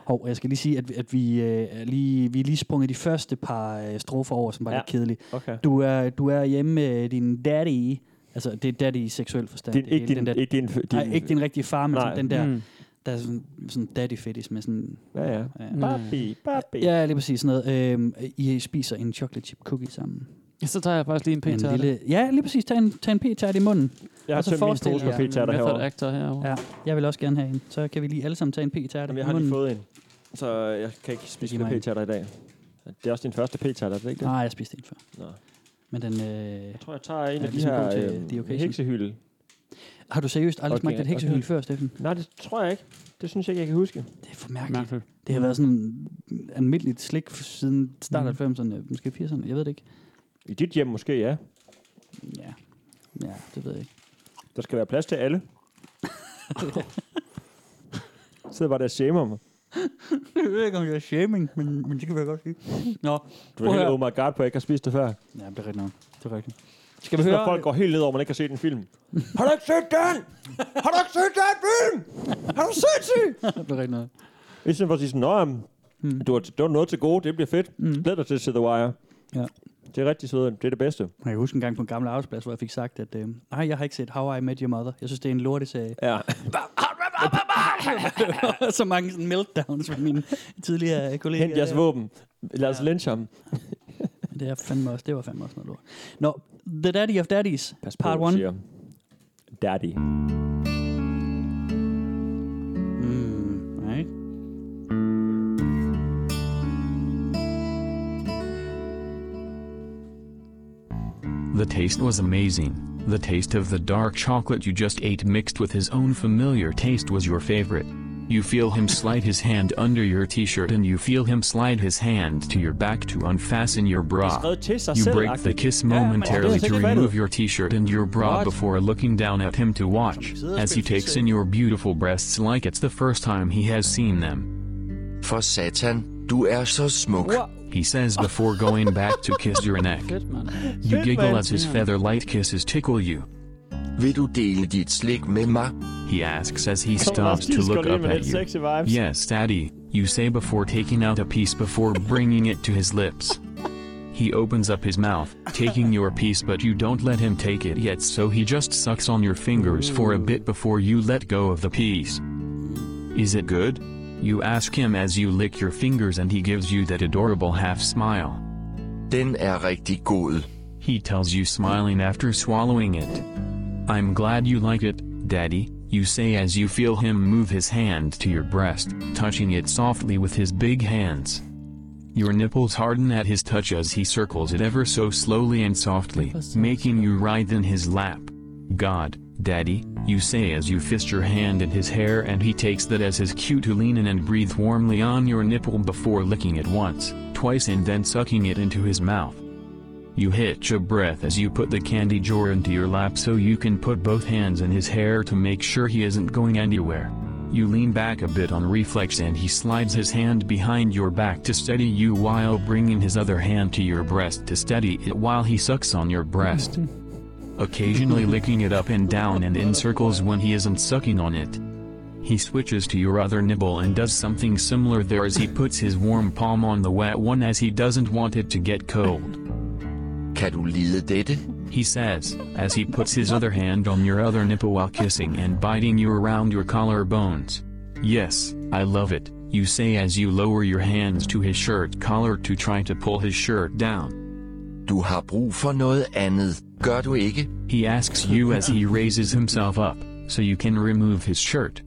Hov, jeg skal lige sige, at, vi- at vi, øh, er lige, vi er lige sprunget de første par øh, strofer over, som var ja. Ja. lidt kedelige. Okay. Du er, du er hjemme med din daddy. Altså, det er daddy i seksuel forstand. Din, det er ikke, hele din, den der, ikke din... din nej, ikke din rigtige far, men Nej. sådan den der, Mm. der er sådan, sådan daddy fetish med sådan... Ja, ja. Ja. Papi, papi. Øh, Ja, lige præcis sådan noget. Øhm, I spiser en chocolate chip cookie sammen. Ja, Så tager jeg faktisk lige en Mm. En pæn til lille, ja, lige præcis. Tag en, tag en p-tart i munden. Jeg har og så tømt min forestil pose med jer- p-tatter Method herovre. actor herovre. Ja, jeg vil også gerne have en. Så kan vi lige alle sammen tage en p-tart i Jamen, munden. jeg har lige fået en. Så øh, jeg kan ikke spise Giv flere mig en. p-tatter i dag. Det er også din første p-tatter, er det ikke det? Nej, jeg spiste en før. Nå. Men den, øh, Jeg tror, jeg tager en Ja, af de ligesom her god til øh, the occasion. heksehylde. har du seriøst aldrig Okay, okay, smagt et heksehyl okay. okay. før, Steffen? Nej, det tror jeg ikke. Det synes jeg ikke, jeg kan huske. Det er for mærkeligt. Mærkeligt. Det har været sådan Mm. almindeligt slik f- siden start af 90'erne, måske 80'erne, jeg ved det ikke. I dit hjem måske, ja. Ja, ja det ved jeg ikke. Der skal være plads til *laughs* alle. Sidder bare der og shamer mig. *laughs* jeg ved ikke, om det er shaming, men, men det kan være godt sige. Nå, Du Prøv er at helt høre. oh my god på, at jeg ikke har spist det før. ja, det er rigtigt nok. Det er rigtigt. Skal vi høre? Når folk går helt ned over, at man ikke har set en film. har du ikke set den? Har du ikke set den film? Har du set *laughs* den? Det er rigtigt nok. I stedet for at sige sådan, nå, um, Mm. du, har, du har noget til gode, det bliver fedt. Mm. Glæd dig til at se The Wire. Hmm. Ja. Det er rigtig sødt, det er det bedste. Jeg kan huske en gang på en gammel arbejdsplads, hvor jeg fik sagt, at øh, nej, jeg har ikke set How I Met Your Mother. Jeg synes, det er en lorteserie. Ja. *laughs* så mange sådan meltdowns fra mine tidligere øh, kollegaer. Hent jeres våben. Lad os lynche ham. *laughs* Det, er fandme også, det var fandme også noget lort. Nå, The Daddy of Daddies, Pas Hvad part Mm, du 1. siger. Daddy. Nej. The taste was amazing. The taste of the dark chocolate you just ate mixed with his own familiar taste was your favorite. You feel him slide his hand under your t-shirt and you feel him slide his hand to your back to unfasten your bra. Skrevet til sig You selv. break the kiss momentarily to remove your t-shirt and your bra before looking down at him to watch, as he takes in your beautiful breasts like it's the first time he has seen them. For satan, du er så smuk. He says before going back to kiss your neck. Fedt, mand. You Shit, giggle man. as his feather light kisses tickle you. Vil du dele dit slik med mig? He asks as he Come on, stops to he's look got up even at his you. sexy vibes. Yes, Daddy, you say before taking out a piece before bringing it to his lips. He opens up his mouth, taking your piece, but you don't let him take it yet, so he just sucks on your fingers for a bit before you let go of the piece. Is it good? You ask him as you lick your fingers, and he gives you that adorable half smile. Den er rigtig god. He tells you, smiling after swallowing it. I'm glad you like it, Daddy, you say as you feel him move his hand to your breast, touching it softly with his big hands. Your nipples harden at his touch as he circles it ever so slowly and softly, making you writhe in his lap. God, Daddy, you say as you fist your hand in his hair and he takes that as his cue to lean in and breathe warmly on your nipple before licking it once, twice and then sucking it into his mouth. You hitch a breath as you put the candy jar into your lap so you can put both hands in his hair to make sure he isn't going anywhere. You lean back a bit on reflex and he slides his hand behind your back to steady you while bringing his other hand to your breast to steady it while he sucks on your breast. Occasionally licking it up and down and in circles when he isn't sucking on it. He switches to your other nibble and does something similar there as he puts his warm palm on the wet one as he doesn't want it to get cold. Kan du lide dette? He says, as he puts his other hand on your other nipple while kissing and biting you around your collarbones. Yes, I love it, you say as you lower your hands to his shirt collar to try to pull his shirt down. Du har brug for noget andet, gør du ikke? He asks you as he raises himself up, so you can remove his shirt.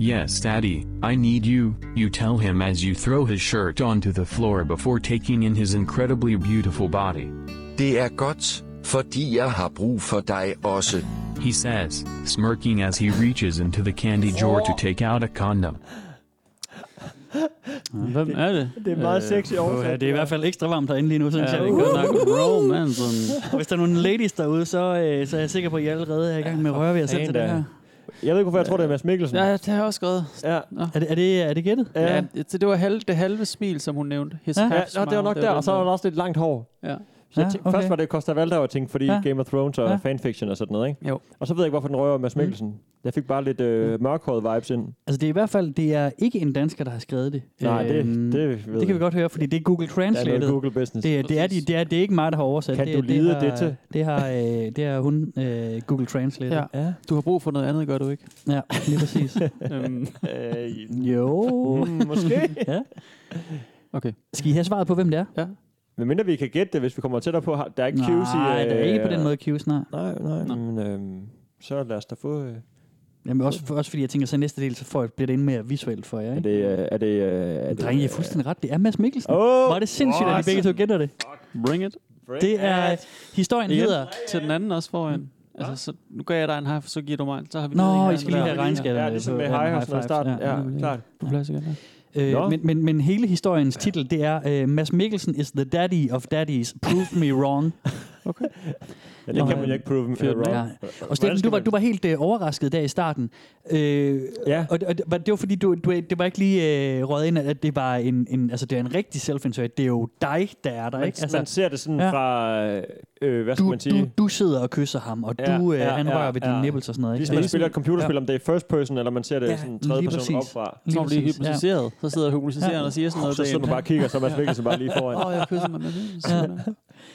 Yes, Daddy, I need you, you tell him as you throw his shirt onto the floor before taking in his incredibly beautiful body. Det er godt, fordi jeg har brug for dig også. He says, smirking as he reaches into the candy drawer to take out a condom. Hvem er det? Det Øh, er meget sexy Øh, Ja, oversat. det er i hvert fald ekstra varmt derinde lige nu, synes Ja, jeg. det er godt nok Uh. romance. Og hvis der er nogle ladies derude, så, øh, så er jeg sikker på, at I allerede er i gang med at røre ved jer selv fanden til det da. her. Jeg ved ikke, hvorfor jeg tror, det er Mads Mikkelsen. Ja, det har jeg også skrevet. ja. Er det, er det, er det gættet? ja. Ja, det, det var halve, det halve smil, som hun nævnte. His Ja. half ja nå, det var smile, nok der, den og så var der også lidt langt hår. Ja. Så Ja, jeg tænkte, okay. Først var det Costa Valda, jeg tænkte, fordi Ja. ja. Game of Thrones og Ja. ja. fanfiction og sådan noget, ikke? Jo. Og så ved jeg ikke, hvorfor den rører Mads Mikkelsen. Mm. Jeg fik bare lidt Mm. øh, mørkhåret vibes ind. Altså det er i hvert fald det er ikke en dansker, der har skrevet det. Nej, det, Øhm, det, ved det kan vi godt høre, fordi det er Google Det er Translate. noget Google business. Det, det, er, de, det, er, det er ikke mig, der har oversat Kan det. du lide har, det til? Det har, øh, det har hun, øh, Google Translate. Ja. Ja. Du har brug for noget andet, gør du ikke? ja, lige præcis. *laughs* Øhm, Øh, jo. mm, måske. *laughs* ja. Okay. Skal I have svaret på, hvem det er? Men mindre vi kan gætte det, hvis vi kommer tættere på. har- Der er ikke cues i... Nej, det er ikke på øh, den måde cues, nej. Nej, nej. Nå. Men, øhm, så lad os da få... Øh, Jamen, også, for, også fordi jeg tænker, så næste del, så får jeg, bliver det endnu mere visuelt for jer, er ikke? det... Øh, er det... Øh, er det Drenge, I er fuldstændig ret. Det er Mads Mikkelsen. Åh! Var det sindssygt, at I begge to gætter det? bring it. Det er... Historien hedder... Til den anden også foran. Altså, så, nu gør jeg dig en high, så giver du mig en. Så har vi lige en Nå, I high. skal lige have regnskaberne. Ja, ligesom på- med på high og high sådan noget i fives. starten. Ja. Ja, klart. Du bliver sikkert der. Øh, Nå. men, men, men hele historiens titel, det er øh, Mads Mikkelsen is the daddy of daddies. Prove me *laughs* wrong. Ja, det kan Nå, man jo ikke prove øh, fyret med. wrong. Ja. Og Steffen, du var, du var helt øh, overrasket der i starten. Øh, Ja. og, det- og det, var- det var fordi, du, du, det var ikke lige øh, røget ind, at det var en, en, altså, det er en rigtig self Det er jo dig, der er der. Man, ikke? altså, man Altså, ser det sådan ja. ja. fra, øh, øh, hvad skal du, man du, sige? du sidder og kysser ham, og Ja, du, øh, ja, han ja, rører ved dine ja. nipples og sådan noget. Ligesom Og man det er spiller et sådan- computerspil, om det er first person, eller man ser det Ja, ja, sådan tredje lige person præcis. opfra. Lige Så man bliver præcis, ja. hypnotiseret. Så sidder hypnotiseren Ja. og siger sådan Og noget. så sidder man bare og kigger, så er Mads Mikkelsen bare lige *laughs* foran. Åh, jeg kysser mig med det.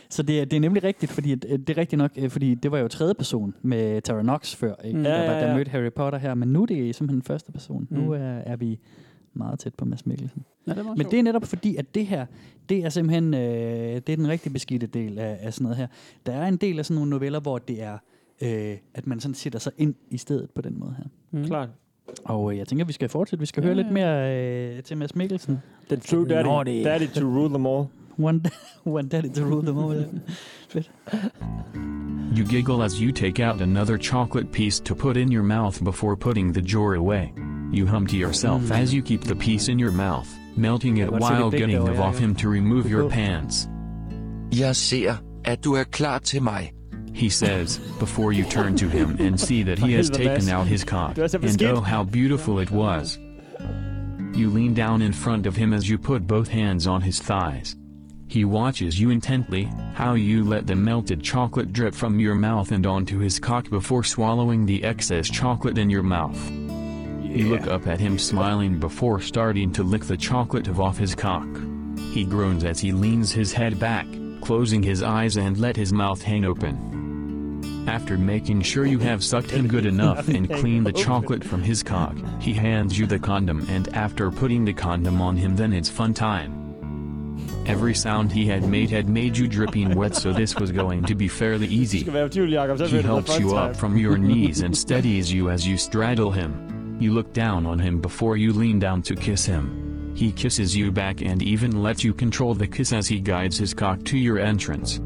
Så det er, det er nemlig rigtigt, fordi at, øh, det er rigtigt nok, øh, fordi det var jo tredje person med Tara Knox før, ikke? Mm. Der, Ja, var- ja, der ja. mødte Harry Potter her, men nu er det simpelthen første person. Mm. Nu Mm. er, er vi meget tæt på Mads Mikkelsen. Ja, det er meget Men det er netop fordi, at det her, det er simpelthen øh, det er den rigtig beskidte del af, af sådan noget her. Der er en del af sådan nogle noveller, hvor det er, øh, at man sådan sætter sig ind i stedet på den måde her. sjovt. Mm. Klart. Og øh, jeg tænker, vi skal fortsætte. Vi skal Ja, høre ja. lidt mere øh, til Mads Mikkelsen. Den true daddy, Nå, det- daddy to rule them all. One, *laughs* one daddy to rule them all. ja. You giggle as you take out another chocolate piece to put in your mouth before putting the jar away. You hum to yourself as you keep the piece in your mouth, melting it what's a good while big getting deal, it yeah, off yeah. him to remove your pants. Jeg ser, at du er klar til mig. He says, before you turn to him and see that *laughs* he has He's the taken best. out his cock. Do I have a And skit? oh, how beautiful it was. You lean down in front of him as you put both hands on his thighs. He watches you intently, how you let the melted chocolate drip from your mouth and onto his cock before swallowing the excess chocolate in your mouth. You look up at him smiling before starting to lick the chocolate off his cock. He groans as he leans his head back, closing his eyes and let his mouth hang open. After making sure you have sucked him good enough and cleaned the chocolate from his cock, he hands you the condom and after putting the condom on him then it's fun time. Every sound he had made had made you dripping wet so this was going to be fairly Du easy. skal være i tvivl, Jacob. Så He bliver det helps fun you up time. from your knees and steadies you as you straddle him. You look down on him before you lean down to kiss him. He kisses you back and even lets you control the kiss as he guides his cock to your entrance.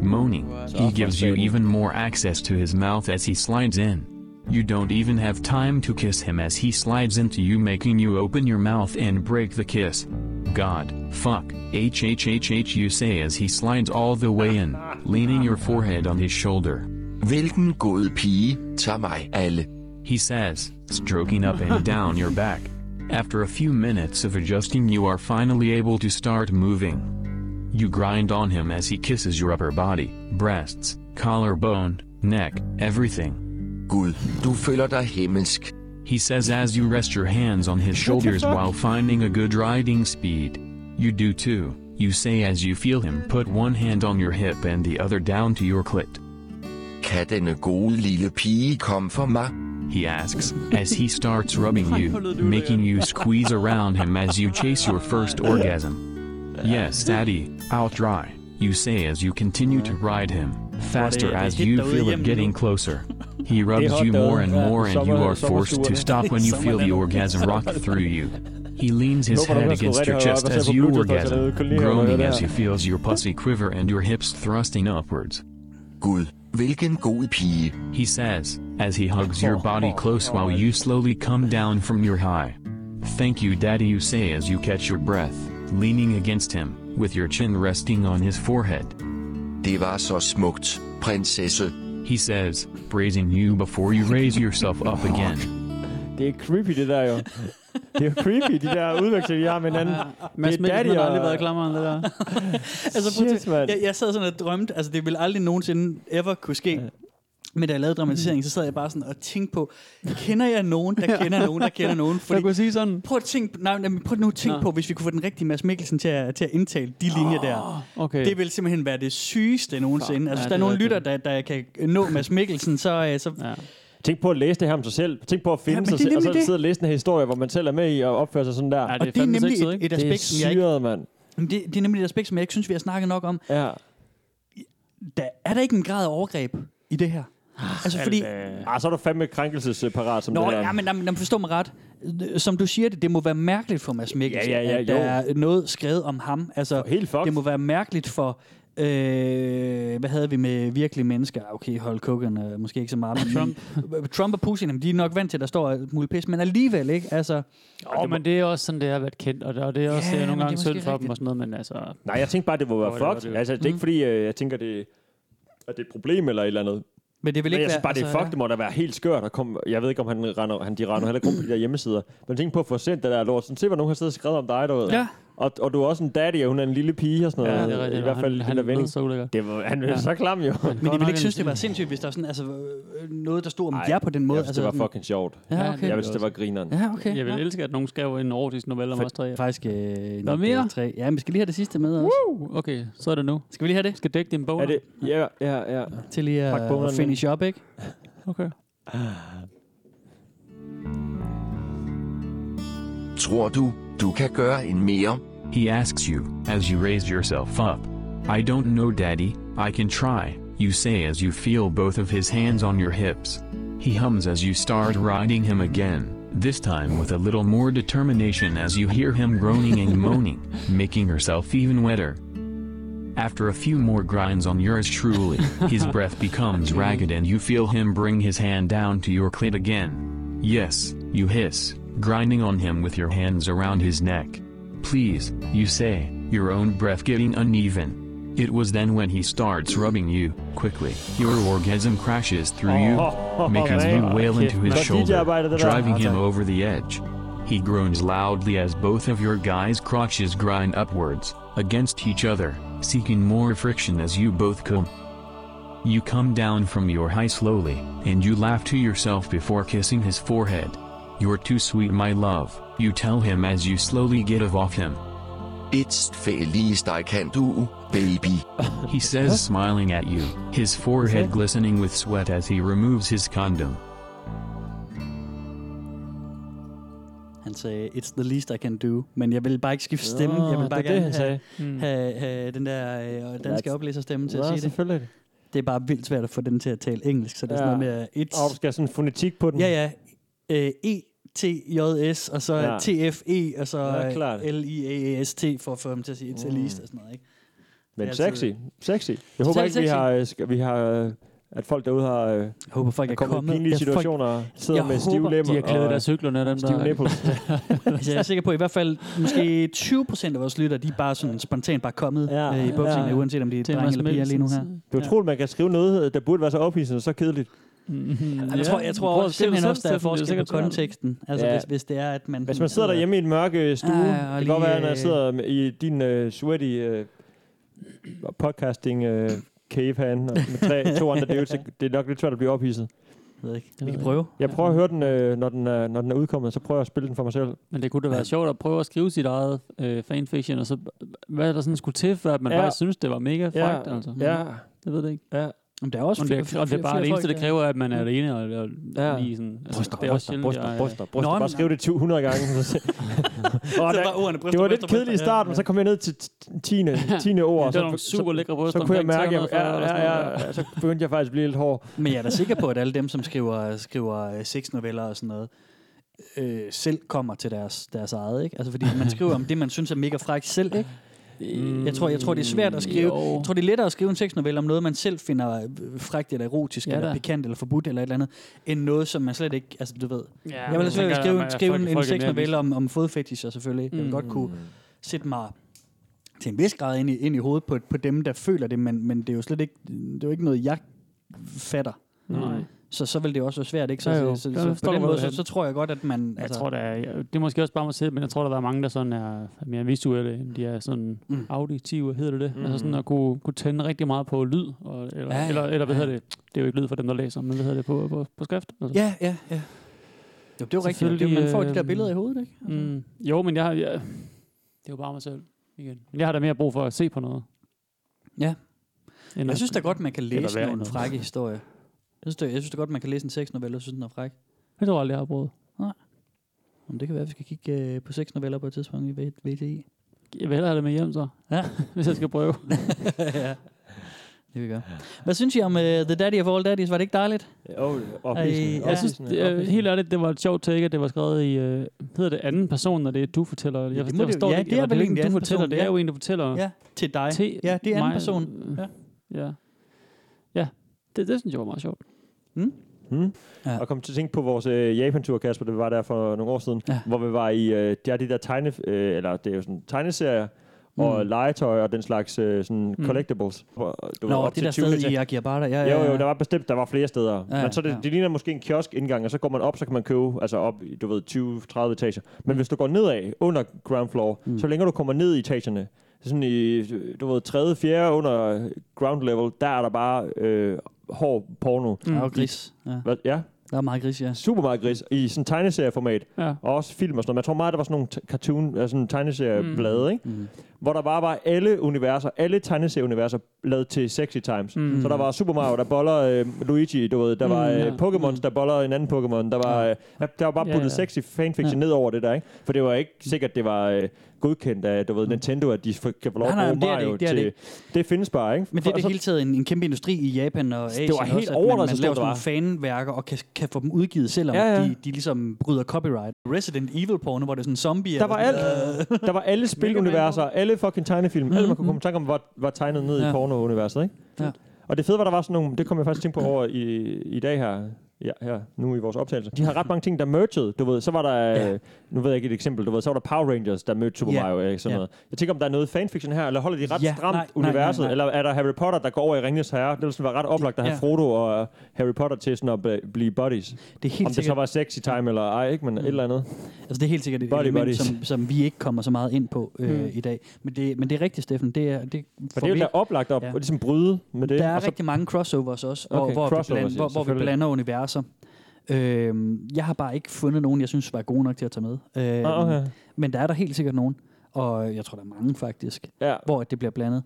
Moaning, he gives you even more access to his mouth as he slides in. You don't even have time to kiss him as he slides into you, making you open your mouth and break the kiss. God, fuck, HHHH, you say as he slides all the way in, leaning your forehead on his shoulder. Hvilken god pige, tag mig alle. He says, stroking up and down your back. After a few minutes of adjusting, you are finally able to start moving. You grind on him as he kisses your upper body, breasts, collarbone, neck, everything. Gud, du føler dig himmelsk. He says as you rest your hands on his shoulders while finding a good riding speed. You do too, you say as you feel him put one hand on your hip and the other down to your clit. Kan denne gode lille pige komme for mig? he asks, as he starts rubbing you, making you squeeze around him as you chase your first orgasm. Yes, daddy, I'll try, you say as you continue to ride him, faster as you feel it getting closer. He rubs you more and more, and you are forced to stop when you feel the orgasm rock through you. He leans his head against your chest as you orgasm, groaning as he feels your pussy quiver and your hips thrusting upwards. Gud, hvilken god pige. He says, as he hugs your body close while you slowly come down from your high. Thank you, Daddy, you say as you catch your breath, leaning against him, with your chin resting on his forehead. Det var så smukt, prinsesse. He says, praising you before you raise yourself up again. Det er creepy, det *laughs* der jo. Det er jo creepy, de der udvekslinger, de har med hinanden. Mads Det er Mikkelsen daddy har og- aldrig været klammeren, det der. altså, prøv Shit, at tænke, mand. jeg, jeg sad sådan og drømte, altså det ville aldrig nogensinde ever kunne ske. Men da jeg lavede dramatiseringen, så sad jeg bare sådan og tænkte på, kender jeg nogen, der kender nogen, der kender nogen? Jeg Fordi kunne sige sådan. Prøv at tænke, nej, nej, men prøv nu at tænke Nå. på, hvis vi kunne få den rigtige Mads Mikkelsen til at, til at indtale de linjer der. Okay. Det vil simpelthen være det sygeste nogensinde. Ja, altså, hvis det der er er nogen rigtigt. lytter, der, der kan nå Mads Mikkelsen, så... øh, så ja. Ja. Tænk på at læse det her om sig selv. Tænk på at finde Ja, men sig det er selv, og så nemlig det. sidde og læse den her historie, hvor man selv er med i og opføre sig sådan der. Ja, Ja, Og det det er er fandme nemlig sexet, et, ikke? et det er aspekt, som jeg ikke... syret, mand. Jamen, Det, det er nemlig et aspekt, som jeg ikke synes, vi har snakket nok om. Ja. Der, er der ikke en grad af overgreb i det her? Altså, fordi... Ah, så er du fandme krænkelsesparat som Nå, det der. ja, men, jamen, jamen, forstå mig ret. Som du siger det, det må være mærkeligt for Mads Mikkelsen, Ja, ja, ja, at der jo. er noget skrevet om ham. Altså, Helt fucked. Det må være mærkeligt for... Øh, hvad havde vi med virkelige mennesker? Okay, hold Hogan øh, måske ikke så meget. Men Trump. Trump og Putin, jamen, de er nok vant til, at der står et muligt pis, men alligevel ikke. Altså, Åh, men det er også sådan, det har været kendt, og det, og det er også ja, Ja, men nogle det er gange synd måske for dem rigtigt. og sådan noget, men altså... Nej, jeg tænkte bare, det må være det var fucked. det jo. Altså, det er ikke fordi, øh, jeg tænker, det at det er et problem eller et eller andet. men det vil Men jeg ikke være... synes bare, det er altså, fucked. Det må da være helt skørt at komme... Jeg ved ikke, om han, render, han de render heller ikke rundt på de der hjemmesider. Men tænk på at få sendt det der lort. Sådan, se, hvor nogen har siddet og skrevet om dig derude. Ja. Og, og du er også en daddy, og hun er en lille pige og sådan Ja, noget. det er rigtigt. I hvert han, fald han, den der han ven. lød så ulækker. Det var, han er så klam jo. Men Men jeg ville ikke synes, det var sindssygt, hvis der var sådan, altså, øh, noget, der stod om Ej, jer på den måde. Jeg synes, det var altså, fucking sjovt. Ja, okay. Jeg synes, det var grineren. Ja, okay. Jeg vil elske, at nogen skrev en erotisk novelle om os tre. Ja. Faktisk øh, Der er mere? tre. Ja, men vi skal lige have det sidste med også. Uh, okay, så er det nu. Skal vi lige have det? Skal dække din bog. Er det? Ja, ja, ja. Til lige Pak at, bonerne at finish op, ikke? Okay. Tror du, du kan gøre en mere? He asks you, as you raise yourself up. I don't know, daddy, I can try, you say as you feel both of his hands on your hips. He hums as you start riding him again, this time with a little more determination as you hear him groaning and moaning, making yourself even wetter. After a few more grinds on yours truly, his breath becomes ragged and you feel him bring his hand down to your clit again. Yes, you hiss, grinding on him with your hands around his neck. Please, you say, your own breath getting uneven. It was then when he starts rubbing you, quickly, your orgasm crashes through you, making you wail into his shoulder, driving him over the edge. He groans loudly as both of your guys' crotches grind upwards, against each other, seeking more friction as you both come. You come down from your high slowly, and you laugh to yourself before kissing his forehead. You're too sweet, my love, you tell him as you slowly get off him. It's feliz I can do, baby. *laughs* He says, smiling at you, his forehead glistening with sweat as he removes his condom. Han sagde, it's the least I can do, men jeg vil bare ikke skifte stemme. Nå, jeg vil bare det er det, han gerne have, sagde. Mm. have, have, den der øh, danske That's- oplæserstemme til Nå, at sige det. selvfølgelig. Det er bare vildt svært at få den til at tale engelsk, så det er Ja. sådan noget Og med, øh, du it's, skal have sådan en fonetik på den. ja ja, øh, E, T, J, S, og så Ja. ja. TFE, og så Ja, klart. Mm. øh, L, I, A, E, S, T, for at få dem til at sige, it's the least, og sådan noget, ikke? Men Det er altid- sexy. Sexy. Jeg håber ikke, vi sexy. har, øh, sk- vi har, øh, at folk derude har øh, Jeg håber, folk er er kommet i kommet. pinlige Ja, folk- situationer og sidder Jeg med stive håber, de lemmer De har klædet og deres cykler ned, dem stive der... nipples. *laughs* Altså, jeg er sikker på, at i hvert fald måske 20 procent af vores lytter, de er bare sådan spontant bare kommet Ja. ja, øh, i bukserne, Ja. ja, uanset om de er drenge eller piger lige nu her. Det er utroligt, man kan skrive noget, der burde være så ophidsende og så kedeligt. Jeg tror, jeg tror også, simpelthen også, der er forskel på konteksten. Altså, Ja. ja. hvis, hvis det er, at man... Hvis man sidder derhjemme i en mørk øh, stue, Ja, ja, og det kan lige, godt være, når jeg øh, sidder med- i din øh, sweaty øh, podcasting øh, cave herinde og med tre, *laughs* to andre dudes, så det er nok lidt svært at blive ophidset. Jeg ved ikke. Vi kan prøve. Jeg prøver at høre den, øh, når, den er, når den er udkommet, så prøver jeg at spille den for mig selv. Men det kunne da være sjovt at prøve at skrive sit eget øh, fanfiction, og så hvad der sådan skulle til, for at man Ja. ja. faktisk synes, det var mega Ja, frækt. Altså. ja. Jeg ved det ikke. Jamen, der er også Om det, om det er bare det eneste, det kræver, at man er alene og, og Ja. ja. lige sådan... Altså, Bryster, det er også bryster, sjældent, bryster, jeg- bryster, bryster. øh, Nå, men- Bare skriv det 100 gange. *laughs* *laughs* så- Åh, Så der- bare ordene, bryster, det var bryster, lidt kedeligt i bryster. starten, men så kom jeg ned til 10. *laughs* 10. ord. Det og så- var nogle så- super lækre så bryster. kunne jeg omkring mærke, at 340 ja, eller sådan ja, noget. ja, så begyndte jeg faktisk at blive lidt hård. Men jeg er da sikker på, at alle dem, som skriver, skriver øh, sexnoveller og sådan noget, øh, selv kommer til deres, deres eget, ikke? Altså, fordi man skriver om det, man synes er mega frækt selv, ikke? Mm, Jeg tror, jeg tror, det er svært at skrive. jo. Jeg tror, det er lettere at skrive en sexnovelle om noget, man selv finder øh, frækt eller erotisk, Ja ja, eller da. pikant eller forbudt eller et eller andet, end noget, som man slet ikke... Altså, du ved... Ja, jeg vil men altså tænker, at skrive, man- skrive folk- en, en folk er mere sexnovelle om, om fodfetischer, selvfølgelig. Jeg vil Mm. godt kunne sætte mig til en vis grad ind i, ind i hovedet på, på dem, der føler det, men, men det er jo slet ikke, det er jo ikke noget, jeg fatter. Nej. Så, så vil det jo også være svært, ikke? Så, Ja, jo. så, så, Jeg så, forstår, på den hvor måde, du er så, henne. så tror jeg godt, at man... altså, Jeg tror, der er, jeg- det er måske også bare mig selv, men jeg tror, der er mange, der sådan er mere visuelle, end de er sådan mm. Mm. auditive, hedder det det? Mm. Altså sådan at kunne, kunne tænde rigtig meget på lyd, og, eller, ja, Ja, ja, ja. eller, eller hvad hedder det? Det er jo ikke lyd for dem, der læser, men hvad hedder det på, på, på skrift? Altså. Ja, ja, ja. Jo, det er jo rigtigt. Det er, jo- Selvfølgelig, man får de der øh, billeder i hovedet, ikke? Altså. Mm. Jo, men jeg, har- jeg, det er jo bare mig selv igen. Men jeg har da mere brug for at se på noget. Ja. end Jeg at- synes da godt, man kan Eller læse være nogle noget. frække historier. Jeg synes, da, jeg synes da godt, man kan læse en sexnovelle, og synes, den er fræk. Jeg tror aldrig, jeg har brugt. Om det kan være, at vi skal kigge øh, på sexnoveller på et tidspunkt i V- VTI. Jeg vil hellere have det med hjem så, Ja. *laughs* hvis jeg skal prøve. *laughs* ja. Det vi gør. Hvad synes I om uh, The Daddy of All Daddies? Var det ikke dejligt? Og Ej, ja. Jeg synes, det, øh, helt ærligt, det var et sjovt take, at det var skrevet i, øh, hedder det anden person, når det er du fortæller? Jeg, det forstår- må jeg det- forstår ja, ikke, det er eller vel ikke egentlig en, du anden fortæller, person, det ja. er jo en, du fortæller. Ja, til dig. Til ja, det er anden mig. Øh, person. Ja. Ja. Ja, det, det synes jeg var meget sjovt. Og kom til at tænke på vores øh, Japan-tur, Kasper, det var der for nogle år siden, ja. Ja. hvor vi var i, øh, det er de der tegne, øh, eller det er jo sådan tegneserier, og legetøj og den slags øh, sådan Mm. collectibles. Hvor øh, Du var Nå, op det til der 20 sted meter. i Akihabara. Ja, ja, Jo, jo, ja. der var bestemt, der var flere steder. Ja, Ja, men så det, ja. ja. det ligner måske en kiosk-indgang, og så går man op, så kan man købe, altså op, i, du ved, 20-30 etager. Men hvis du går nedad under ground floor, mm. så længere du kommer ned i etagerne, sådan i, du ved, tredje, fjerde under ground level, der er der bare øh, hård porno. Mm. Der er jo gris. Ja. Hvad? Ja, Der er meget gris, ja. super meget gris, i sådan tegneserieformat, Ja. og også film og sådan noget. Men jeg tror meget, der var sådan nogle t- cartoon, altså sådan tegneserieblade, mm. ikke? Mm. hvor der bare var alle universer, alle tegneserieuniverser lavet til Sexy Times. Mm. Mm. Så der var Super Mario, der boller øh, Luigi, du ved, der var Mm, øh, ja. Pokémon, der boller en anden Pokémon, der var, øh, ja, der var bare Ja, puttet ja. sexy fanfiction ned over det der, ikke? For det var ikke sikkert, det var øh, godkendt af, du ved, Nintendo, at de f- kan få lov Mm. Nej, at bruge nej, men det er det Mario ikke, det er til... det Det findes bare, ikke? Men det er det så, hele taget en, en kæmpe industri i Japan og Asien. var helt også, at man- overdrevet, Man, så stort laver det sådan nogle fanværker og kan, kan få dem udgivet, selvom Ja, ja, ja. ja. De, de ligesom bryder copyright. Resident Evil porno, hvor det er sådan en zombie. der var alt. Øh. *laughs* Der var alle spiluniverser, alle fucking tegnefilm, mm. alle man kunne komme i tanke om, var, var tegnet ned ja. i Mhm. Ja. porno-universet, ikke? Ja. Og det fede var, der var sådan nogle, det kom jeg faktisk tænke på over i, i dag her, ja, her, nu i vores optagelse. De har ret mange ting, der mergede, du ved. Så var der, ja. Ja. nu ved jeg ikke et eksempel, du ved, så var der Power Rangers, der mødte Super Ja. Mario, eller sådan Ja. noget. Jeg tænker, om der er noget fanfiction her, eller holder de ret ja. Ja, stramt nej, nej, universet, nej, nej. eller er der Harry Potter, der går over i Ringens Herre? Det ville sådan være ret oplagt at have Ja. Frodo og øh, Harry Potter til sådan at bl- blive buddies. Det er helt om det så sikkert, var sexy time eller ej, ikke? Men et eller andet. altså det er helt sikkert et Body element, buddies. som, som vi ikke kommer så meget ind på øh, Mm. mm. i dag. Men det, men det er rigtigt, Steffen. Det er, det, For det er jo vi- da oplagt at Ja. ligesom bryde med det. Der er og så rigtig mange crossovers også, Okay, okay, hvor, hvor, vi crossovers, blander, ja, hvor, hvor vi selvfølgelig. blander universer. Øhm, jeg har bare ikke fundet nogen, jeg synes var gode nok til at tage med. Øhm, Ah, okay. Men der er der helt sikkert nogen. og jeg tror, der er mange faktisk, Ja. hvor at det bliver blandet.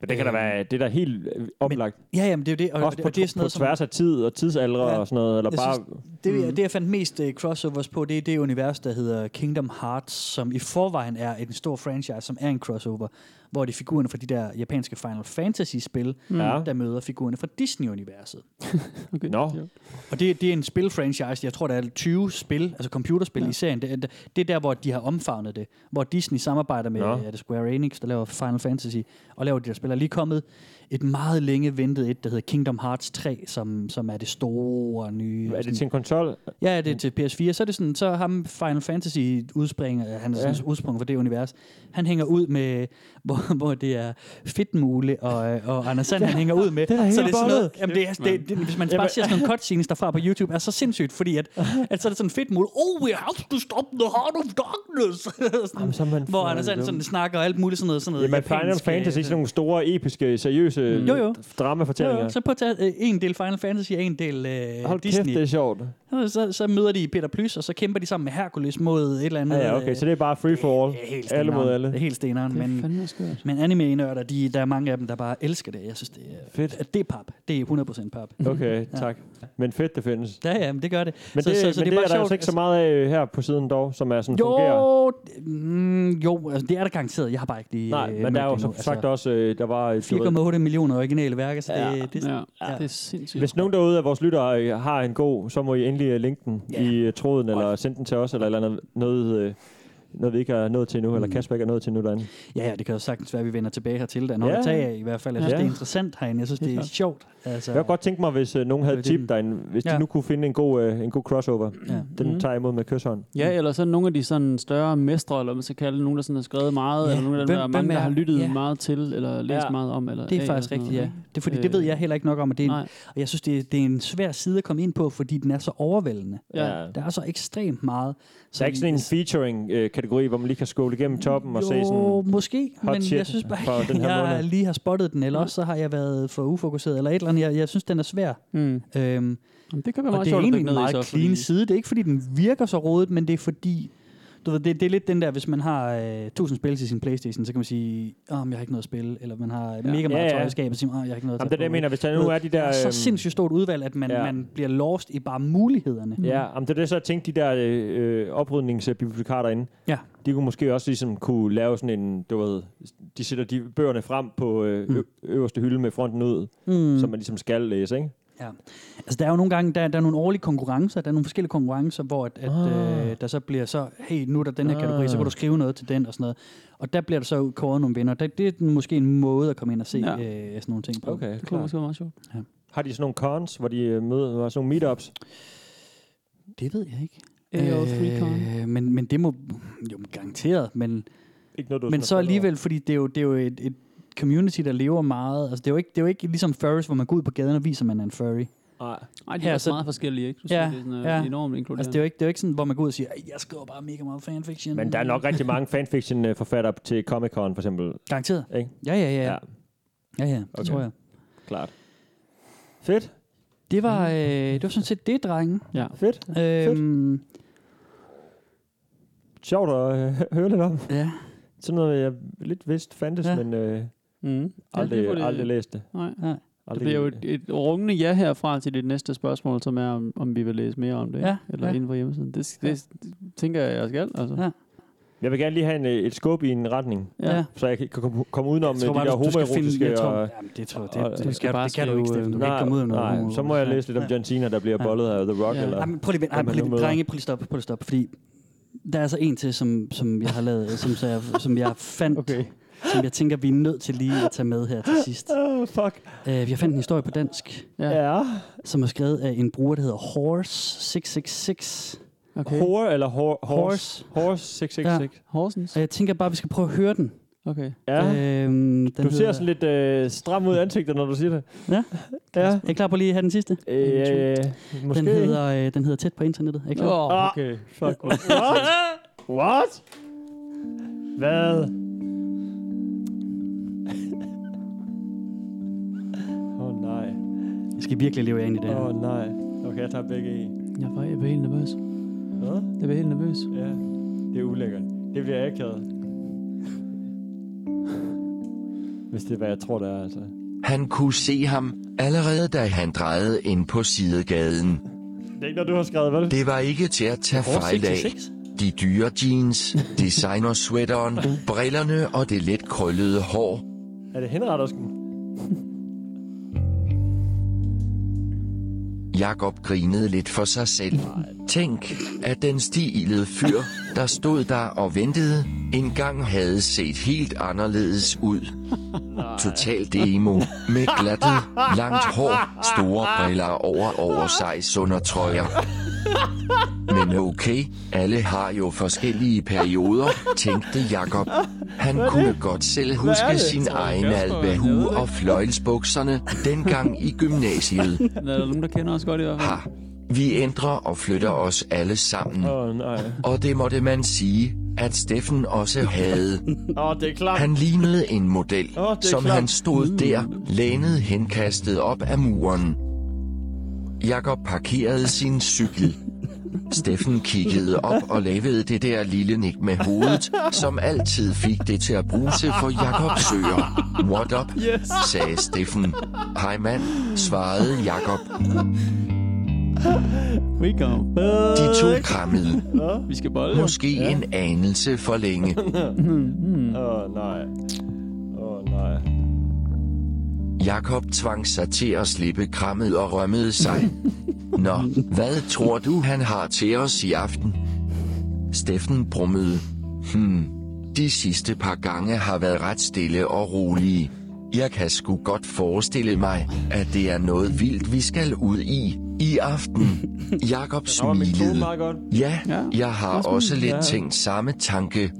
Men det kan da Øhm, være, det er da helt øh, oplagt. Ja, jamen det er jo det. Og, Også på, og det er sådan på noget, som- tværs af tid og tidsalder Ja. og sådan noget. Eller Jeg bare, Det, mm. det, jeg fandt mest uh, crossovers på, det er det univers, der hedder Kingdom Hearts, som i forvejen er en stor franchise, som er en crossover, hvor det er figurerne fra de der japanske Final Fantasy-spil, mm. Ja. der møder figurerne fra Disney-universet. Okay. Nå, Og det, det er en spilfranchise, jeg tror, der er 20 spil, altså computerspil ja. i serien. Det, det- det er der, hvor de har omfavnet det. Hvor Disney samarbejder med Nå. ja. det er Square Enix, der laver Final Fantasy, og laver de der spil. Der er lige kommet et meget længe ventet et, der hedder Kingdom Hearts 3, som, som er det store nye... er sådan- det til en konsol? Ja, ja, det er til PS4. Så er det sådan, så ham Final Fantasy udspringer, han er sådan Ja. ja. udsprung for det univers. Han hænger ud med, *laughs* hvor, hvor det er Fedtmule og, øh, og Anders Sand, han hænger ud med. Det da helt så det er sådan noget, bollet. jamen det, er, det, det, hvis man bare ser sådan nogle cutscenes derfra på YouTube, er så sindssygt, fordi at, at så er det sådan Fedtmule, oh, we have to stop the heart of darkness. *laughs* sådan, så er man hvor for Anders Sand dum. sådan snakker og alt muligt sådan noget. Sådan noget Jamen, Final japansk, øh, Fantasy er sådan nogle store, episke, seriøse Mm. Jo, jo. dramafortællinger. Ja, så på tage, øh, en del Final Fantasy og en del øh, Hold Disney. kæft, det er sjovt. Så, så, så møder de Peter Plys, og så kæmper de sammen med Hercules mod et eller andet. Ja, ja, okay, øh, så det er bare free for all. det er helt steneren. Alle mod alle. Det er helt steneren, Men, men, fandme skørt. men anime-nørder, de, der er mange af dem, der bare elsker det. Jeg synes, det er, Fedt. at det er pap. Det er 100% pap. Okay, tak. Men fedt, det findes. Ja, ja, men det gør det. Men det, men det er, bare der sjovt. altså ikke så meget af her på siden dog, som er sådan jo, fungerer. mm, jo altså, det er der garanteret. Jeg har bare ikke lige... Nej, øh, men mødt der er jo det som endnu. sagt også, øh, der var... øh, du ved- 4,8 millioner originale værker, så det, Ja. ja. det, Ja, det ja. det er sindssygt. Hvis nogen derude af vores lyttere øh, har en god, så må I endelig øh, linke den Ja. i øh, tråden, eller sende den til os, eller, et eller andet, noget, øh, noget, vi ikke har nået til nu, eller Kasper ikke er nået til nu derinde. Mm. ja, ja, det kan jo sagtens være, at vi vender tilbage hertil. Der er noget Ja. at tage af, i hvert fald. Jeg synes, Ja. det er interessant herinde. Jeg synes, det er klart. sjovt. Altså, Jeg kunne godt tænke mig, hvis øh, nogen havde Det er tip det. derinde, hvis de Ja. nu kunne finde en god, øh, en god crossover. ja. Mm-hmm. Den Mm. tager jeg imod med kysshånd. Mm. Ja, eller så nogle af de sådan større mestre, eller hvad man skal kalde det, nogen, der sådan har skrevet meget, Ja, eller nogle af dem, hvem- der, er hvem mange, der er- har lyttet ja. meget til, eller læst Ja. meget om. Eller Det af, er eller faktisk sådan rigtigt, noget, ja. ikke? Det, er fordi, det ved Øh, jeg heller ikke nok om, og det er en, Nej, Og jeg synes, det er, det er en svær side at komme ind på, fordi den er så overvældende. Ja. Der er så ekstremt meget. Så er ikke sådan en featuring-kategori, hvor man lige kan skåle igennem toppen og se Jo, sådan... måske, hot men shit jeg synes for bare, den her jeg måned. lige har spottet den, eller også så har jeg været for ufokuseret, eller et eller andet. Jeg, jeg synes, den er svær. mm. Øhm, Jamen, det kan være og meget det er sjovt at egentlig dykke en ned i meget så, clean fordi- side. Det er ikke, fordi den virker så rodet, men det er fordi... Du ved, det, det er lidt den der, hvis man har øh, 1000 spil til sin Playstation, så kan man sige, om oh, jeg har ikke noget at spille, eller man har ja. mega meget Ja, ja, ja. ja. tøj i skabet, og siger, oh, jeg har ikke noget at Jamen, det er tage det, på." jeg mener. Hvis der nu Ved, er de der... Der er så øhm, sindssygt stort udvalg, at man, ja. ja. man bliver lost i bare mulighederne. Ja, jamen, det er det, så jeg tænkte, de der øh, øh, oprydningsbibliotekarer derinde, Ja. de kunne måske også ligesom kunne lave sådan en, du ved, de sætter de bøgerne frem på øh, Mm. ø- øverste hylde med fronten ud, mm. som man ligesom skal læse, ikke? Ja. Altså, der er jo nogle gange, der, der er nogle årlige konkurrencer, der er nogle forskellige konkurrencer, hvor at, at, Ah. øh, der så bliver så, hey, nu er der den her kategori, så Ah. kan du skrive noget til den og sådan noget. Og der bliver der så kåret nogle vinder. Det, det er måske en måde at komme ind og se Ja. ja. øh, sådan nogle ting på. Det kunne måske være meget sjovt. Har de sådan nogle cons, hvor de øh, møder, hvor sådan nogle meetups? Det ved jeg ikke. AO3Con. Øh, men, men det må jo garanteret, men, Ikke noget, du sådan men har så fundet alligevel, fordi det er jo, det er jo et, et community, der lever meget. Altså, det er jo ikke, det er jo ikke ligesom furries, hvor man går ud på gaden og viser, at man er en furry. over? Nej. Ej, de Ja, er også så- meget forskellige, ikke? Du Ja, siger, det er sådan, øh, ja. enormt inkluderende. Altså, det er jo ikke, det er jo ikke sådan, hvor man går ud og siger, "Ej, jeg skriver bare mega meget fanfiction. Men der er nok rigtig mange fanfiction-forfattere til Comic-Con, for eksempel. *laughs* Garanteret. Ja, Ikke? ja, ja. Ja, ja, ja Okay. det tror jeg. klart. Fedt, Det var, øh, det var sådan set det, drenge. Ja. fedt. Øhm, Sjovt at øh, *laughs* høre lidt om. ja. Sådan noget, jeg lidt vidst fandtes, ja. Ja. men øh, Mm. aldrig, det var det- aldrig læst det. Nej. Det Aldrig bliver jo et, et rungende ja herfra til det næste spørgsmål, som er, om, om vi vil læse mere om det, Ja, eller ja. inden for hjemmesiden. Det, det, Ja. det tænker øh, jeg, jeg skal. Altså. Ja. Jeg vil gerne lige have en, øh, et skub i en retning, Ja. ja. så jeg kan kan komme, komme udenom med de der du skal homoerotiske... jeg tror, og- jamen, det tror jeg, og- det, det, du det, skal skal, bare det kan du skrive, ikke, Steffen. Du kan Nej, ikke komme ud med noget. nej, homo- så må jeg læse lidt om Ja. John Cena, der bliver Ja. bollet af The Rock. Ja. Eller, Ej, men prøv lige, vent. Ej, Hvem prøv man nu lige, møder. drenge, prøv lige stop, prøv lige stop, fordi der er så en til, som, som jeg har lavet, som, så jeg, som jeg fandt, Okay. okay. som jeg tænker, vi er nødt til lige at tage med *gasps* her til sidst. oh, fuck. Uh, vi har fandt en historie på dansk, Ja. Ja. som er skrevet af en bruger, der hedder Horse666. Okay. Whore eller hor, horse? Horse. Horse 666. Horsens? Og jeg tænker bare, at vi skal prøve at høre den. Okay. Ja. ja. Mm, Øhm, den Du ser sådan lidt øh, stram ud i ansigtet, når du siger det. Ja. Ja. Er I klar på lige at have den sidste? Øh, måske. Den hedder, øh, den hedder Tæt på internettet. Er I klar? Oh, Ah. okay. *laughs* *laughs* Fuck. What? What? *laughs* Hvad? Åh oh, nej. Jeg skal virkelig leve jer ind i det Åh her. oh, nej. Okay, jeg tager begge i. Jeg var, jeg var helt nervøs. Hvad? Jeg var helt nervøs. Ja, det er ulækkert. Det bliver akavet. Hvis det er, hvad jeg tror, det er, altså. Han kunne se ham, allerede da han drejede ind på sidegaden. Det er ikke noget, du har skrevet, vel? Det var ikke til at tage fejl af. De dyre jeans, designer-sweateren, brillerne og det let krøllede hår. Er det *laughs* Mm. henrettersken? Jakob grinede lidt for sig selv. Tænk, at den stilede fyr, der stod der og ventede, engang havde set helt anderledes ud. Totalt emo, med glattet, langt hår, store briller over over sig sundertrøjer. Men okay, alle har jo forskellige perioder, tænkte Jakob. Han kunne godt selv huske sin egen albahue og fløjlsbukserne, dengang i gymnasiet. Der *laughs* er der nogen, der kender os godt i hvert fald. Ha. Vi ændrer og flytter os alle sammen. Åh, oh, nej. Og det måtte man sige, at Steffen også havde. *laughs* Åh, oh, det er klart. Han lignede en model, Åh, det er som klart. han stod der, lænet henkastet op af muren. Jakob parkerede sin cykel. Steffen kiggede op og lavede det der lille nik med hovedet, som altid fik det til at bruse for Jakobs søger. What up, yes. sagde Steffen. Hej mand, svarede Jakob. We go. De to krammede, Vi skal bolle. måske en anelse for længe. Åh, oh, nej. Åh, oh, nej. Jakob tvang sig til at slippe krammet og rømmede *laughs* sig. Nå, hvad tror du, han har til os i aften? Steffen brummede. Hmm, de sidste par gange har været ret stille og rolige. Jeg kan sgu godt forestille mig, at det er noget vildt, vi skal ud i i *laughs* aften. Jakob Der var min kone smilede. meget godt. Ja, Ja. jeg har også lidt tænkt samme tanke.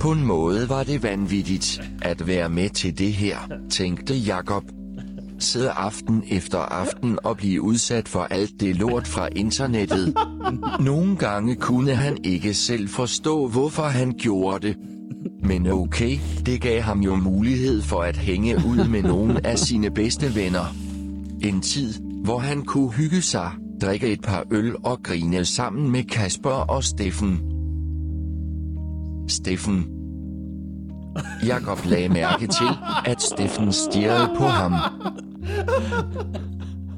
På en måde var det vanvittigt at være med til det her, tænkte Jakob. Sidde aften efter aften og blive udsat for alt det lort fra internettet. Nogle gange kunne han ikke selv forstå, hvorfor han gjorde det. Men okay, det gav ham jo mulighed for at hænge ud med nogle af sine bedste venner. En tid, hvor han kunne hygge sig, drikke et par øl og grine sammen med Kasper og Steffen. Steffen. Jakob lagde mærke til, at Steffen stirrede på ham.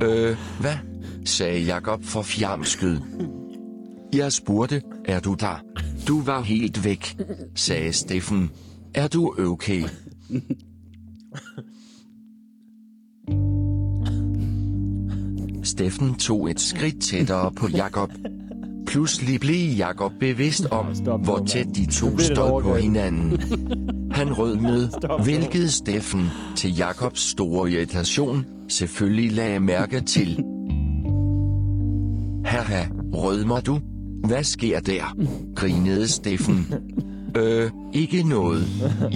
Øh, hvad? sagde Jakob for fjamsket. Jeg spurgte, er du der? Du var helt væk, sagde Steffen. Er du okay? Steffen tog et skridt tættere på Jakob. Pludselig blev Jakob bevidst om, stop nu, hvor mand. tæt de Nu to bliver det et stod på overgreb. hinanden. Han rødmede, nu. hvilket Steffen, til Jakobs store irritation, selvfølgelig lagde mærke til. Haha, rødmer du? Hvad sker der? grinede Steffen. Øh, ikke noget.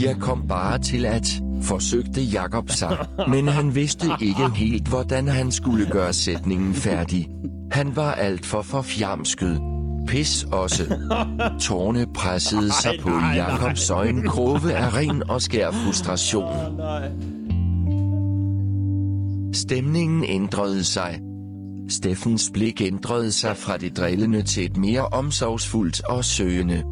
Jeg kom bare til at, forsøgte Jakob sig, men han vidste ikke helt, hvordan han skulle gøre sætningen færdig. Han var alt for forfjamsket. Pis også. Tårne pressede sig på Jakobs øjenkrove af ren og skær frustration. Stemningen ændrede sig. Steffens blik ændrede sig fra det drillende til et mere omsorgsfuldt og søgende.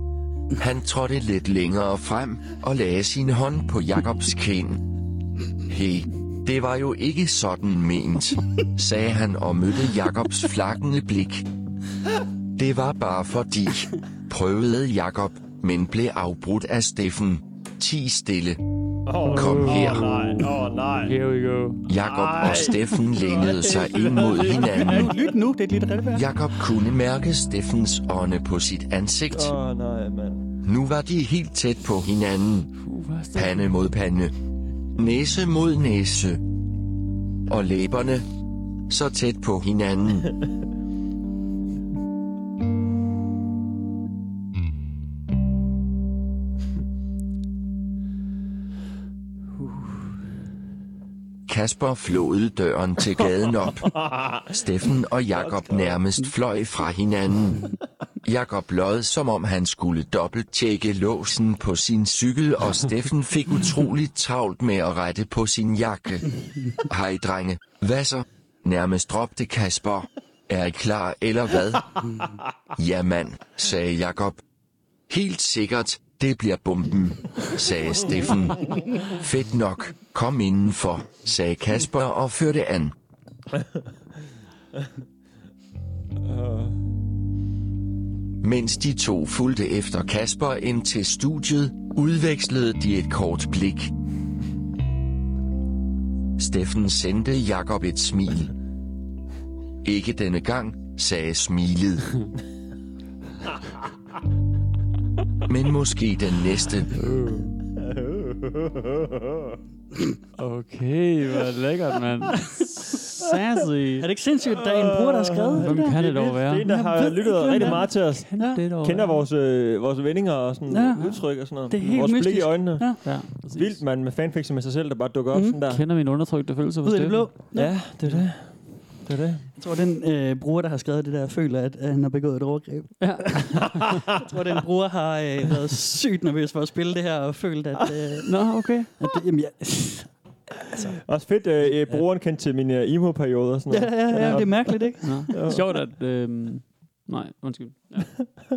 Han trådte lidt længere frem og lagde sin hånd på Jakobs kind. Hey, det var jo ikke sådan ment, sagde han og mødte Jakobs flakkende blik. Det var bare fordi, prøvede Jakob, men blev afbrudt af Steffen. Ti stille. Åh, Kom her. Åh, nej. Åh, nej. Here we go. Jakob og *laughs* Steffen lænede sig ind mod hinanden. Lyt nu, det er et lille revær. Jakob kunne mærke Steffens ånde på sit ansigt. Åh, oh, nej, mand. Nu var de helt tæt på hinanden. Pande mod pande. Næse mod næse. Og læberne så tæt på hinanden. Kasper flåede døren til gaden op. Steffen og Jakob nærmest fløj fra hinanden. Jakob lod, som om han skulle dobbelt tjekke låsen på sin cykel, og Steffen fik utroligt travlt med at rette på sin jakke. Hej drenge, hvad så? Nærmest råbte Kasper. Er I klar eller hvad? Ja mand, sagde Jakob. Helt sikkert, Det bliver bomben, sagde Steffen. Fedt nok, kom indenfor, sagde Kasper og førte an. Mens de to fulgte efter Kasper ind til studiet, udvekslede de et kort blik. Steffen sendte Jakob et smil. Ikke denne gang, sagde smilet. Men måske den næste. *laughs* Okay, hvor lækkert, mand. Sassy. Er det ikke sindssygt, at der er en bror, der har skrevet Hvem der? kan det dog være? Det er en, der har ved lyttet ikke, hvem rigtig det er. meget til os. Det er dog Kender vores, øh, vores vendinger og sådan Ja. ja. udtryk og sådan noget. Det er helt vores blik i mystisk. øjnene. Ja. Ja. Ja, Vildt, mand, med fanfiction med sig selv, der bare dukker Mhm. op mm. sådan der. Kender min undertrykte følelse for Ud af det Steffen. blå. Ja, det er det. Det er det. Jeg tror, den øh, bruger, der har skrevet det der, føler, at, at han har begået et overgreb. Ja. jeg tror, den bruger har øh, været sygt nervøs for at spille det her, og følt, at... *laughs* Øh, Nå, okay. at det, jamen, ja, Også fedt, øh, øh, brugeren kendte til mine øh, emo-perioder og sådan ja, noget. ja, ja, det er mærkeligt, ikke? Nå. Sjovt, at... Øhm, nej, undskyld. Ja. *laughs*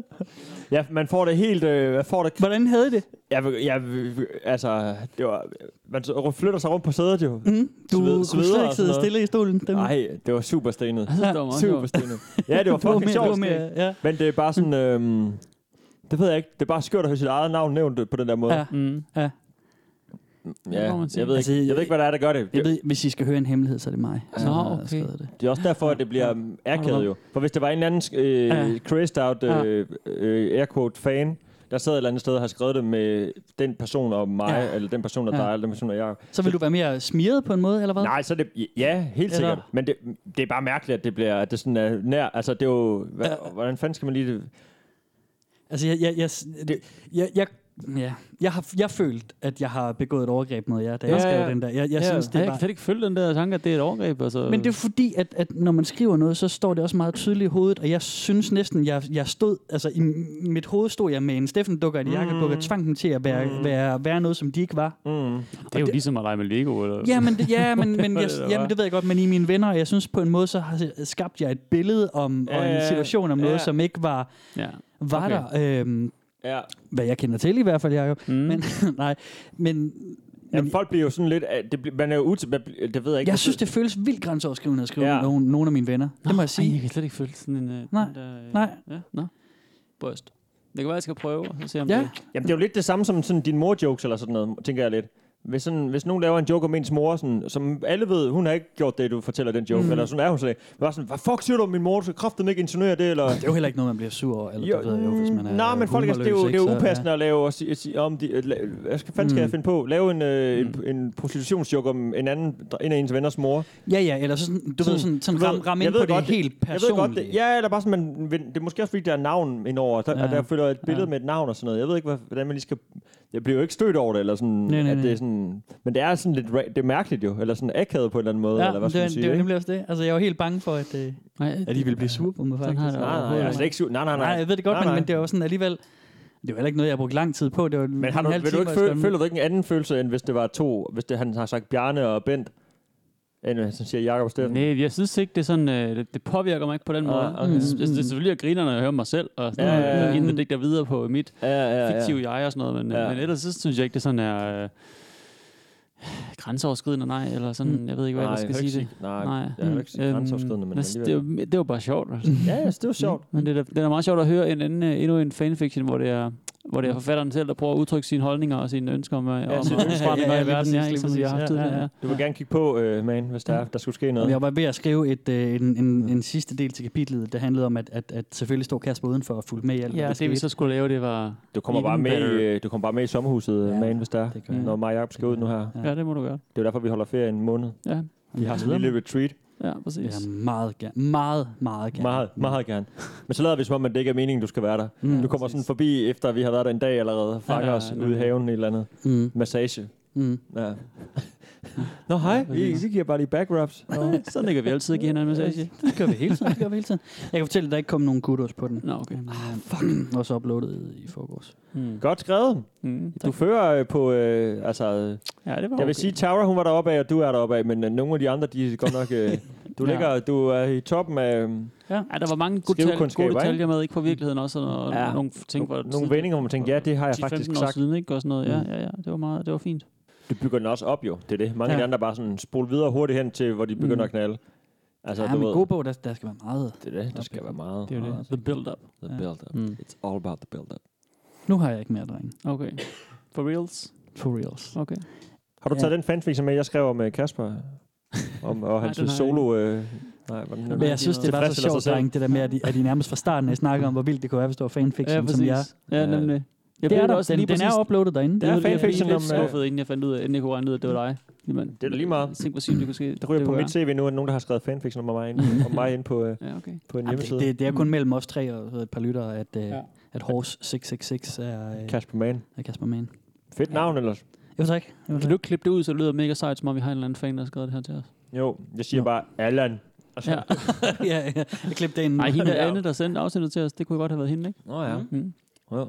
Ja, man får det helt... Øh, man får det... Hvordan havde I det? Jeg, vil- jeg, vil- altså, det var... Man så- flytter sig rundt på sædet jo. Mm? Du Sved- kunne sveder slet og sådan ikke sidde noget. stille i stolen. Dem. Nej, det var super stenet. Jeg synes, det var meget Super sjovt. stenet. *laughs* Ja, det var du var fucking mere, du sjovt. var mere, stenet. ja. Men det er bare sådan... Øh, det ved jeg ikke. Det er bare skørt at høre sit eget navn nævnt på den der måde. Ja. Mm. Ja. Ja, Det må man sige. jeg, ved Altså, ikke, jeg ved ikke, hvad der er, der gør det. Jeg Det, ved, hvis I skal høre en hemmelighed, så er det mig. Nå, som har okay. skrevet det. det er også derfor, at det bliver um, akavet jo. For hvis det var en eller anden øh, Ja. crazed out øh, øh, air quote fan, der sad et eller andet sted og har skrevet det med den person og mig, Ja. ja. eller den person og Ja. dig, eller den person og jeg. Så vil du være mere smiret på en måde, eller hvad? Nej, så er det... Ja, helt Eller- sikkert. Men det, det er bare mærkeligt, at det bliver at det sådan er nær... Altså, det er jo... Hvad, Ja. Hvordan fanden skal man lige... Det? Altså, jeg, jeg, jeg, det, jeg, jeg, ja. jeg, har, jeg følt, at jeg har begået et overgreb mod jer, da jeg Ja, skrev ja. den der. Jeg, jeg ja, synes, det jeg er kan bare... slet ikke følge den der tanke, at det er et overgreb. Altså. Men det er fordi, at, at når man skriver noget, så står det også meget tydeligt i hovedet, og jeg synes næsten, jeg, jeg stod, altså i m- mit hoved stod jeg med en Steffen Dukker, en Jakob Dukker, tvang dem til at være, være, være noget, som de ikke var. Mm. det er jo ligesom at lege med Lego. Eller? Ja, men, det, *laughs* ja, men, *laughs* men jeg, det, der ja, men var. det ved jeg godt, men i mine venner, jeg synes på en måde, så har skabt jeg et billede om, og en Ja, situation om noget, ja. som ikke var, Ja. var Okay. der. Øhm, Ja. hvad jeg kender til i hvert fald, Jacob. Mm. *laughs* Men, nej, men Jamen, folk bliver jo sådan lidt... øh, Det, bl- man er jo ut... man bl- Det ved jeg ikke. jeg synes, det føles vildt grænseoverskridende at skrive ja. Ja. nogen, nogen af mine venner. Det må jeg Ej, jeg sige. kan slet ikke følge sådan en... øh, Nej, den Der, øh, nej. Ja, nå. Bryst. Det kan være, jeg skal prøve, og så se om Ja. det... Jamen, det er jo lidt det samme som sådan din mor-jokes eller sådan noget, tænker jeg lidt. Hvis, sådan, hvis nogen laver en joke om ens mor, sådan, som alle ved, hun har ikke gjort det, du fortæller den joke, mm. eller sådan er hun slet ikke. Bare sådan, hvad fuck siger du om min mor? Du skal kraften ikke insinuere det, eller... Det er jo heller ikke noget, man bliver sur over. Eller, det ved jeg jo, hvis man er Nej, men folk, er- det er jo, det er jo upassende ja. at lave og sige, sige om de, at la- hvad skal, fanden skal Mm. jeg finde på? Lave en, øh, en, en prostitutionsjoke om en anden, en af ens venners mor. Ja, ja, eller sådan, du ved, sådan, sådan du ram, ram jeg ind på ved det godt, helt jeg ved godt, personligt. det, ja, eller bare sådan, man, vil- det er måske også fordi, der er navn indover, der, Ja. ja. og der følger et billede Ja. ja. med et navn og sådan noget. Jeg ved ikke, hvad, hvordan man lige skal... Jeg bliver jo ikke stødt over det, eller sådan, Nej, nej, at det nej. er sådan... Men det er sådan lidt... ra- Det er mærkeligt jo, eller sådan akavet på en eller anden måde, Ja, eller hvad det, skal det, man det er sige, jo ikke? nemlig også det. Altså, jeg var helt bange for, at, øh, Nej, at I ville blive sur på mig, Sådan faktisk. har jeg det Nej, nej, jeg er slet ikke syv. Nej, nej, Nej, nej. jeg ved det godt, nej, men, nej. men det var sådan alligevel... Det var heller ikke noget, jeg brugte lang tid på. Det var Men har du, vil du ikke føle, føler du ikke en anden følelse, end hvis det var to... Hvis det, han har sagt Bjarne og Bent, end hvis han siger Jakob og Steffen? Nej, jeg synes ikke, det, er sådan, øh, det, det påvirker mig ikke på den Ah, måde. okay. Jeg synes, det er selvfølgelig, at griner, når jeg hører mig selv, og sådan, Ja, ja, ja, ja, ja. inden det ikke der videre på mit Ja, ja, ja. fiktive jeg og sådan noget, men, ja. Ja. men ellers så synes jeg ikke, det sådan er øh, grænseoverskridende, nej, eller sådan, jeg ved ikke, hvad Mm. Nej, jeg ellers jeg kan skal ikke sige det. sige- nej, jeg kan ikke sige grænseoverskridende, men altså, det, alligevel. var- det var bare sjovt. Altså. Ja, ja, det var sjovt. Men det er, da- det er da meget sjovt at høre en anden, øh, endnu en fanfiction, hvor det er hvor det er forfatteren selv, der prøver at udtrykke sine holdninger og sine ønsker om, øh, om Mm. sine fremgang Ja, ja, i lige verden, ja, præcis, ikke, lige som jeg har haft præcis. Ja, tidligere. Mm. ja, Ja, Du vil gerne kigge på, øh, man, hvis der, er, der skulle ske noget. Jeg var ved at skrive et, øh, en, en, en sidste del til kapitlet, der handlede om, at, at, at selvfølgelig stod Kasper udenfor og fulgte med i alt, hvad ja. der ja. det vi skete. så skulle lave, det var... Du kommer, Even bare med, i, better. øh, du kommer bare med i sommerhuset, Ja, ja, man, hvis der er, det gør jeg. når mig og Jacob skal ud nu her. Det Ja, det må du gøre. er jo derfor, vi holder ferie en måned. Ja, Vi har sådan en lille retreat. ja præcis. Ja, meget gerne. Meget, meget gerne. Meget, meget gerne. Men så lader vi som om, at det ikke er meningen, du skal være der. Mm. Du kommer sådan forbi, efter vi har været der en dag allerede, og fanger Ja, os ja, ude i ja. haven i et eller andet. Mm. Massage. Mm. Ja. Nå, hej. Vi, vi giver bare lige back *laughs* rubs. Nå, så ligger vi altid og giver hinanden en massage. Det gør vi hele tiden. Det gør vi hele tiden. Jeg kan fortælle, at der ikke kom nogen kudos på den. Nå, okay. Ah, fuck. *clears throat* Også uploadet i forgårs. Mm. Godt skrevet. Mm. Du fører øh, på, øh, altså, øh, Ja, det var jeg vil okay. sige, Tara, hun var deroppe af, og du er deroppe af, men øh, nogle af de andre, de er godt nok, øh, Du ja. ligger du er i toppen af øhm, Ja. ja, der var mange gode, tal, Skrivekundskaber, gode ikke? detaljer med, ikke fra virkeligheden også, og Ja. ja. nogle ting, hvor nogle vendinger, hvor man tænker, ja, det har jeg faktisk 10-15 år sagt. Mm. siden, ikke? Og sådan noget. Ja, ja, ja, det var, meget, det var fint. Du bygger den også op jo, det er det. Mange Ja. ja. af de andre er bare sådan spole videre hurtigt hen til, hvor de begynder mm. at knalde. Altså, Ja, du men ved, god bog, der, der skal være meget. det er det, der skal være meget. Altså, Det er jo det. The build-up. The build up. Mm. It's all about the build up. Nu har jeg ikke mere, drenge. Okay. For reals? For reals. Okay. Har du Ja. taget den fanfiction med, jeg skrev om øh, Kasper? Om, og hans den har jeg solo... Øh, nej, hvordan Men jeg synes, det var så Tilfredsstiller sig sjovt, selv. drenge, det der med, at I, at I nærmest fra starten af snakker om, hvor vildt det kunne være, hvis det var fanfiction, som jeg. Ja, Ja. nemlig. Jeg Det blev er der. også Også den, lige den præcis- er uploadet derinde. Det er Jeg blev fanfiction lidt om, øh, skuffet, inden jeg fandt ud af, inden jeg kunne regne ud, at det var dig. Jamen, Det er da lige meget. Tænk, hvor sygt det kunne ske. Det ryger Det på var- mit CV nu, at nogen, der har skrevet fanfiction om mig inde, om mig inde på, øh, Ja, okay. på en Jamen, det, hjemmeside. Mm. det, det er kun mellem os tre og et par lyttere, at, øh, Mm. Ja. at Horse 666 er, øh, Kasper Mann. er Kasper Mann. *laughs* Fedt navn ellers. Jo tak. Jo, Kan tak. du ikke klippe det ud, så det lyder mega sejt, som om vi har en eller anden fan, der har skrevet det her til os? Jo, jeg siger Nå. bare Allan. Og *laughs* så- Ja. ja, ja. Jeg klippede det ind. Nej, *laughs* hende Anne, der sendte afsnittet til os, det kunne godt have været hende, ikke? Nå ja. Mm. Jo.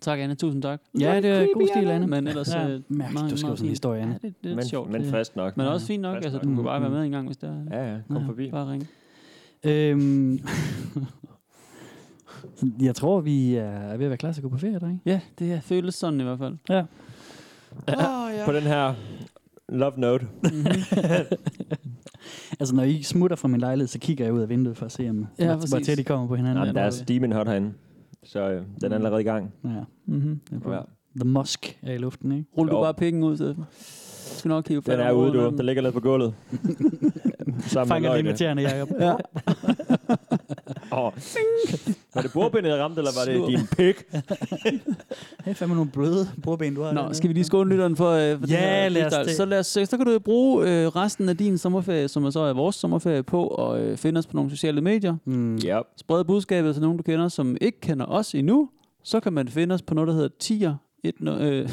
Tak, Anne. Tusind tak. Ja, det er Creepy, god stil, Anne. Men ellers... Ja, øh, mærkeligt, meget, du meget skriver sådan en fint. historie, Anne. Ja, det, det er Men, sjovt. men det- frisk nok. Men også fint nok. Frisk Altså, nok. du kan bare være Mm. med en gang, hvis det er. Ja, ja. Kom Ja. forbi. Bare ring. Øhm, jeg tror, vi er ved at være klar til at gå på ferie, drenge. Ja, *laughs* det føles sådan i hvert fald. Ja. På den *laughs* her love note. Altså, når I smutter fra min lejlighed, så kigger jeg ud af vinduet for at se, om, *laughs* Ja, ja, hvor, hvor præcis. tæt I kommer på hinanden. Mm. Jamen, der er det. Demon Hot herinde. Så øh, den er allerede i gang. Ja. Mm-hmm. Det er cool. Ja. The Musk er i luften, ikke? Rul du Jo. bare pikken ud, Steffen. Du skal nok hive fat Den er om ude, roden af du. den. Den ligger lidt på gulvet. Sammen Fanger lige med løgene. tæerne, Jacob. *laughs* ja. *laughs* *laughs* Åh. Var det bordbindet, jeg ramte, eller var Slå. det din *laughs* pik? *laughs* Hey, fandme nogle bløde bordben, du har. Nå, dernede. skal vi lige skåne lytteren for, øh, for Ja, det her lad os freestyle? det. så, lad os, så kan du jo bruge øh, resten af din sommerferie, som er så er vores sommerferie, på og øh, finde os på nogle sociale medier. Mm. Ja. Spred budskabet til nogen, du kender, som ikke kender os endnu. Så kan man finde os på noget, der hedder tier 10 øh, *laughs* E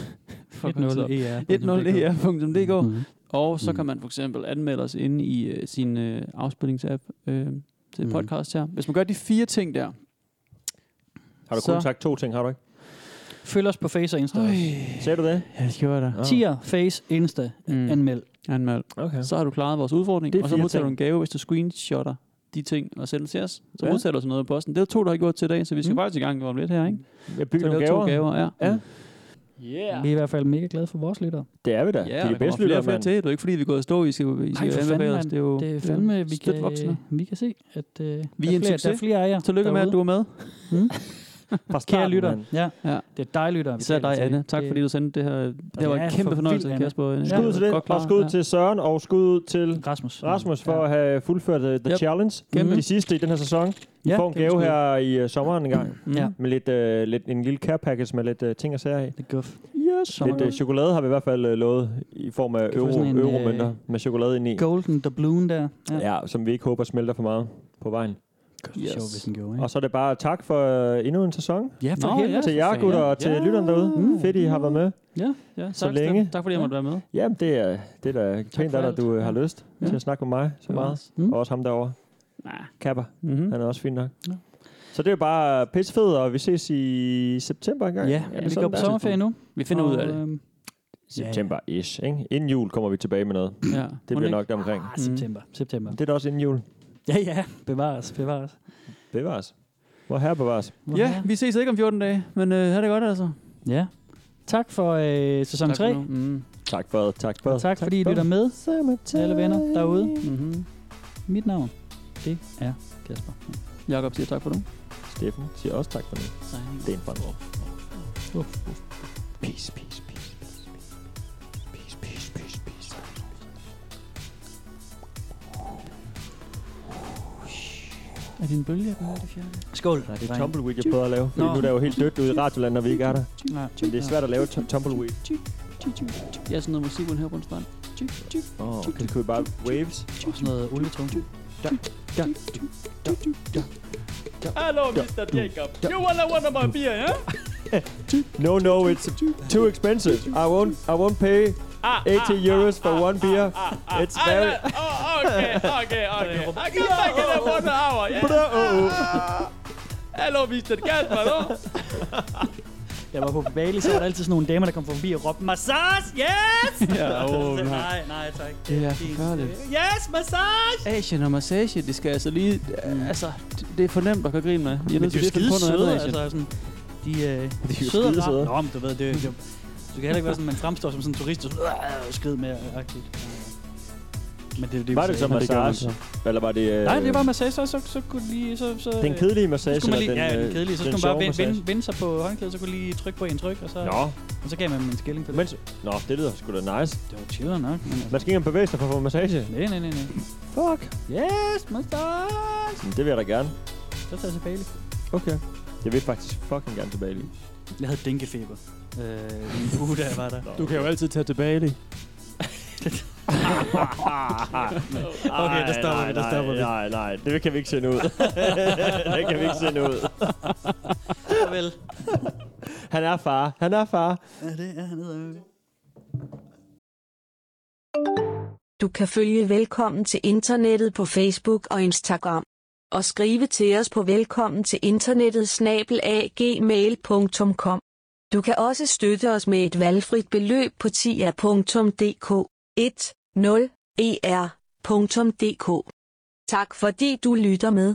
fuck, hvad hedder det? 10er.dk Mhm. Og så Mm. kan man for eksempel anmelde os inde i øh, sin øh, afspillingsapp øh, til Mm. podcast her. Hvis man gør de fire ting der, Har du Så- kun sagt to ting, har du ikke? Følg os på Face og Insta. også. Sagde du det? ja, det gjorde jeg da. Tier, Face, Insta, Mm. anmeld. Anmeld. Okay. Så har du klaret vores udfordring, Det er og så fire modtager du ting. en gave, hvis du screenshotter de ting og sender til os. Så Ja. modtager du sådan noget på posten. Det er to, der har gjort til i dag, så vi skal Mm. faktisk i gang om lidt her, ikke? Jeg Så bygger nogle lave gaver. to gaver, ja. Ja. Yeah. Vi er i hvert fald mega glade for vores lyttere. Det er vi da. Ja, det er de der kommer bedste flere lytter, og flere mand. til. Det er jo ikke fordi, vi er gået og stå, I skal, I skal for fanden, anbefale os. mand. Det er jo Det er jo fandme, vi Mm. støt kan, voksne. vi kan se, at uh, vi der, er en flere, der er succes. flere af jer. Mm. Tillykke med, at du er med. *laughs* Fra Kære starten, lytter. mand. Ja. Ja. Det er dig, lytter. vi Især taler dig, til. Anne. Tak Det- fordi du sendte det her. Det Ja, var en for kæmpe fornøjelse, vildt, Anne. Kasper. Ja. Skud ud til det. Godt Og klar. skud ud Ja. til Søren, og skud ud til Rasmus. Rasmus for Ja. at have fuldført øh, The Yep. Challenge. Kæmpe. De sidste i den her sæson. I får en det er gave sgu- her i øh, sommeren en gang. Mm. Ja. Med lidt, øh, lidt, en lille care package med lidt øh, ting og sager i. Det er guf. Yes. Lidt øh, Sommergave. chokolade har vi i hvert fald øh, lovet i form af Kan få euro, sådan en, øh, euromønter med chokolade ind i. Golden Doubloon der. Ja. Ja, som vi ikke håber smelter for meget på vejen. Yes. Sjov, hvis den gjorde, ikke? Og så er det bare tak for øh, endnu en sæson. Ja, for Nå, helvede. ja. Til jer for gutter fanden. og til Ja. lytterne derude. Mm. Fedt, I har været med. Ja, tak, Så Steffen. længe. Tak fordi jeg måtte være med. Jamen, det er, det er da pænt, for af dig, at alt. du øh, har Ja. lyst Ja. til at snakke med mig så meget. Mm. Og også ham derovre. Nej. Kapper. Mhm. Han er også fin nok. Ja. Så det er bare pissefed, og vi ses i september engang. Ja, Eller vi sådan går på der. sommerferie nu. Vi finder ud af det. øhm, September-ish, ikke? Inden jul kommer vi tilbage med noget. Ja. Det bliver nok deromkring. Ah, september. Mm. September. Det er da også inden jul. Ja, ja. Bevares, bevares. Bevares. Hvor herre bevares. Mm. Hvor Ja, er- vi ses ikke om 14 dage, men øh, ha' det godt altså. Ja. Tak for øh, sæson 3. Tak for nu. Mm. Tak for det. Tak for Og det. tak fordi I lytter med. Til alle venner derude. Mm-hmm. Mit navn, det er Kasper. Jakob siger tak for nu. Steffen siger også tak for det. Signing Det er en fond. Peace, peace, peace, peace, peace, peace, peace, peace, peace. Er din bølge på det fjerde? Skål. Nej, det er tumbleweed, jeg prøver at lave. Fordi Nå. nu er der jo helt dødt ude i radioland, når vi ikke er der. Nej. Men det er svært at lave tu- tumbleweed. Ja, sådan noget musik uden her på en strand. Åh, oh, okay. Det kunne vi bare waves. Og sådan noget olietung. Hallo, Mr. Jacob. You wanna one of my beer, ja? No, no, it's too expensive. I won't, I won't pay 80 euros for one beer. It's very... Oh, okay, okay, okay. *laughs* I come back in a one hour, yeah? Ah. Bro. Hallo, Mr. Kasper, no? Ja, jeg var på Bali, så var der altid sådan nogle damer, der kom forbi og råbte, massage, yes! *laughs* Ja, åh, Så- nej. nej, nej, tak. Det er fint. forfærdeligt. Yes, massage! Asien og massage, det skal altså lige... Altså, det- det er for nemt at gøre grin med. Jeg er Mm. Men nødt de til er lige jo at finde på skide noget andet, søde, Asien. altså sådan, de, øh, jo skide søde og rare. søde. Nå, men du ved, det, det, du kan heller ikke være sådan, man fremstår som sådan en turist, og sådan, "Øh, skrid med, agtigt. Men det, det, Var det så Ja, det gør man massage? Eller var det... Øh, Nej, det var massage, så, så, så kunne de lige... Så, så, Den kedelige massage, så skulle man eller lige, den, ja, den øh, kedelige. Så den skulle man bare sjove massage? vende, vende, vende, sig på håndklædet, så kunne lige trykke på en tryk, og så, Nå, og så gav man dem en skilling på det. mens, nå, det lyder sgu da nice. Det var chiller nok, men altså, Man skal ikke engang bevæge sig for at få massage. nej, nej, nej, nej. Fuck. Yes, massage! Men Det vil jeg da gerne. Så altså tager jeg til Bali. Okay. Jeg vil faktisk fucking gerne tilbage lige. Jeg havde dænkefeber. Øh, i en uge, da jeg var der. Du kan jo altid tage tilbage *laughs* *laughs* lige. *laughs* Okay, der stopper vi, der stopper vi. Nej, nej, det kan vi ikke *laughs* sende ud. det kan vi ikke sende ud. Vel. Han er far. Han er far. Ja, det er han hedder. Du kan følge Velkommen til Internettet på Facebook og Instagram. Og skrive til os på velkommen til internettet snabelagmail.com. Du kan også støtte os med et valgfrit beløb på tia.dk E 10er.dk. Tak fordi du lytter med.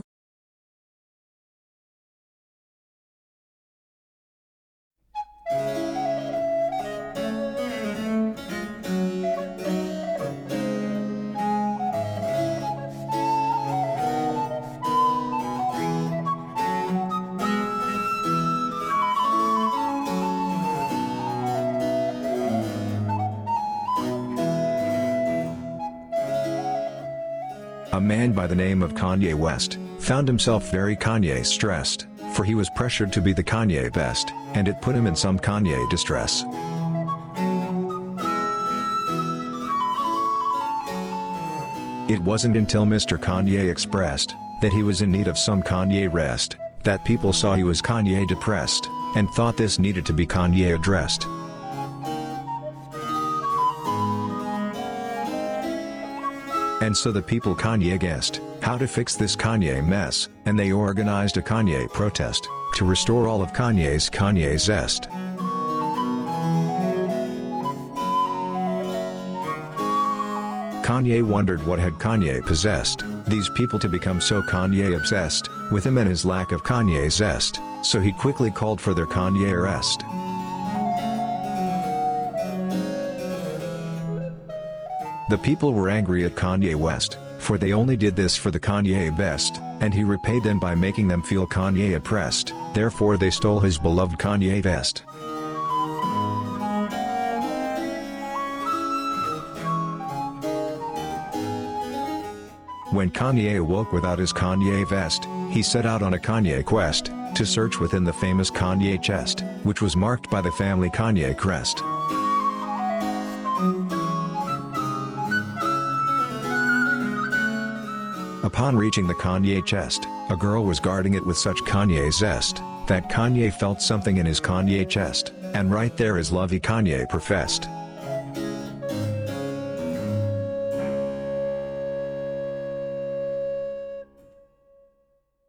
A man by the name of Kanye West found himself very Kanye stressed, for he was pressured to be the Kanye best, and it put him in some Kanye distress. It wasn't until Mr. Kanye expressed that he was in need of some Kanye rest that people saw he was Kanye depressed and thought this needed to be Kanye addressed. And so the people Kanye guessed how to fix this Kanye mess, and they organized a Kanye protest to restore all of Kanye's Kanye zest. Kanye wondered what had Kanye possessed these people to become so Kanye obsessed with him and his lack of Kanye zest, so he quickly called for their Kanye arrest. The people were angry at Kanye West, for they only did this for the Kanye best, and he repaid them by making them feel Kanye oppressed, therefore they stole his beloved Kanye vest. When Kanye awoke without his Kanye vest, he set out on a Kanye quest, to search within the famous Kanye chest, which was marked by the family Kanye crest. Upon reaching the Kanye chest, a girl was guarding it with such Kanye zest that Kanye felt something in his Kanye chest, and right there is lovey Kanye professed.